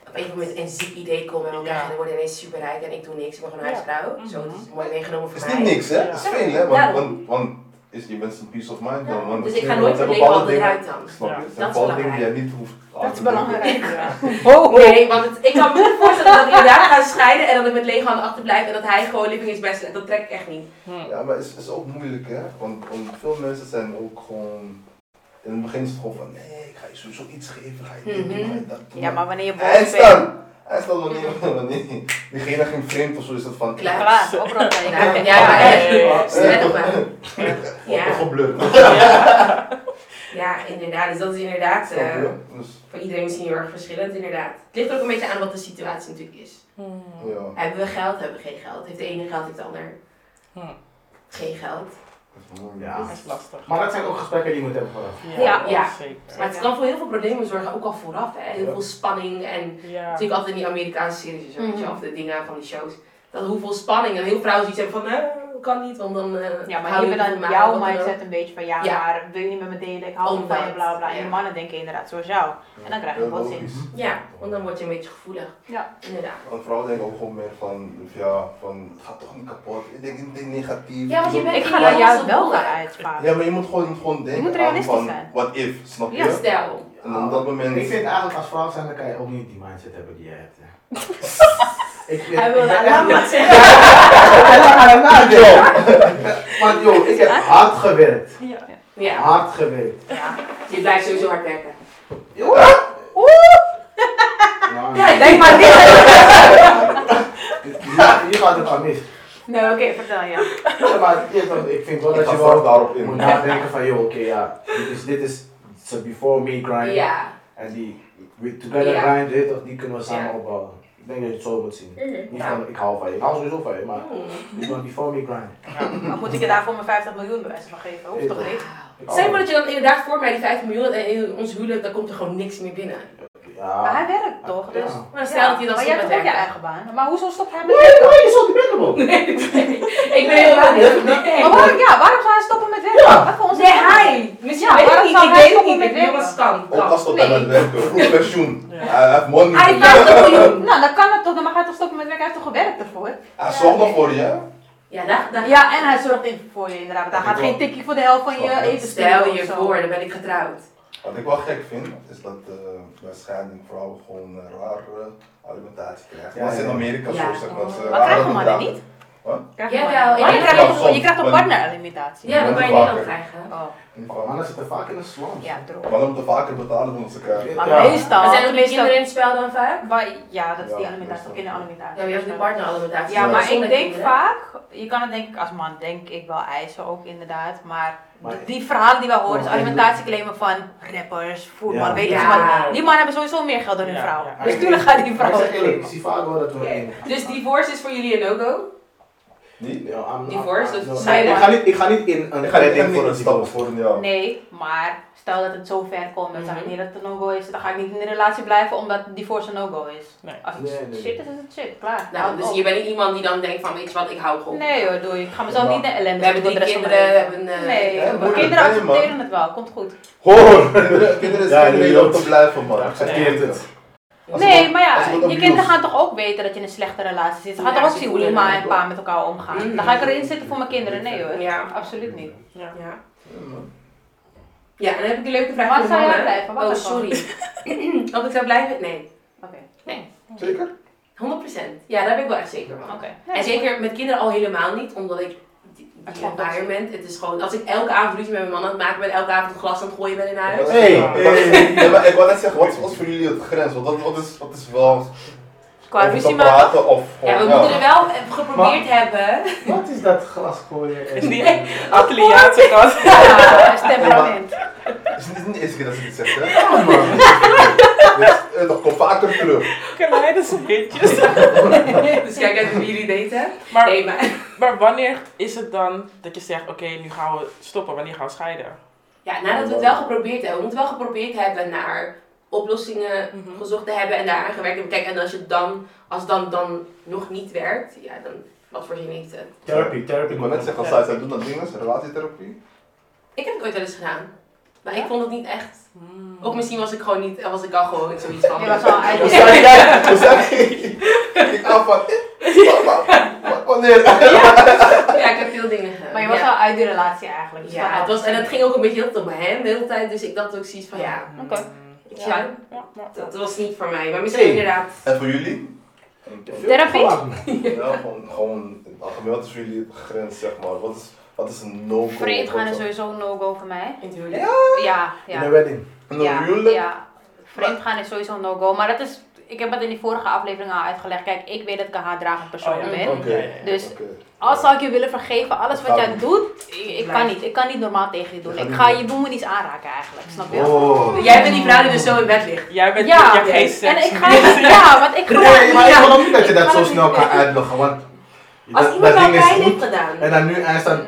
[SPEAKER 1] op een moment een ziek idee komt en we
[SPEAKER 6] Ja.
[SPEAKER 1] krijgen we worden ineens superrijk en ik doe niks, ik ben gewoon
[SPEAKER 6] Ja.
[SPEAKER 1] huisvrouw.
[SPEAKER 6] Mhm.
[SPEAKER 1] Zo, het is mooi meegenomen voor
[SPEAKER 3] Het is
[SPEAKER 1] mij.
[SPEAKER 3] niet niks, hè?
[SPEAKER 6] Ja.
[SPEAKER 3] Het is veel, hè? Want,
[SPEAKER 1] Ja.
[SPEAKER 3] want, want is, je bent een peace of mind
[SPEAKER 1] Ja,
[SPEAKER 3] dan. Want
[SPEAKER 1] Dus ik ga
[SPEAKER 3] want
[SPEAKER 1] nooit
[SPEAKER 3] er zijn
[SPEAKER 1] verleden al
[SPEAKER 3] bepaalde dingen-
[SPEAKER 1] eruit dan.
[SPEAKER 3] Snap je?
[SPEAKER 6] Ja.
[SPEAKER 3] Er
[SPEAKER 1] Dat
[SPEAKER 3] zijn
[SPEAKER 1] is
[SPEAKER 3] bepaalde dingen die
[SPEAKER 1] belangrijk.
[SPEAKER 3] je niet hoeft aan
[SPEAKER 5] Dat is
[SPEAKER 3] te denken.
[SPEAKER 5] belangrijk.
[SPEAKER 6] Ja.
[SPEAKER 7] Ho, ho.
[SPEAKER 1] Nee, want het, ik kan me niet voorstellen dat ik inderdaad ga scheiden en dat ik met lege handen achterblijf en dat hij gewoon living is best. Dat trek ik echt niet.
[SPEAKER 6] Hm.
[SPEAKER 3] Ja, maar het is, is ook moeilijk, hè? Want, want veel mensen zijn ook gewoon. In het begin is het gewoon van: nee, ik ga je sowieso iets geven, ga je dit doen,
[SPEAKER 1] Mhm.
[SPEAKER 3] ga je dat doen.
[SPEAKER 5] Ja, maar wanneer je
[SPEAKER 3] En
[SPEAKER 5] boos bent,
[SPEAKER 3] staan! En staan wanneer, wanneer diegene ging vreemd of zo, is dat van.
[SPEAKER 1] Klaar.
[SPEAKER 5] klaar, oprotten.
[SPEAKER 1] Ja,
[SPEAKER 5] Ja.
[SPEAKER 1] ja, maar
[SPEAKER 6] Hey.
[SPEAKER 1] Sterk maar.
[SPEAKER 3] Ja.
[SPEAKER 1] Ja,
[SPEAKER 3] Geblurred.
[SPEAKER 1] ja, inderdaad. Dus dat is inderdaad eh,
[SPEAKER 3] Snap je? Dus,
[SPEAKER 1] voor iedereen misschien heel erg verschillend, inderdaad. Het ligt er ook een beetje aan wat de situatie natuurlijk is.
[SPEAKER 6] Hm.
[SPEAKER 3] ja.
[SPEAKER 1] Hebben we geld, hebben we geen geld? Heeft de ene geld, heeft de ander
[SPEAKER 6] Hm.
[SPEAKER 1] geen geld?
[SPEAKER 3] dat is moeilijk.
[SPEAKER 2] Ja.
[SPEAKER 6] Dat is lastig.
[SPEAKER 2] Maar dat zijn ook gesprekken die je moet hebben vooraf.
[SPEAKER 5] Ja.
[SPEAKER 1] Ja.
[SPEAKER 6] Zeker.
[SPEAKER 1] Maar het kan voor heel veel problemen zorgen, ook al vooraf. Hè? Heel
[SPEAKER 3] Ja.
[SPEAKER 1] veel spanning en
[SPEAKER 6] Ja.
[SPEAKER 1] natuurlijk altijd in die Amerikaanse series en zo, weet je wel, of de dingen van die shows. Dat hoeveel spanning. En heel veel vrouwen die zeggen van, nee, kan niet, want dan eh
[SPEAKER 5] Ja, maar
[SPEAKER 1] hou
[SPEAKER 5] hier
[SPEAKER 1] je
[SPEAKER 5] ben
[SPEAKER 1] van
[SPEAKER 5] dan
[SPEAKER 1] mij,
[SPEAKER 5] jouw
[SPEAKER 1] wat dan ook.
[SPEAKER 5] mindset een beetje van ja,
[SPEAKER 1] Ja.
[SPEAKER 5] maar wil je niet met me delen, ik hou niet van je,
[SPEAKER 1] Omdat,
[SPEAKER 5] bla bla, bla. En
[SPEAKER 1] ja.
[SPEAKER 5] de mannen denken inderdaad zoals jou. En dan krijg je
[SPEAKER 3] Heel
[SPEAKER 5] botsing.
[SPEAKER 3] logisch.
[SPEAKER 1] Ja, want dan word je een beetje gevoelig.
[SPEAKER 5] Ja.
[SPEAKER 1] Inderdaad.
[SPEAKER 3] Want vrouwen denken ook gewoon meer van, dus ja, van, het gaat toch niet kapot. Ik denk, ik denk negatief.
[SPEAKER 1] Ja, want je bent-
[SPEAKER 5] Ik
[SPEAKER 1] Ik
[SPEAKER 5] ga
[SPEAKER 1] ga
[SPEAKER 5] naar
[SPEAKER 1] jou
[SPEAKER 5] jou
[SPEAKER 1] als
[SPEAKER 5] wel
[SPEAKER 1] boer.
[SPEAKER 5] gaan uitsparen.
[SPEAKER 3] Ja, maar je moet gewoon, je moet gewoon denken
[SPEAKER 5] moet
[SPEAKER 3] aan
[SPEAKER 5] realistisch
[SPEAKER 3] van,
[SPEAKER 5] zijn.
[SPEAKER 3] what if, snap je?
[SPEAKER 5] Ja.
[SPEAKER 1] Stel,
[SPEAKER 3] En op dat moment...
[SPEAKER 2] Ik vind eigenlijk als vrouw zijn, dan kan je ook niet die mindset hebben die jij hebt. Hè. ik vind,
[SPEAKER 1] hij wil
[SPEAKER 2] ik ben
[SPEAKER 1] laat
[SPEAKER 2] echt-
[SPEAKER 1] maar zeggen.
[SPEAKER 2] Maar joh, maar joh, ik heb hard gewerkt.
[SPEAKER 1] Ja,
[SPEAKER 2] Hard gewerkt.
[SPEAKER 1] je blijft sowieso hard werken.
[SPEAKER 2] Nou,
[SPEAKER 5] Denk maar niet.
[SPEAKER 2] hier, hier gaat het aan mis.
[SPEAKER 5] Nee, oké, vertel ja.
[SPEAKER 2] Ja, maar je, hebt- ik vind wel
[SPEAKER 3] Ik
[SPEAKER 2] dat
[SPEAKER 3] ga
[SPEAKER 2] je
[SPEAKER 3] zelf
[SPEAKER 2] wel
[SPEAKER 3] daarop
[SPEAKER 2] moet
[SPEAKER 3] in.
[SPEAKER 2] nadenken van, joh, oké, ja, dit is, dit is it's a before me grind.
[SPEAKER 1] Ja.
[SPEAKER 2] En die we together
[SPEAKER 1] Ja.
[SPEAKER 2] grind, weet je toch, die kunnen we samen
[SPEAKER 1] Ja.
[SPEAKER 2] opbouwen. Ik denk dat je het zo moet zien.
[SPEAKER 5] Mhm.
[SPEAKER 2] Niet
[SPEAKER 1] Ja.
[SPEAKER 2] van, ik hou van je. Ik hou sowieso van je, maar
[SPEAKER 1] Hmm.
[SPEAKER 2] dit is een before me grind.
[SPEAKER 5] Maar moet ik je daarvoor mijn 50 miljoen bewijzen van geven? Hoeft toch niet?
[SPEAKER 2] Ik hou
[SPEAKER 1] Zeg
[SPEAKER 2] van
[SPEAKER 1] maar dat je dan inderdaad voor mij die 5 miljoen en in ons huwelijk, dan komt er gewoon niks meer binnen.
[SPEAKER 2] je.
[SPEAKER 5] Maar
[SPEAKER 2] Ja.
[SPEAKER 5] hij werkt toch? Dus.
[SPEAKER 2] Ja.
[SPEAKER 1] Maar stel dat je dan
[SPEAKER 5] maar
[SPEAKER 1] stopt
[SPEAKER 5] jij hebt
[SPEAKER 1] met
[SPEAKER 5] ook je
[SPEAKER 1] werken.
[SPEAKER 5] eigen baan. Maar hoezo stopt hij met
[SPEAKER 2] Nee,
[SPEAKER 5] werken?
[SPEAKER 2] maar je is zo dependable.
[SPEAKER 1] Nee, nee. ik ben helemaal niet. Nee.
[SPEAKER 5] Maar waarom, ja, waarom zou hij stoppen met werken?
[SPEAKER 2] Ja.
[SPEAKER 5] Wat voor ons
[SPEAKER 1] Nee, hij. Misschien
[SPEAKER 5] Ja,
[SPEAKER 1] weet ik
[SPEAKER 5] waarom
[SPEAKER 1] niet.
[SPEAKER 5] zou
[SPEAKER 1] Ik
[SPEAKER 5] hij
[SPEAKER 1] weet het
[SPEAKER 5] stoppen
[SPEAKER 1] niet.
[SPEAKER 5] met
[SPEAKER 1] Ik wil
[SPEAKER 5] werken?
[SPEAKER 1] een stand.
[SPEAKER 3] Ook als dat
[SPEAKER 1] Nee.
[SPEAKER 3] aan het werken, vroeg pensioen.
[SPEAKER 6] Ja.
[SPEAKER 3] Hij heeft money.
[SPEAKER 1] Hij heeft
[SPEAKER 3] Ja.
[SPEAKER 1] 50 miljoen.
[SPEAKER 5] Nou, dan kan het toch, dan mag hij toch stoppen met werken? Hij heeft toch gewerkt ervoor?
[SPEAKER 3] Hij zorgt nog voor je. hè?
[SPEAKER 1] Ja, daar, daar.
[SPEAKER 5] Ja, en hij zorgt in voor je inderdaad. Want hij
[SPEAKER 3] Ik
[SPEAKER 5] gaat
[SPEAKER 3] wel.
[SPEAKER 5] geen tikkie voor de helft van je
[SPEAKER 3] Snap je.
[SPEAKER 5] eten
[SPEAKER 1] Stel
[SPEAKER 5] sturen
[SPEAKER 1] je
[SPEAKER 5] of zo.
[SPEAKER 1] voor, dan ben ik getrouwd.
[SPEAKER 3] Wat ik wel gek vind, is dat eh bij scheiding vrouwen gewoon eh, rare alimentatie krijgen.
[SPEAKER 2] Ja,
[SPEAKER 3] Dat is in
[SPEAKER 2] ja.
[SPEAKER 3] Amerika
[SPEAKER 1] Ja.
[SPEAKER 3] zo, zeg maar. ze
[SPEAKER 5] Maar
[SPEAKER 3] rare
[SPEAKER 5] krijgen mannen
[SPEAKER 3] bedragen.
[SPEAKER 5] niet?
[SPEAKER 3] Wat?
[SPEAKER 5] Krijgen
[SPEAKER 1] Jawel,
[SPEAKER 5] mannen.
[SPEAKER 1] ja.
[SPEAKER 5] Oh, je krijgt
[SPEAKER 3] Soms,
[SPEAKER 5] toch, je krijgt toch
[SPEAKER 3] maar-
[SPEAKER 5] partneralimentatie?
[SPEAKER 1] Ja, dat kan je niet dan krijgen.
[SPEAKER 5] Oh,
[SPEAKER 2] Maar dan zitten vaak in de slums.
[SPEAKER 5] ja, droog.
[SPEAKER 3] Mannen moeten vaker betalen dan ze krijgen.
[SPEAKER 5] Maar
[SPEAKER 2] Ja.
[SPEAKER 5] meestal...
[SPEAKER 1] Maar zijn er ook meer
[SPEAKER 5] meestal-
[SPEAKER 1] kinderen in het spel dan vaak?
[SPEAKER 5] Maar ja, dat is die
[SPEAKER 3] Ja,
[SPEAKER 5] alimentatie,
[SPEAKER 3] meestal.
[SPEAKER 5] toch kinderalimentatie.
[SPEAKER 1] Ja, je hebt die partner alimentatie.
[SPEAKER 5] Ja, maar ik
[SPEAKER 1] Zonder
[SPEAKER 5] denk
[SPEAKER 1] kinderen.
[SPEAKER 5] vaak, je kan het denk ik als man denk ik wel eisen ook inderdaad, maar,
[SPEAKER 2] Maar-
[SPEAKER 5] die verhalen die we horen, is
[SPEAKER 2] Maar-
[SPEAKER 5] alimentatieclaimen van rappers, voetbal,
[SPEAKER 2] Ja.
[SPEAKER 5] weet je
[SPEAKER 1] Ja.
[SPEAKER 5] wat. Die mannen hebben sowieso meer geld dan hun
[SPEAKER 6] Ja,
[SPEAKER 5] vrouw.
[SPEAKER 6] ja.
[SPEAKER 5] Dus tuurlijk gaan die
[SPEAKER 2] Maar ik
[SPEAKER 5] vrouwen
[SPEAKER 2] zeg eerlijk, ik
[SPEAKER 5] claimen.
[SPEAKER 2] zie vaak wel dat we in.
[SPEAKER 1] Dus divorce is voor jullie een no-go?
[SPEAKER 3] Die?
[SPEAKER 2] Ja, I'm-
[SPEAKER 1] Divorce,
[SPEAKER 2] I'm-
[SPEAKER 1] dus
[SPEAKER 2] no,
[SPEAKER 1] zij-
[SPEAKER 2] ik, ga niet, ik ga niet in een
[SPEAKER 3] Ik ga
[SPEAKER 2] wedding
[SPEAKER 3] niet
[SPEAKER 2] voor een
[SPEAKER 3] stappen
[SPEAKER 2] divorce.
[SPEAKER 3] voor een jaar.
[SPEAKER 5] Nee, maar stel dat het zo ver komt dat zeg ik
[SPEAKER 1] Mhm.
[SPEAKER 5] niet dat het een no-go is, dan ga ik niet in een relatie blijven omdat divorce een no-go is.
[SPEAKER 6] Nee.
[SPEAKER 5] Als het
[SPEAKER 2] Nee, nee,
[SPEAKER 5] shit
[SPEAKER 2] nee.
[SPEAKER 5] is, is het shit, klaar.
[SPEAKER 1] Nou,
[SPEAKER 5] Houd
[SPEAKER 1] dus
[SPEAKER 5] op.
[SPEAKER 1] je bent niet iemand die dan denkt van, weet je wat, ik hou gewoon.
[SPEAKER 5] Nee hoor, doei. Ik ga mezelf
[SPEAKER 2] Maar-
[SPEAKER 5] niet naar ellende
[SPEAKER 1] We hebben
[SPEAKER 5] zetten
[SPEAKER 1] drie
[SPEAKER 5] voor de rest van
[SPEAKER 1] kinderen, we hebben
[SPEAKER 5] mijn leven.
[SPEAKER 1] een...
[SPEAKER 5] Nee,
[SPEAKER 3] Ja,
[SPEAKER 5] maar
[SPEAKER 3] moeilijk,
[SPEAKER 5] kinderen
[SPEAKER 3] nee, man.
[SPEAKER 5] accepteren het wel, komt goed.
[SPEAKER 3] Hoor! Kinderen kinderen
[SPEAKER 2] Ja,
[SPEAKER 3] zijn
[SPEAKER 2] jullie
[SPEAKER 3] mee om
[SPEAKER 2] ook.
[SPEAKER 3] te blijven, man.
[SPEAKER 2] Accepteert het.
[SPEAKER 3] Als
[SPEAKER 5] nee,
[SPEAKER 3] iemand-
[SPEAKER 5] maar
[SPEAKER 3] als
[SPEAKER 5] ja,
[SPEAKER 3] iemand
[SPEAKER 5] je
[SPEAKER 3] abuse-
[SPEAKER 5] kinderen gaan toch ook weten dat je in een slechte relatie zit. Ze gaan
[SPEAKER 1] Ja,
[SPEAKER 5] toch ook
[SPEAKER 1] ze
[SPEAKER 5] zien hoe
[SPEAKER 1] voelen
[SPEAKER 5] ma
[SPEAKER 1] het
[SPEAKER 5] en pa met elkaar omgaan. Dan ga ik erin zitten voor mijn kinderen. Nee hoor,
[SPEAKER 1] Ja.
[SPEAKER 5] absoluut niet.
[SPEAKER 1] Ja. Oh, Ja, en dan heb ik een leuke vraag
[SPEAKER 5] Wat
[SPEAKER 1] voor de
[SPEAKER 5] zou jij
[SPEAKER 1] mannen.
[SPEAKER 5] blijven? Wat
[SPEAKER 1] Oh,
[SPEAKER 5] ervan?
[SPEAKER 1] sorry. Of ik zou blijven? Nee.
[SPEAKER 5] Oké,
[SPEAKER 3] Zeker?
[SPEAKER 1] 100%. Ja, daar ben ik wel echt zeker van.
[SPEAKER 5] oké.
[SPEAKER 1] En zeker met kinderen al helemaal niet, omdat ik die die
[SPEAKER 5] klopt.
[SPEAKER 1] environment, het is gewoon, als ik elke avond ruzie met mijn man aan het maken ben, elke avond een glas aan het gooien ben in huis.
[SPEAKER 2] Hey, hey.
[SPEAKER 3] Ja, maar ik wil net zeggen, wat is, wat is voor jullie het grens? Want dat, dat, is, dat is wel...
[SPEAKER 5] Qua
[SPEAKER 3] over te
[SPEAKER 5] ruzie maken.
[SPEAKER 3] praten of gewoon...
[SPEAKER 1] Ja, we moeten er wel eh, geprobeerd hebben.
[SPEAKER 2] Wat is dat glas gooien? en-
[SPEAKER 6] Die Antilliaanse kant.
[SPEAKER 5] Ja, temperament.
[SPEAKER 3] Het is niet niet de eerste keer dat ze dit zegt, hè? Dus, eh, dat komt vaker terug.
[SPEAKER 6] Kleine beetjes.
[SPEAKER 1] Dus kijk uit hoe jullie daten.
[SPEAKER 6] Maar,
[SPEAKER 1] Nee, maar.
[SPEAKER 6] maar wanneer is het dan dat je zegt, oké, nu gaan we stoppen, wanneer gaan we scheiden?
[SPEAKER 1] Ja, nadat we het wel geprobeerd hebben, we moeten wel geprobeerd hebben naar oplossingen
[SPEAKER 6] Mhm.
[SPEAKER 1] gezocht te hebben en daaraan gewerkt hebben. Kijk, en als het dan, als dan, dan nog niet werkt, ja, dan wat voor zin heeft het?
[SPEAKER 2] Therapy, therapy.
[SPEAKER 3] Ik wil net zeggen, als zij- zij doen dat ding, is relatietherapie.
[SPEAKER 1] Ik heb het ooit wel eens gedaan. Maar ik vond het niet echt. Of misschien was ik gewoon niet, was ik al gewoon zoiets van.
[SPEAKER 5] Hmm. Je was al
[SPEAKER 3] We
[SPEAKER 5] eigenlijk.
[SPEAKER 3] zijn we zijn- Ik af van... eh, wa- wa- wa- Wanneer?
[SPEAKER 1] Ja, ik heb veel dingen gedaan.
[SPEAKER 5] Maar je was
[SPEAKER 1] ja.
[SPEAKER 5] al uit die relatie eigenlijk. Dus
[SPEAKER 1] Ja, het was, en het ging ook een beetje heel om hem de hele tijd, dus ik dacht ook zoiets van ja,
[SPEAKER 6] Hmm.
[SPEAKER 5] Oké.
[SPEAKER 1] ik
[SPEAKER 5] Ja.
[SPEAKER 1] zou-
[SPEAKER 6] Ja, ja.
[SPEAKER 1] dat was niet voor mij. Maar misschien
[SPEAKER 2] Hey. Eh,
[SPEAKER 1] inderdaad.
[SPEAKER 3] En voor jullie?
[SPEAKER 5] Therapie?
[SPEAKER 3] Ja, gewoon, gewoon in het algemeen, wat is voor jullie de grens, zeg maar? Wat is, wat is een no-go?
[SPEAKER 5] Vreemd gaan
[SPEAKER 3] Wat
[SPEAKER 5] is
[SPEAKER 3] is-
[SPEAKER 5] sowieso een no-go voor mij.
[SPEAKER 1] Natuurlijk.
[SPEAKER 5] Ja,
[SPEAKER 2] In
[SPEAKER 5] ja.
[SPEAKER 2] een wedding.
[SPEAKER 3] Een
[SPEAKER 5] Ja,
[SPEAKER 3] huwelijk?
[SPEAKER 5] ja. Vreemd gaan is sowieso een no-go. Maar dat is, ik heb het in die vorige aflevering al uitgelegd. Kijk, ik weet dat ik een haatdragend persoon
[SPEAKER 6] Oh, ja.
[SPEAKER 5] ben.
[SPEAKER 3] Oké.
[SPEAKER 5] Dus
[SPEAKER 3] oké.
[SPEAKER 5] Al zou ik je willen vergeven, alles wat jij doet, ik, ik kan
[SPEAKER 1] Blijf.
[SPEAKER 5] niet. Ik kan niet normaal tegen je doen.
[SPEAKER 2] Dat gaat
[SPEAKER 5] Ik
[SPEAKER 2] niet
[SPEAKER 5] ga
[SPEAKER 2] doen.
[SPEAKER 5] je boemen niet aanraken eigenlijk, snap je?
[SPEAKER 2] Oh.
[SPEAKER 1] Jij bent die vrouw die dus zo in bed ligt.
[SPEAKER 6] Jij bent,
[SPEAKER 5] Ja,
[SPEAKER 6] je hebt geen seks.
[SPEAKER 5] en ik ga,
[SPEAKER 6] meer.
[SPEAKER 5] ja, want ik ga
[SPEAKER 2] Nee, maar ik
[SPEAKER 5] ja.
[SPEAKER 2] geloof niet dat je dat
[SPEAKER 5] Ik kan
[SPEAKER 2] zo
[SPEAKER 5] het
[SPEAKER 2] snel
[SPEAKER 5] niet.
[SPEAKER 2] kan uitleggen, want
[SPEAKER 1] Als
[SPEAKER 2] dat,
[SPEAKER 1] iemand
[SPEAKER 2] dat
[SPEAKER 1] al
[SPEAKER 2] ding is
[SPEAKER 1] pijn heeft
[SPEAKER 2] goed.
[SPEAKER 1] gedaan.
[SPEAKER 2] En dan nu aanstaan,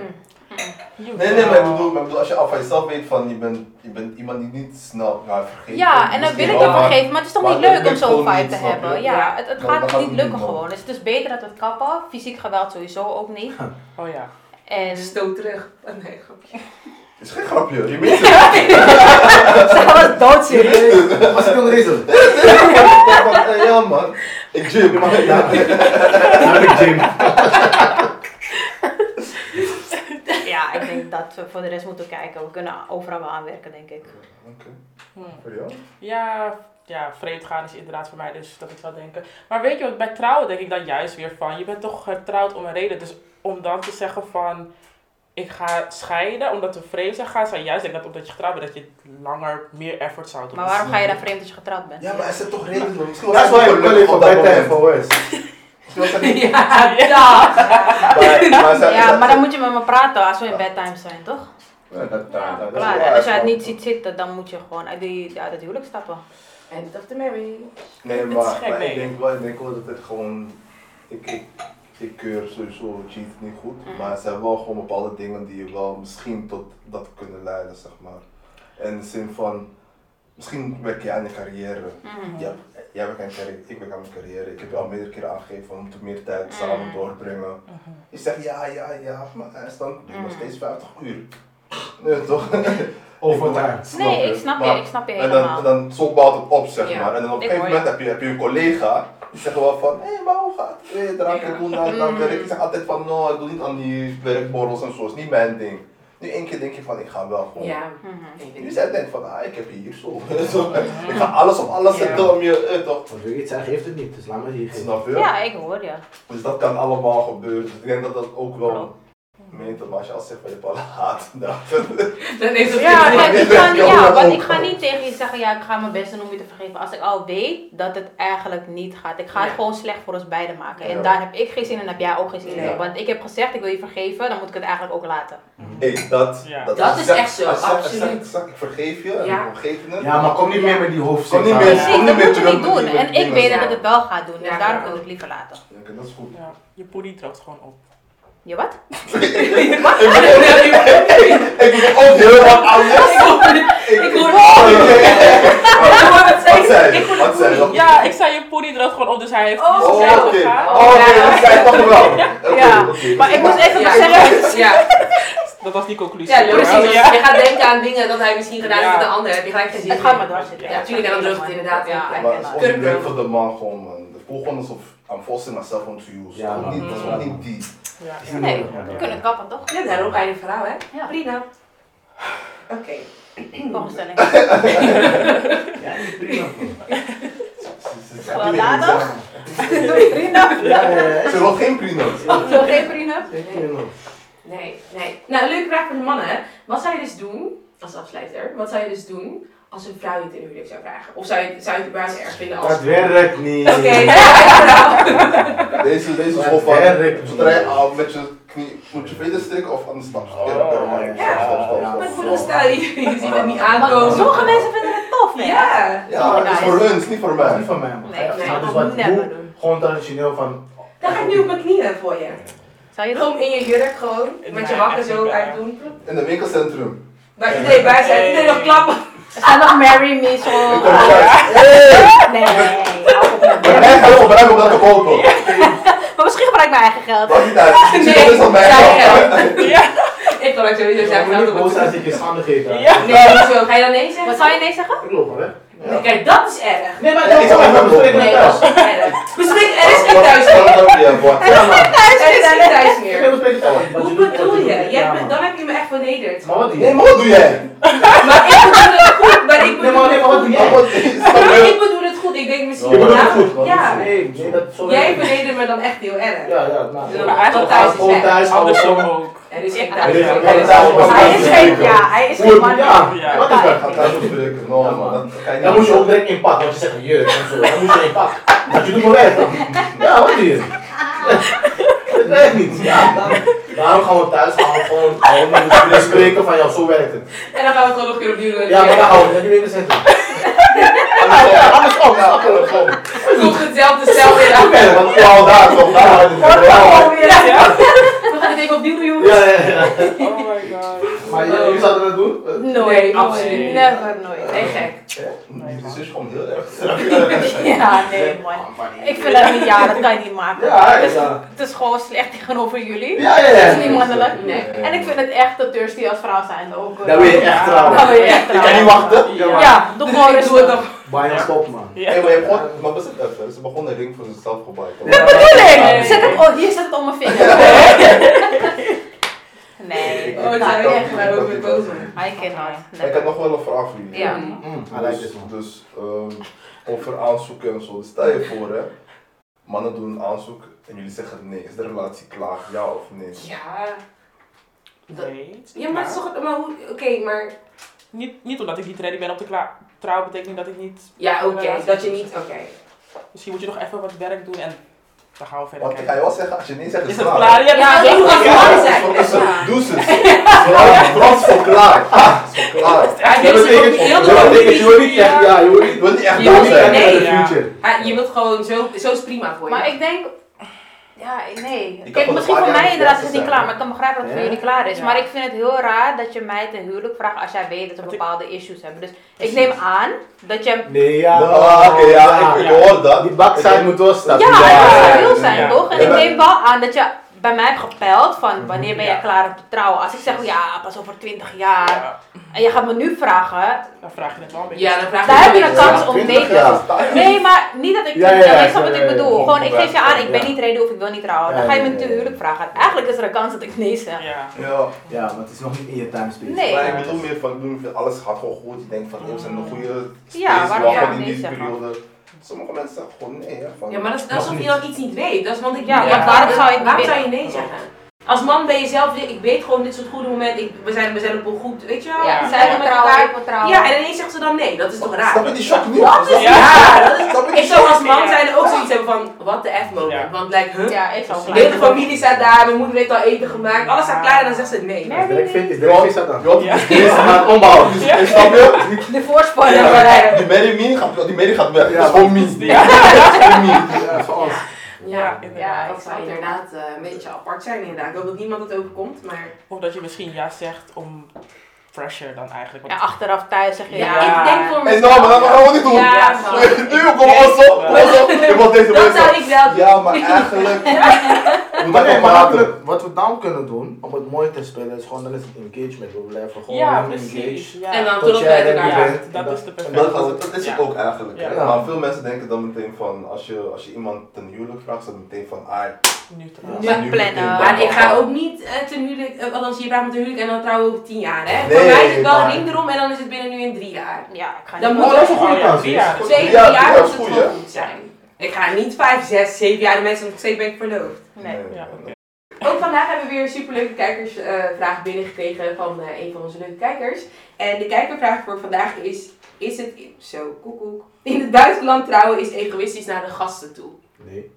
[SPEAKER 3] Nee, nee, maar ik bedoel, maar ik bedoel, als je al van jezelf weet van je bent, je bent iemand die niet snel ja, vergeet.
[SPEAKER 5] Ja, en dan wil ik
[SPEAKER 3] wel,
[SPEAKER 5] dat
[SPEAKER 3] maar-
[SPEAKER 5] vergeven, maar het is toch
[SPEAKER 3] maar
[SPEAKER 5] niet
[SPEAKER 3] het
[SPEAKER 5] leuk om
[SPEAKER 3] lukt
[SPEAKER 5] zo'n
[SPEAKER 3] gewoon
[SPEAKER 5] vibe
[SPEAKER 3] niet,
[SPEAKER 5] te
[SPEAKER 3] snap je?
[SPEAKER 5] hebben. Ja, het, het
[SPEAKER 3] Ja,
[SPEAKER 5] gaat
[SPEAKER 3] dat gaat
[SPEAKER 5] niet
[SPEAKER 3] niet
[SPEAKER 5] lukken
[SPEAKER 3] lukken.
[SPEAKER 5] gewoon. Dus het is beter dat we het kappen. Fysiek geweld sowieso ook niet.
[SPEAKER 6] Oh ja.
[SPEAKER 5] En
[SPEAKER 1] Stoot terug. Oh, nee, grapje.
[SPEAKER 3] Het is geen grapje, je weet het.
[SPEAKER 5] ze was doodserieus.
[SPEAKER 2] Was ik aan de racer?
[SPEAKER 3] Ja, want, eh, ja man, ik gym.
[SPEAKER 2] Ja. Naar de gym.
[SPEAKER 5] Ja, ik denk dat we voor de rest moeten kijken. We kunnen overal wel aanwerken, denk ik.
[SPEAKER 3] Oké,
[SPEAKER 6] Hm.
[SPEAKER 3] voor jou?
[SPEAKER 6] Ja, ja, vreemd gaan is inderdaad voor mij, dus dat ik wel denken. Maar weet je wat, bij trouwen denk ik dan juist weer van, je bent toch getrouwd om een reden. Dus om dan te zeggen van, ik ga scheiden omdat we vreemd zijn gaan, zou juist denken dat omdat je getrouwd bent, dat je langer meer effort zou doen.
[SPEAKER 5] Maar waarom ga je dan vreemd als je getrouwd bent?
[SPEAKER 3] Ja, maar er zijn toch redenen. voor. Misschien
[SPEAKER 2] That's why I'm calling for
[SPEAKER 3] moment.
[SPEAKER 2] bedtime for Wes.
[SPEAKER 3] Misschien was dat niet.
[SPEAKER 5] Ja, dag.
[SPEAKER 3] Maar, maar, zij-
[SPEAKER 5] Ja,
[SPEAKER 3] zij-
[SPEAKER 5] maar dan moet je met me praten als we in ah, bedtime zijn, toch?
[SPEAKER 3] Ja, dat- dat- dat- dat is
[SPEAKER 5] Klaar.
[SPEAKER 3] waar,
[SPEAKER 5] En als je het
[SPEAKER 3] man.
[SPEAKER 5] niet ziet zitten, dan moet je gewoon uit, die, uit het huwelijk stappen.
[SPEAKER 1] End of the marriage.
[SPEAKER 3] Nee,
[SPEAKER 6] is
[SPEAKER 3] maar,
[SPEAKER 6] gek,
[SPEAKER 3] maar
[SPEAKER 6] nee.
[SPEAKER 3] ik denk wel, ik denk wel dat het gewoon. Ik, ik, ik keur sowieso cheat niet goed,
[SPEAKER 5] Mhm.
[SPEAKER 3] maar het zijn wel gewoon bepaalde dingen die je wel misschien tot dat kunnen leiden, zeg maar. In de zin van, misschien werk je aan je carrière.
[SPEAKER 5] Mhm.
[SPEAKER 3] Ja, jij werkt aan je carrière, ik werk aan mijn carrière. Ik heb je al meerdere keren aangegeven om te meer tijd samen
[SPEAKER 5] Mhm.
[SPEAKER 3] doorbrengen.
[SPEAKER 6] Mhm.
[SPEAKER 3] Je zegt ja, ja, ja, maar hij is dan doe je nog
[SPEAKER 5] Mhm.
[SPEAKER 3] steeds 50 uur. Nee, toch?
[SPEAKER 2] Overtuigd.
[SPEAKER 5] Nee, ik snap je,
[SPEAKER 3] Maar-
[SPEAKER 5] ik snap je
[SPEAKER 3] en dan,
[SPEAKER 5] helemaal.
[SPEAKER 3] en dan zo bouwt het op, zeg
[SPEAKER 5] Ja,
[SPEAKER 3] maar. En dan op een
[SPEAKER 5] ik
[SPEAKER 3] gegeven
[SPEAKER 5] hoor
[SPEAKER 3] moment heb je, heb je een collega die zegt wel van, hé, hey, maar hoe gaat het? Hey, drank
[SPEAKER 1] Ja.
[SPEAKER 3] en doen, dan, dan
[SPEAKER 5] Mm.
[SPEAKER 3] werk. Ik zeg altijd van, no, ik doe niet aan die werkborrels en zo, is niet mijn ding. Nu één keer denk je van, ik ga wel gewoon.
[SPEAKER 1] Ja.
[SPEAKER 5] Mhm.
[SPEAKER 1] Ik weet
[SPEAKER 3] Nu
[SPEAKER 1] niet.
[SPEAKER 3] zij denkt van, ah, ik heb hier zo. Zo, ik ga alles op alles
[SPEAKER 1] Ja.
[SPEAKER 3] zetten om je, eh, toch.
[SPEAKER 2] Want wil je iets zeggen, heeft het niet, dus laat maar hier geven.
[SPEAKER 3] Snap je?
[SPEAKER 5] Ja, ik hoor je.
[SPEAKER 3] Dus dat kan allemaal gebeuren. Dus ik denk dat dat ook
[SPEAKER 5] Klopt.
[SPEAKER 3] wel meent, maar als je al zegt van je pal haat, dan...
[SPEAKER 1] Dan heeft het
[SPEAKER 5] Ja, kijk, ik kan,
[SPEAKER 3] Ja,
[SPEAKER 5] ja,
[SPEAKER 3] maar
[SPEAKER 5] want
[SPEAKER 3] ook
[SPEAKER 5] ik ga
[SPEAKER 3] gewoon.
[SPEAKER 5] niet tegen je zeggen, ja, ik ga mijn best doen om je te vergeven. Als ik al weet dat het eigenlijk niet gaat. Ik ga het
[SPEAKER 1] Ja.
[SPEAKER 5] gewoon slecht voor ons beiden maken. En
[SPEAKER 3] Ja.
[SPEAKER 5] daar heb ik geen zin in en heb jij ook geen zin in.
[SPEAKER 1] Ja.
[SPEAKER 5] Want ik heb gezegd, ik wil je vergeven, dan moet ik het eigenlijk ook laten.
[SPEAKER 3] Hey, dat,
[SPEAKER 6] Ja.
[SPEAKER 1] Dat
[SPEAKER 3] als je
[SPEAKER 1] is
[SPEAKER 3] zegt-
[SPEAKER 1] echt zo,
[SPEAKER 3] als je zegt- als je
[SPEAKER 1] absoluut.
[SPEAKER 3] zegt, zegt, Ik vergeef je, en
[SPEAKER 1] Ja.
[SPEAKER 3] ik vergeef je het.
[SPEAKER 2] Ja, maar kom niet meer met die hoofd.
[SPEAKER 3] Kom niet meer.
[SPEAKER 5] Precies,
[SPEAKER 3] niet meer
[SPEAKER 5] dat moet je
[SPEAKER 3] terug
[SPEAKER 5] niet
[SPEAKER 3] met
[SPEAKER 5] doen.
[SPEAKER 3] die
[SPEAKER 5] En ik
[SPEAKER 3] dingen.
[SPEAKER 5] weet dat
[SPEAKER 1] Ja.
[SPEAKER 5] ik het wel ga doen, dus
[SPEAKER 1] Ja,
[SPEAKER 5] daarom
[SPEAKER 1] ja.
[SPEAKER 5] wil ik het liever laten.
[SPEAKER 3] Ja, oké, dat is goed.
[SPEAKER 6] Ja, je poedie droogt gewoon op.
[SPEAKER 5] Je wat?
[SPEAKER 3] Ik doe ook heel wat anders.
[SPEAKER 1] Ik hoor het.
[SPEAKER 3] Oh,
[SPEAKER 1] Ik hoor het
[SPEAKER 3] Wat
[SPEAKER 1] steeds.
[SPEAKER 3] zei je? Wat zei je?
[SPEAKER 6] Ja, ik zei je poedie droogt gewoon op, dus hij heeft
[SPEAKER 1] Oh,
[SPEAKER 6] niet
[SPEAKER 3] Oh,
[SPEAKER 6] zo
[SPEAKER 3] oké.
[SPEAKER 6] snel
[SPEAKER 3] Oké,
[SPEAKER 6] gegaan.
[SPEAKER 3] dat zei je toch wel. Oké,
[SPEAKER 5] Ja.
[SPEAKER 3] oké.
[SPEAKER 5] Maar ik moest even
[SPEAKER 1] Ja.
[SPEAKER 5] beseffen.
[SPEAKER 1] Ja,
[SPEAKER 6] Dat was die conclusie. Oh,
[SPEAKER 1] ja precies.
[SPEAKER 6] Ja.
[SPEAKER 1] Je gaat denken aan dingen dat hij misschien gedaan heeft
[SPEAKER 6] Ja.
[SPEAKER 1] met de ander. Heb je gelijk gezien.
[SPEAKER 5] Het gaat maar door zitten.
[SPEAKER 1] Ja, tuurlijk, en dan droogt het inderdaad
[SPEAKER 5] Ja,
[SPEAKER 1] op.
[SPEAKER 5] ik
[SPEAKER 3] Maar
[SPEAKER 5] ken
[SPEAKER 3] het is
[SPEAKER 5] dat.
[SPEAKER 3] ook
[SPEAKER 1] Kurk
[SPEAKER 3] niet leuk
[SPEAKER 1] wel.
[SPEAKER 3] voor de man gewoon, man. De volgende is of I'm forcing myself onto you.
[SPEAKER 2] Ja,
[SPEAKER 3] Ja, niet, dat is
[SPEAKER 6] man.
[SPEAKER 3] ook niet die.
[SPEAKER 6] Ja, ja.
[SPEAKER 5] Nee, we kunnen het kappen toch?
[SPEAKER 1] Ja, daarom bij de verhaal, hè?
[SPEAKER 5] Ja.
[SPEAKER 1] Prima. Oké.
[SPEAKER 5] Volgens stelling.
[SPEAKER 3] Ze- ze- ze-
[SPEAKER 5] Gewelddadig?
[SPEAKER 2] Ja, ja, ja.
[SPEAKER 3] Ze wil geen prenups.
[SPEAKER 5] Zo geen vrienden?
[SPEAKER 1] Nee, nee. Nou, een leuke vraag voor de mannen. Wat zou je dus doen, als afsluiter, wat zou je dus doen als een vrouw je ten huwelijk zou vragen? Of zou je, zou je het überhaupt erg vinden als...
[SPEAKER 2] Dat werkt niet.
[SPEAKER 1] Oké, ja,
[SPEAKER 3] Deze, deze is
[SPEAKER 2] Maar
[SPEAKER 3] gewoon
[SPEAKER 2] werkt
[SPEAKER 3] van, zodra je
[SPEAKER 2] niet.
[SPEAKER 3] al met je knie, moet je verder strikken of anders stap.
[SPEAKER 2] Oh,
[SPEAKER 1] ja. maar voor de stel je, je ziet het niet aankomen.
[SPEAKER 5] Sommige mensen vinden het tof, hè?
[SPEAKER 1] Ja.
[SPEAKER 3] Ja, maar dat is voor hun, het is niet voor
[SPEAKER 2] Dat is
[SPEAKER 3] mij.
[SPEAKER 2] niet van mij, man.
[SPEAKER 5] Nee,
[SPEAKER 2] Ja,
[SPEAKER 1] nee,
[SPEAKER 2] dat is
[SPEAKER 5] dat
[SPEAKER 2] dus wat
[SPEAKER 5] moet never
[SPEAKER 2] hoe-
[SPEAKER 5] doen.
[SPEAKER 2] Gewoon traditioneel van.
[SPEAKER 1] Dan ga ik nu op mijn knieën voor je.
[SPEAKER 5] Zou je
[SPEAKER 1] Gewoon
[SPEAKER 5] doen?
[SPEAKER 1] in je jurk gewoon, met je
[SPEAKER 6] Nee,
[SPEAKER 1] hakken
[SPEAKER 6] echt
[SPEAKER 1] zo
[SPEAKER 6] niet,
[SPEAKER 1] uitdoen.
[SPEAKER 3] In het winkelcentrum.
[SPEAKER 1] Waar iedereen bij zijn, iedereen nog klappen.
[SPEAKER 5] Er staat nog Marry Me zo.
[SPEAKER 3] Ik kom thuis.
[SPEAKER 5] Ah, Nee.
[SPEAKER 3] Bij mij gaat het om mij om dat te kopen.
[SPEAKER 5] Maar misschien gebruik ik mijn eigen geld.
[SPEAKER 3] Maakt niet uit. Het is best wel mijn
[SPEAKER 1] zij
[SPEAKER 3] geld.
[SPEAKER 1] geld.
[SPEAKER 6] Ja.
[SPEAKER 1] Ik kan ook sowieso
[SPEAKER 2] Je
[SPEAKER 1] zeggen,
[SPEAKER 2] moet niet
[SPEAKER 1] nou,
[SPEAKER 2] boos
[SPEAKER 1] doe
[SPEAKER 2] zijn
[SPEAKER 1] het.
[SPEAKER 2] dat je je schande geeft. hè.
[SPEAKER 6] Ja.
[SPEAKER 1] Nee, hoezo? Ga je dan nee
[SPEAKER 5] Wat
[SPEAKER 1] zeggen?
[SPEAKER 5] zou je nee zeggen?
[SPEAKER 2] Ik geloof wel, hè?
[SPEAKER 1] Nee, Kijk, dat is erg.
[SPEAKER 2] Nee, maar
[SPEAKER 3] Ja,
[SPEAKER 2] dat
[SPEAKER 3] ik
[SPEAKER 2] is
[SPEAKER 3] zou
[SPEAKER 2] wel
[SPEAKER 3] even
[SPEAKER 2] een bespreking
[SPEAKER 1] Nee,
[SPEAKER 2] thuis.
[SPEAKER 1] dat is erg. Bespreek, er is geen thuis meer.
[SPEAKER 3] Ja,
[SPEAKER 2] Ja, man.
[SPEAKER 1] Er is geen thuis
[SPEAKER 2] Ik wil
[SPEAKER 1] meer.
[SPEAKER 2] bespreking thuis. Wat
[SPEAKER 1] Hoe
[SPEAKER 2] doet,
[SPEAKER 1] bedoel
[SPEAKER 2] wat
[SPEAKER 1] je?
[SPEAKER 2] doet.
[SPEAKER 1] Jij
[SPEAKER 2] Ja,
[SPEAKER 1] bent-
[SPEAKER 2] man.
[SPEAKER 1] dan heb je me echt vernederd.
[SPEAKER 2] Maar wat doe
[SPEAKER 3] Nee,
[SPEAKER 2] jij?
[SPEAKER 3] maar wat doe jij?
[SPEAKER 1] Maar ik bedoel het goed, maar ik
[SPEAKER 2] Nee,
[SPEAKER 1] bedoel
[SPEAKER 2] maar nee,
[SPEAKER 1] het
[SPEAKER 2] maar wat doe
[SPEAKER 1] goed.
[SPEAKER 2] jij?
[SPEAKER 3] Wat-
[SPEAKER 1] Ja, maar ik bedoel het goed. Ik denk misschien...
[SPEAKER 2] Je bedoelt het
[SPEAKER 1] ja,
[SPEAKER 2] goed, man.
[SPEAKER 1] Ja.
[SPEAKER 2] Nee, nee, dat zo
[SPEAKER 1] Jij
[SPEAKER 2] werkt het
[SPEAKER 1] vernedert me dan echt heel erg.
[SPEAKER 2] niet. Ja, ja, nou.
[SPEAKER 1] Ja.
[SPEAKER 6] Maar eigenlijk
[SPEAKER 1] Thuis
[SPEAKER 2] Ga
[SPEAKER 1] is
[SPEAKER 2] gewoon
[SPEAKER 1] weg.
[SPEAKER 2] thuis.
[SPEAKER 6] andersom ook.
[SPEAKER 1] Er is geen
[SPEAKER 5] Ja.
[SPEAKER 1] thuis
[SPEAKER 2] Ja.
[SPEAKER 1] meer.
[SPEAKER 2] Ja.
[SPEAKER 1] Er is geen thuis
[SPEAKER 5] Hij is
[SPEAKER 1] meer.
[SPEAKER 5] geen, ja, hij is geen
[SPEAKER 2] Goed,
[SPEAKER 5] man.
[SPEAKER 2] ja. Wat is
[SPEAKER 3] Ik
[SPEAKER 2] dat?
[SPEAKER 3] ga thuis opbreken. No, man. Dat kan je
[SPEAKER 2] Dan
[SPEAKER 3] niet
[SPEAKER 2] moet je
[SPEAKER 3] doen.
[SPEAKER 2] ook direct in pak, want je zegt jurk en zo. Dan moet je in pak. Dat je doet maar weg. Ja, wat doe je? Dat werkt niet. Ja, dan, daarom gaan we thuis gaan we gewoon, gewoon met elkaar bespreken van jou, zo werkt het.
[SPEAKER 1] En dan gaan we het gewoon nog een keer opnieuw doen.
[SPEAKER 2] Ja, maar dan gaan we het weer zetten. Andersom, andersom, ja, andersom.
[SPEAKER 1] Komt hetzelfde cel weer aan.
[SPEAKER 2] Oké, want ja, al daar toch, daar had het
[SPEAKER 1] Oh,
[SPEAKER 2] wel.
[SPEAKER 1] ja. We gaan het even opnieuw doen, jongens.
[SPEAKER 2] Ja, ja, ja.
[SPEAKER 6] Oh my god. Nee,
[SPEAKER 3] Dit
[SPEAKER 6] man.
[SPEAKER 3] is gewoon heel erg. Ah,
[SPEAKER 5] Ja, nee man. Ik vind dat niet, ja, dat kan je niet maken. Dus
[SPEAKER 2] Ja,
[SPEAKER 5] het, is,
[SPEAKER 2] ja.
[SPEAKER 5] het is gewoon slecht tegenover jullie.
[SPEAKER 2] Ja, ja, ja.
[SPEAKER 5] Dat is niet mannelijk.
[SPEAKER 1] Nee.
[SPEAKER 5] En ik vind het echt dat Thirsty als vrouw zijn ook. eh,
[SPEAKER 2] Dan ben je echt trouwen.
[SPEAKER 5] Dan ben je echt
[SPEAKER 2] Ik kan niet
[SPEAKER 5] trouwen.
[SPEAKER 2] wachten.
[SPEAKER 6] Ja.
[SPEAKER 5] Ja, doe gewoon
[SPEAKER 6] Ik doe
[SPEAKER 5] rustig.
[SPEAKER 6] het dan.
[SPEAKER 2] Bijna stop, man.
[SPEAKER 6] Ja.
[SPEAKER 3] Hey, maar je hebt gewoon, maar besef even, ze begon een ring voor zichzelf gebouwd.
[SPEAKER 2] Ja.
[SPEAKER 5] Dat bedoel ik.
[SPEAKER 2] Nee.
[SPEAKER 5] Zet het, oh, hier zet het om mijn vinger. Nee.
[SPEAKER 1] Oh, dat zou je echt maar over boven.
[SPEAKER 5] I cannot.
[SPEAKER 3] Ik heb nog wel een vraag voor jullie.
[SPEAKER 1] Ja.
[SPEAKER 2] Mm, I like this
[SPEAKER 3] Dus,
[SPEAKER 2] one.
[SPEAKER 3] dus ehm, over aanzoeken en zo. Dus Stel je voor, hè, mannen doen een aanzoek en jullie zeggen nee. Is de relatie klaar? Ja of nee?
[SPEAKER 1] Ja. Dat-
[SPEAKER 6] Nee.
[SPEAKER 1] Ja, maar het is toch... Maar hoe... Oké, maar...
[SPEAKER 6] Niet, niet omdat ik niet ready ben op de kla- trouw, betekent niet dat ik niet...
[SPEAKER 1] Ja, oké.
[SPEAKER 6] Ja.
[SPEAKER 1] dat je niet... Oké.
[SPEAKER 6] Misschien moet je nog even wat werk doen en dan gaan we verder
[SPEAKER 3] Want ik ga
[SPEAKER 6] kijken.
[SPEAKER 3] je wel zeggen, als je nee zegt,
[SPEAKER 6] Is
[SPEAKER 3] is
[SPEAKER 6] dat
[SPEAKER 3] het
[SPEAKER 6] klaar? Ja,
[SPEAKER 1] Ja,
[SPEAKER 6] dat is
[SPEAKER 1] dat
[SPEAKER 6] ook
[SPEAKER 1] moet
[SPEAKER 6] goed.
[SPEAKER 1] je
[SPEAKER 3] Ja,
[SPEAKER 1] man
[SPEAKER 3] dat is
[SPEAKER 1] zijn.
[SPEAKER 3] voor- dus
[SPEAKER 1] echt
[SPEAKER 3] is een
[SPEAKER 1] waar.
[SPEAKER 3] doezus. Vooral Frans voor klaar. Ah, is voor klaar.
[SPEAKER 6] Ja,
[SPEAKER 1] dit
[SPEAKER 2] Dat
[SPEAKER 1] is
[SPEAKER 2] betekent,
[SPEAKER 1] ook heel
[SPEAKER 2] dat
[SPEAKER 1] de
[SPEAKER 2] betekent, je wil niet echt, ja, je wil
[SPEAKER 3] Ik
[SPEAKER 2] niet,
[SPEAKER 3] wil niet echt
[SPEAKER 1] Je
[SPEAKER 3] daar
[SPEAKER 1] moet
[SPEAKER 3] zijn.
[SPEAKER 1] niet-
[SPEAKER 2] in
[SPEAKER 1] Nee.
[SPEAKER 2] de future.
[SPEAKER 1] Ah, je wilt gewoon... Zo, zo is prima voor je.
[SPEAKER 5] Maar ik denk. Ja, nee.
[SPEAKER 3] kan
[SPEAKER 5] Kijk,
[SPEAKER 3] van
[SPEAKER 5] misschien
[SPEAKER 3] een
[SPEAKER 5] voor
[SPEAKER 3] paar
[SPEAKER 5] mij
[SPEAKER 3] jaar
[SPEAKER 5] inderdaad is
[SPEAKER 3] niet
[SPEAKER 5] het niet
[SPEAKER 3] verder zijn,
[SPEAKER 5] klaar, maar ik kan begrijpen dat het voor
[SPEAKER 2] Ja.
[SPEAKER 5] jullie klaar is.
[SPEAKER 6] Ja.
[SPEAKER 5] Maar ik vind het heel raar dat je mij ten huwelijk vraagt als jij weet dat we
[SPEAKER 6] Want ik-
[SPEAKER 5] bepaalde issues hebben. Dus ik neem aan dat je.
[SPEAKER 2] Nee, ja. Oh,
[SPEAKER 3] Ah, Oké, ja, ik- ik hoor dat.
[SPEAKER 2] Die bakzaak
[SPEAKER 3] Ik-
[SPEAKER 2] moet wel
[SPEAKER 5] Ja,
[SPEAKER 2] staan.
[SPEAKER 5] het moet stabiel zijn,
[SPEAKER 6] Ja.
[SPEAKER 5] toch? En
[SPEAKER 3] Ja,
[SPEAKER 5] ik
[SPEAKER 3] maar-
[SPEAKER 5] neem wel aan dat je bij mij hebt gepeild van wanneer ben jij
[SPEAKER 6] Ja.
[SPEAKER 5] klaar om te trouwen. Als ik zeg, ja, pas over 20 jaar.
[SPEAKER 6] Ja,
[SPEAKER 5] En je gaat me nu vragen.
[SPEAKER 6] dan vraag je het wel een beetje.
[SPEAKER 1] Ja, dan vraag
[SPEAKER 5] Daar heb je
[SPEAKER 1] het
[SPEAKER 5] een
[SPEAKER 1] wel.
[SPEAKER 5] kans om
[SPEAKER 3] 20
[SPEAKER 5] daten.
[SPEAKER 3] jaar.
[SPEAKER 5] Nee, maar niet dat ik.
[SPEAKER 2] Ja, ja,
[SPEAKER 5] dat
[SPEAKER 2] ja,
[SPEAKER 5] is wat
[SPEAKER 2] ja,
[SPEAKER 5] ik
[SPEAKER 2] ja, ja.
[SPEAKER 5] bedoel. Gewoon, ik geef je aan, ik ben
[SPEAKER 2] Ja.
[SPEAKER 5] niet ready of ik wil niet trouwen. Dan
[SPEAKER 2] Ja,
[SPEAKER 5] ga je
[SPEAKER 2] ja,
[SPEAKER 5] me
[SPEAKER 2] ja,
[SPEAKER 5] ten
[SPEAKER 2] ja.
[SPEAKER 5] huwelijk vragen. Eigenlijk is er een kans dat ik nee zeg.
[SPEAKER 6] Ja.
[SPEAKER 3] Ja.
[SPEAKER 2] Ja, maar het is nog niet in je time space.
[SPEAKER 5] Nee.
[SPEAKER 3] Maar ik bedoel meer van, ik bedoel, alles gaat gewoon goed. Je denkt van, we zijn een goede space,
[SPEAKER 5] Ja, waarom
[SPEAKER 3] wel
[SPEAKER 5] zou
[SPEAKER 3] gewoon
[SPEAKER 5] ik
[SPEAKER 3] in
[SPEAKER 5] nee
[SPEAKER 3] deze
[SPEAKER 5] zeggen?
[SPEAKER 3] periode. Sommige mensen zeggen gewoon nee, hè. Van,
[SPEAKER 1] Ja, maar dat is dat is
[SPEAKER 2] Mag
[SPEAKER 1] alsof je
[SPEAKER 2] niet.
[SPEAKER 1] dan iets niet weet. Dat is, want ik,
[SPEAKER 5] Ja,
[SPEAKER 6] want
[SPEAKER 5] waarom zou je het
[SPEAKER 1] waarom
[SPEAKER 5] weten?
[SPEAKER 1] zou je nee zeggen? Als man ben je zelf, ik weet gewoon dit soort goede momenten, ik, we, zijn, we zijn op een goed, weet je wel?
[SPEAKER 5] Ja,
[SPEAKER 6] Ja.
[SPEAKER 1] we zijn
[SPEAKER 5] zij wil
[SPEAKER 1] met
[SPEAKER 5] trouwen, ik
[SPEAKER 1] elkaar.
[SPEAKER 5] wil trouwen.
[SPEAKER 1] Ja, en ineens zegt ze dan nee, dat is toch raar?
[SPEAKER 3] Snap je die shock nu?
[SPEAKER 1] Dat is
[SPEAKER 6] Ja.
[SPEAKER 1] ja, dat is
[SPEAKER 3] Snap je die
[SPEAKER 1] Ik zou
[SPEAKER 3] shock?
[SPEAKER 1] als man
[SPEAKER 6] Ja.
[SPEAKER 1] zijn ook zoiets hebben van, wat de F moment.
[SPEAKER 6] Ja.
[SPEAKER 1] Want like, huh?
[SPEAKER 5] Ja, ik zou
[SPEAKER 1] De
[SPEAKER 5] klaar.
[SPEAKER 1] hele familie staat daar, mijn moeder heeft al eten gemaakt, alles staat klaar en dan zegt ze nee.
[SPEAKER 2] Is direct fit, is direct
[SPEAKER 3] Ja.
[SPEAKER 2] fit, staat dan.
[SPEAKER 3] Ja,
[SPEAKER 6] Ja.
[SPEAKER 3] die is aan het ombouwen. Dus,
[SPEAKER 6] Ja.
[SPEAKER 3] Snap je?
[SPEAKER 5] De voorspanning
[SPEAKER 3] Ja.
[SPEAKER 5] van rijden.
[SPEAKER 3] Die Mary Mie gaat, die Mary gaat weg.
[SPEAKER 2] Ja.
[SPEAKER 3] Dat is gewoon Mie.
[SPEAKER 6] Ja.
[SPEAKER 3] Dat is gewoon Mie.
[SPEAKER 2] Ja, voor ons.
[SPEAKER 1] Ja,
[SPEAKER 5] Ja,
[SPEAKER 1] dat zou inderdaad eh, een beetje apart zijn inderdaad. Ik hoop dat niemand het overkomt, maar...
[SPEAKER 6] Of dat je misschien ja zegt om pressure dan eigenlijk.
[SPEAKER 5] Ja,
[SPEAKER 6] want-
[SPEAKER 5] achteraf thuis zeg je
[SPEAKER 1] Ja,
[SPEAKER 6] Ja.
[SPEAKER 1] ik denk voor
[SPEAKER 3] Hey,
[SPEAKER 1] mezelf.
[SPEAKER 3] nou, maar dat gaan we gewoon niet doen.
[SPEAKER 1] Ja,
[SPEAKER 5] Ja,
[SPEAKER 1] man.
[SPEAKER 3] Nu, kom maar op, kom maar op. Ik wil deze
[SPEAKER 5] Dat
[SPEAKER 3] mensen.
[SPEAKER 5] zou ik wel doen.
[SPEAKER 3] Ja, maar eigenlijk. We
[SPEAKER 2] Maar
[SPEAKER 3] moeten even
[SPEAKER 2] nee, maar wat
[SPEAKER 3] praten.
[SPEAKER 2] we- wat we dan kunnen doen, om het mooi te spelen, is gewoon, dat is het engagement. We blijven gewoon
[SPEAKER 6] ja, precies.
[SPEAKER 2] engaged.
[SPEAKER 6] Ja.
[SPEAKER 1] En dan
[SPEAKER 2] Tot
[SPEAKER 1] totdat we
[SPEAKER 2] jij
[SPEAKER 1] uit
[SPEAKER 2] ready
[SPEAKER 1] elkaar
[SPEAKER 6] Ja,
[SPEAKER 1] gaan.
[SPEAKER 2] bent.
[SPEAKER 6] dat is de
[SPEAKER 3] En
[SPEAKER 6] perfecte.
[SPEAKER 3] dat, dat, dat is het
[SPEAKER 6] Ja.
[SPEAKER 3] ook eigenlijk. hè.
[SPEAKER 2] Ja.
[SPEAKER 3] Maar veel mensen denken dan meteen van, als je, als je iemand ten huwelijk vraagt, is dat meteen van, ah,
[SPEAKER 6] Nu te
[SPEAKER 2] Ja.
[SPEAKER 3] nu meteen
[SPEAKER 5] plannen.
[SPEAKER 3] bam,
[SPEAKER 1] Maar Ah, ik
[SPEAKER 3] bam,
[SPEAKER 1] ga
[SPEAKER 3] bam.
[SPEAKER 1] ook niet eh, ten huwelijk, eh, althans je vraagt me ten huwelijk en dan trouwen we over tien jaar hè.
[SPEAKER 3] Nee,
[SPEAKER 1] Voor mij is het wel een
[SPEAKER 3] maar-
[SPEAKER 1] ring erom en dan is het binnen nu in drie jaar.
[SPEAKER 5] Ja, ik
[SPEAKER 1] Dan
[SPEAKER 5] ga niet.
[SPEAKER 1] Ah, moet
[SPEAKER 2] Oh, dat is een goede
[SPEAKER 6] Oh, ja,
[SPEAKER 2] kans.
[SPEAKER 6] drie jaar.
[SPEAKER 1] Zeven
[SPEAKER 3] Ja,
[SPEAKER 1] jaar,
[SPEAKER 3] drie jaar is
[SPEAKER 1] moet het
[SPEAKER 3] goed,
[SPEAKER 1] wel
[SPEAKER 3] hè?
[SPEAKER 1] goed zijn. Ik ga niet vijf, zes, zeven jaar de mensen nog steeds ben ik verloofd.
[SPEAKER 5] Nee.
[SPEAKER 6] Ja, oké.
[SPEAKER 1] Ook vandaag hebben we weer superleuke kijkersvraag binnengekregen van eh, een van onze leuke kijkers. En de kijkervraag voor vandaag is, is het, zo koekoek, in het buitenland trouwen is egoïstisch naar de gasten toe.
[SPEAKER 2] Nee.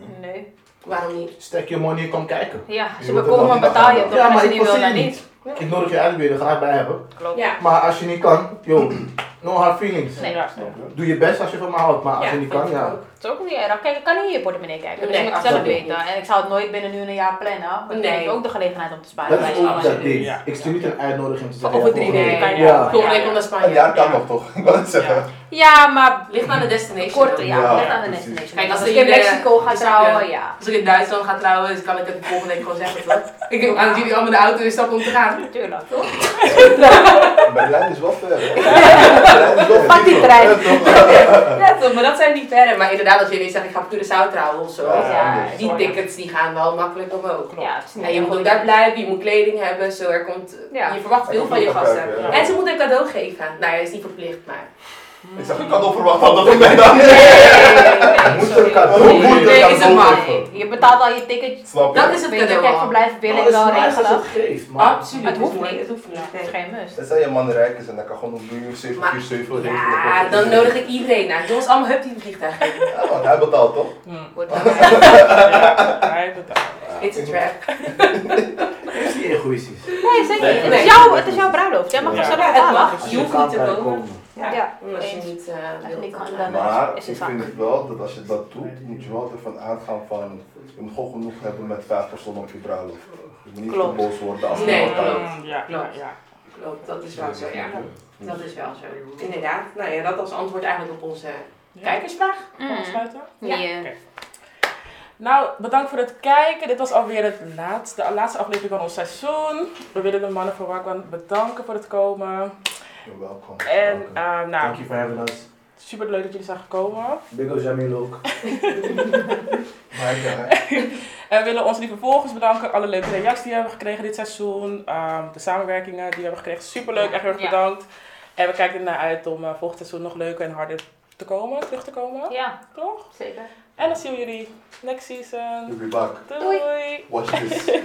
[SPEAKER 3] Nee.
[SPEAKER 5] Nee.
[SPEAKER 1] Waarom niet?
[SPEAKER 2] Stek je money, kom kijken.
[SPEAKER 5] Ja, als
[SPEAKER 3] Je moet
[SPEAKER 5] je me
[SPEAKER 3] het wel
[SPEAKER 5] komen
[SPEAKER 3] niet
[SPEAKER 5] betaal je
[SPEAKER 3] afhandelen.
[SPEAKER 5] toch? En als je niet
[SPEAKER 2] wil
[SPEAKER 5] wil, dan niet.
[SPEAKER 2] Ik nodig je uit, wil je er graag bij hebben.
[SPEAKER 5] Klopt.
[SPEAKER 1] Ja.
[SPEAKER 2] Maar als je niet kan, yo, no hard feelings.
[SPEAKER 5] Nee.
[SPEAKER 6] Ja,
[SPEAKER 3] Snap je?
[SPEAKER 2] Doe je best als je van me houdt, maar Nou, als
[SPEAKER 1] Ja,
[SPEAKER 2] je niet kan,
[SPEAKER 1] vind ik
[SPEAKER 2] ja.
[SPEAKER 1] ook.
[SPEAKER 5] Het is ook niet erg. Kijk, ik kan niet in je portemonnee kijken. Dus
[SPEAKER 1] Nee,
[SPEAKER 5] je moet het zelf
[SPEAKER 2] absoluut
[SPEAKER 5] weten. En ik zou het nooit binnen nu en een jaar plannen. Want
[SPEAKER 1] Nee.
[SPEAKER 5] dan heb je ook de gelegenheid om te sparen.
[SPEAKER 2] Dat is
[SPEAKER 5] bij je
[SPEAKER 2] ook
[SPEAKER 5] allemaal.
[SPEAKER 2] dat
[SPEAKER 1] absoluut.
[SPEAKER 2] ding.
[SPEAKER 6] Ja.
[SPEAKER 2] Ik stuur niet een uitnodiging te
[SPEAKER 5] Van
[SPEAKER 2] zeggen.
[SPEAKER 5] over
[SPEAKER 2] ja,
[SPEAKER 5] drie
[SPEAKER 2] volgende
[SPEAKER 5] weken
[SPEAKER 1] Nee.
[SPEAKER 5] kan je
[SPEAKER 2] Ja.
[SPEAKER 5] wel.
[SPEAKER 1] Volgende week om naar
[SPEAKER 3] Ah, Een jaar
[SPEAKER 1] Spanje.
[SPEAKER 3] kan nog toch? Ik wil het
[SPEAKER 6] Ja.
[SPEAKER 3] zeggen.
[SPEAKER 5] Ja, maar
[SPEAKER 1] Ligt aan de destination.
[SPEAKER 5] korter, ja.
[SPEAKER 3] Ja,
[SPEAKER 5] Net aan de
[SPEAKER 3] precies.
[SPEAKER 5] destination.
[SPEAKER 1] Kijk, als
[SPEAKER 5] als ik
[SPEAKER 1] je
[SPEAKER 5] in
[SPEAKER 1] de-
[SPEAKER 5] Mexico ga
[SPEAKER 1] dus ik,
[SPEAKER 5] trouwen,
[SPEAKER 1] eh,
[SPEAKER 5] ja.
[SPEAKER 1] Als ik in Duitsland ga trouwen, dus kan ik het de volgende week gewoon zeggen. toch? Ik heb aan jullie allemaal de auto in stap om te gaan.
[SPEAKER 5] Tuurlijk.
[SPEAKER 3] Berlijn is wel ver. hoor. Berlijn is wel
[SPEAKER 5] Pak die
[SPEAKER 3] ver.
[SPEAKER 5] trein.
[SPEAKER 3] Ja, toch?
[SPEAKER 1] Ja, toch, maar dat zijn niet verre. Maar inderdaad, als jullie zeggen, ik ga op Curaçao trouwen of zo.
[SPEAKER 3] Ja,
[SPEAKER 5] anders.
[SPEAKER 1] die tickets die gaan wel makkelijk omhoog.
[SPEAKER 5] Ja, het is niet
[SPEAKER 1] En je moet ook daar blijven, je moet kleding hebben, zo. Er komt,
[SPEAKER 5] Ja.
[SPEAKER 1] Je verwacht veel van je gasten.
[SPEAKER 3] Ja.
[SPEAKER 1] En ze moeten een cadeau geven. Nou ja, is niet verplicht, maar...
[SPEAKER 3] Ik zeg, ik had overwacht dat ik mij dan.
[SPEAKER 2] Moet er een cadeau?
[SPEAKER 3] Hoe moet
[SPEAKER 1] Nee,
[SPEAKER 3] ik
[SPEAKER 1] is
[SPEAKER 3] dat
[SPEAKER 1] het
[SPEAKER 3] dan
[SPEAKER 1] maar.
[SPEAKER 3] overgeven?
[SPEAKER 5] Je betaalt al je ticket.
[SPEAKER 3] Snap
[SPEAKER 1] Dat
[SPEAKER 3] je?
[SPEAKER 1] is het
[SPEAKER 5] Weet je,
[SPEAKER 1] cadeau
[SPEAKER 5] kijk,
[SPEAKER 1] al.
[SPEAKER 5] verblijf wil
[SPEAKER 2] Maar
[SPEAKER 5] ik
[SPEAKER 2] het is
[SPEAKER 5] wel
[SPEAKER 2] nice als
[SPEAKER 5] regelen.
[SPEAKER 2] het geeft, maar...
[SPEAKER 1] Absoluut.
[SPEAKER 5] Het hoeft niet.
[SPEAKER 1] Het hoeft niet.
[SPEAKER 5] Ja, het is geen must.
[SPEAKER 3] Stel je man rijk is en dan kan gewoon op 747 regelen.
[SPEAKER 1] Ja, dan nodig ik iedereen naar. Doe ons allemaal hup die vliegtuig.
[SPEAKER 3] Ja, Want hij betaalt toch?
[SPEAKER 6] Hm.
[SPEAKER 5] Wordt
[SPEAKER 6] Ja, hij betaalt.
[SPEAKER 1] It's a trap.
[SPEAKER 2] Het is niet egoïstisch.
[SPEAKER 5] Nee, zeker niet. Het
[SPEAKER 1] Nee.
[SPEAKER 5] is jouw, het is jouw bruiloft. Jij mag
[SPEAKER 6] Ja.
[SPEAKER 5] er zelf
[SPEAKER 1] Ja,
[SPEAKER 5] op
[SPEAKER 1] het mag.
[SPEAKER 5] wachten.
[SPEAKER 2] Als
[SPEAKER 1] Je hoeft
[SPEAKER 2] kan
[SPEAKER 1] niet te
[SPEAKER 2] blijven
[SPEAKER 1] komen.
[SPEAKER 5] Ja.
[SPEAKER 1] Als je
[SPEAKER 5] eens.
[SPEAKER 1] niet eh,
[SPEAKER 5] En
[SPEAKER 1] wilt.
[SPEAKER 5] ik kan dan-
[SPEAKER 3] Maar
[SPEAKER 5] Is
[SPEAKER 3] ik
[SPEAKER 5] het waar?
[SPEAKER 3] vind het wel dat als je dat doet, moet je wel ervan uitgaan van je moet gewoon genoeg hebben met vijf personen op je bruiloft. Je moet niet te
[SPEAKER 5] Klopt.
[SPEAKER 3] boos worden als
[SPEAKER 1] Nee,
[SPEAKER 3] iemand
[SPEAKER 1] klopt.
[SPEAKER 3] uit.
[SPEAKER 6] Hm, Ja, ja, ja.
[SPEAKER 1] Klopt, dat is wel zo, ja.
[SPEAKER 3] Dus
[SPEAKER 1] Dat is wel zo. Inderdaad. Nou ja, dat als antwoord eigenlijk op onze
[SPEAKER 6] Ja.
[SPEAKER 1] kijkersvraag.
[SPEAKER 6] Kan ik
[SPEAKER 5] Mm.
[SPEAKER 6] afsluiten?
[SPEAKER 1] Ja.
[SPEAKER 7] Ja.
[SPEAKER 6] Nou, bedankt voor het kijken. Dit was alweer het laatste, de laatste aflevering van ons seizoen. We willen de mannen van Wagwan bedanken voor het komen.
[SPEAKER 3] Welkom.
[SPEAKER 6] En eh, nou,
[SPEAKER 2] Thank you for having us.
[SPEAKER 6] super leuk dat jullie zijn gekomen.
[SPEAKER 2] Big up Jamil ook.
[SPEAKER 3] Mike, hè?
[SPEAKER 6] En we willen onze lieve volgers bedanken. Alle leuke reacties die we hebben gekregen dit seizoen. Ehm, de samenwerkingen die we hebben gekregen. Super leuk, echt heel erg
[SPEAKER 5] Ja.
[SPEAKER 6] bedankt. En we kijken ernaar uit om eh, volgend seizoen nog leuker en harder te komen, terug te komen.
[SPEAKER 7] ja,
[SPEAKER 6] Toch?
[SPEAKER 7] zeker.
[SPEAKER 6] En dan zien we jullie next season.
[SPEAKER 3] We'll be back.
[SPEAKER 6] Doei.
[SPEAKER 3] Watch this.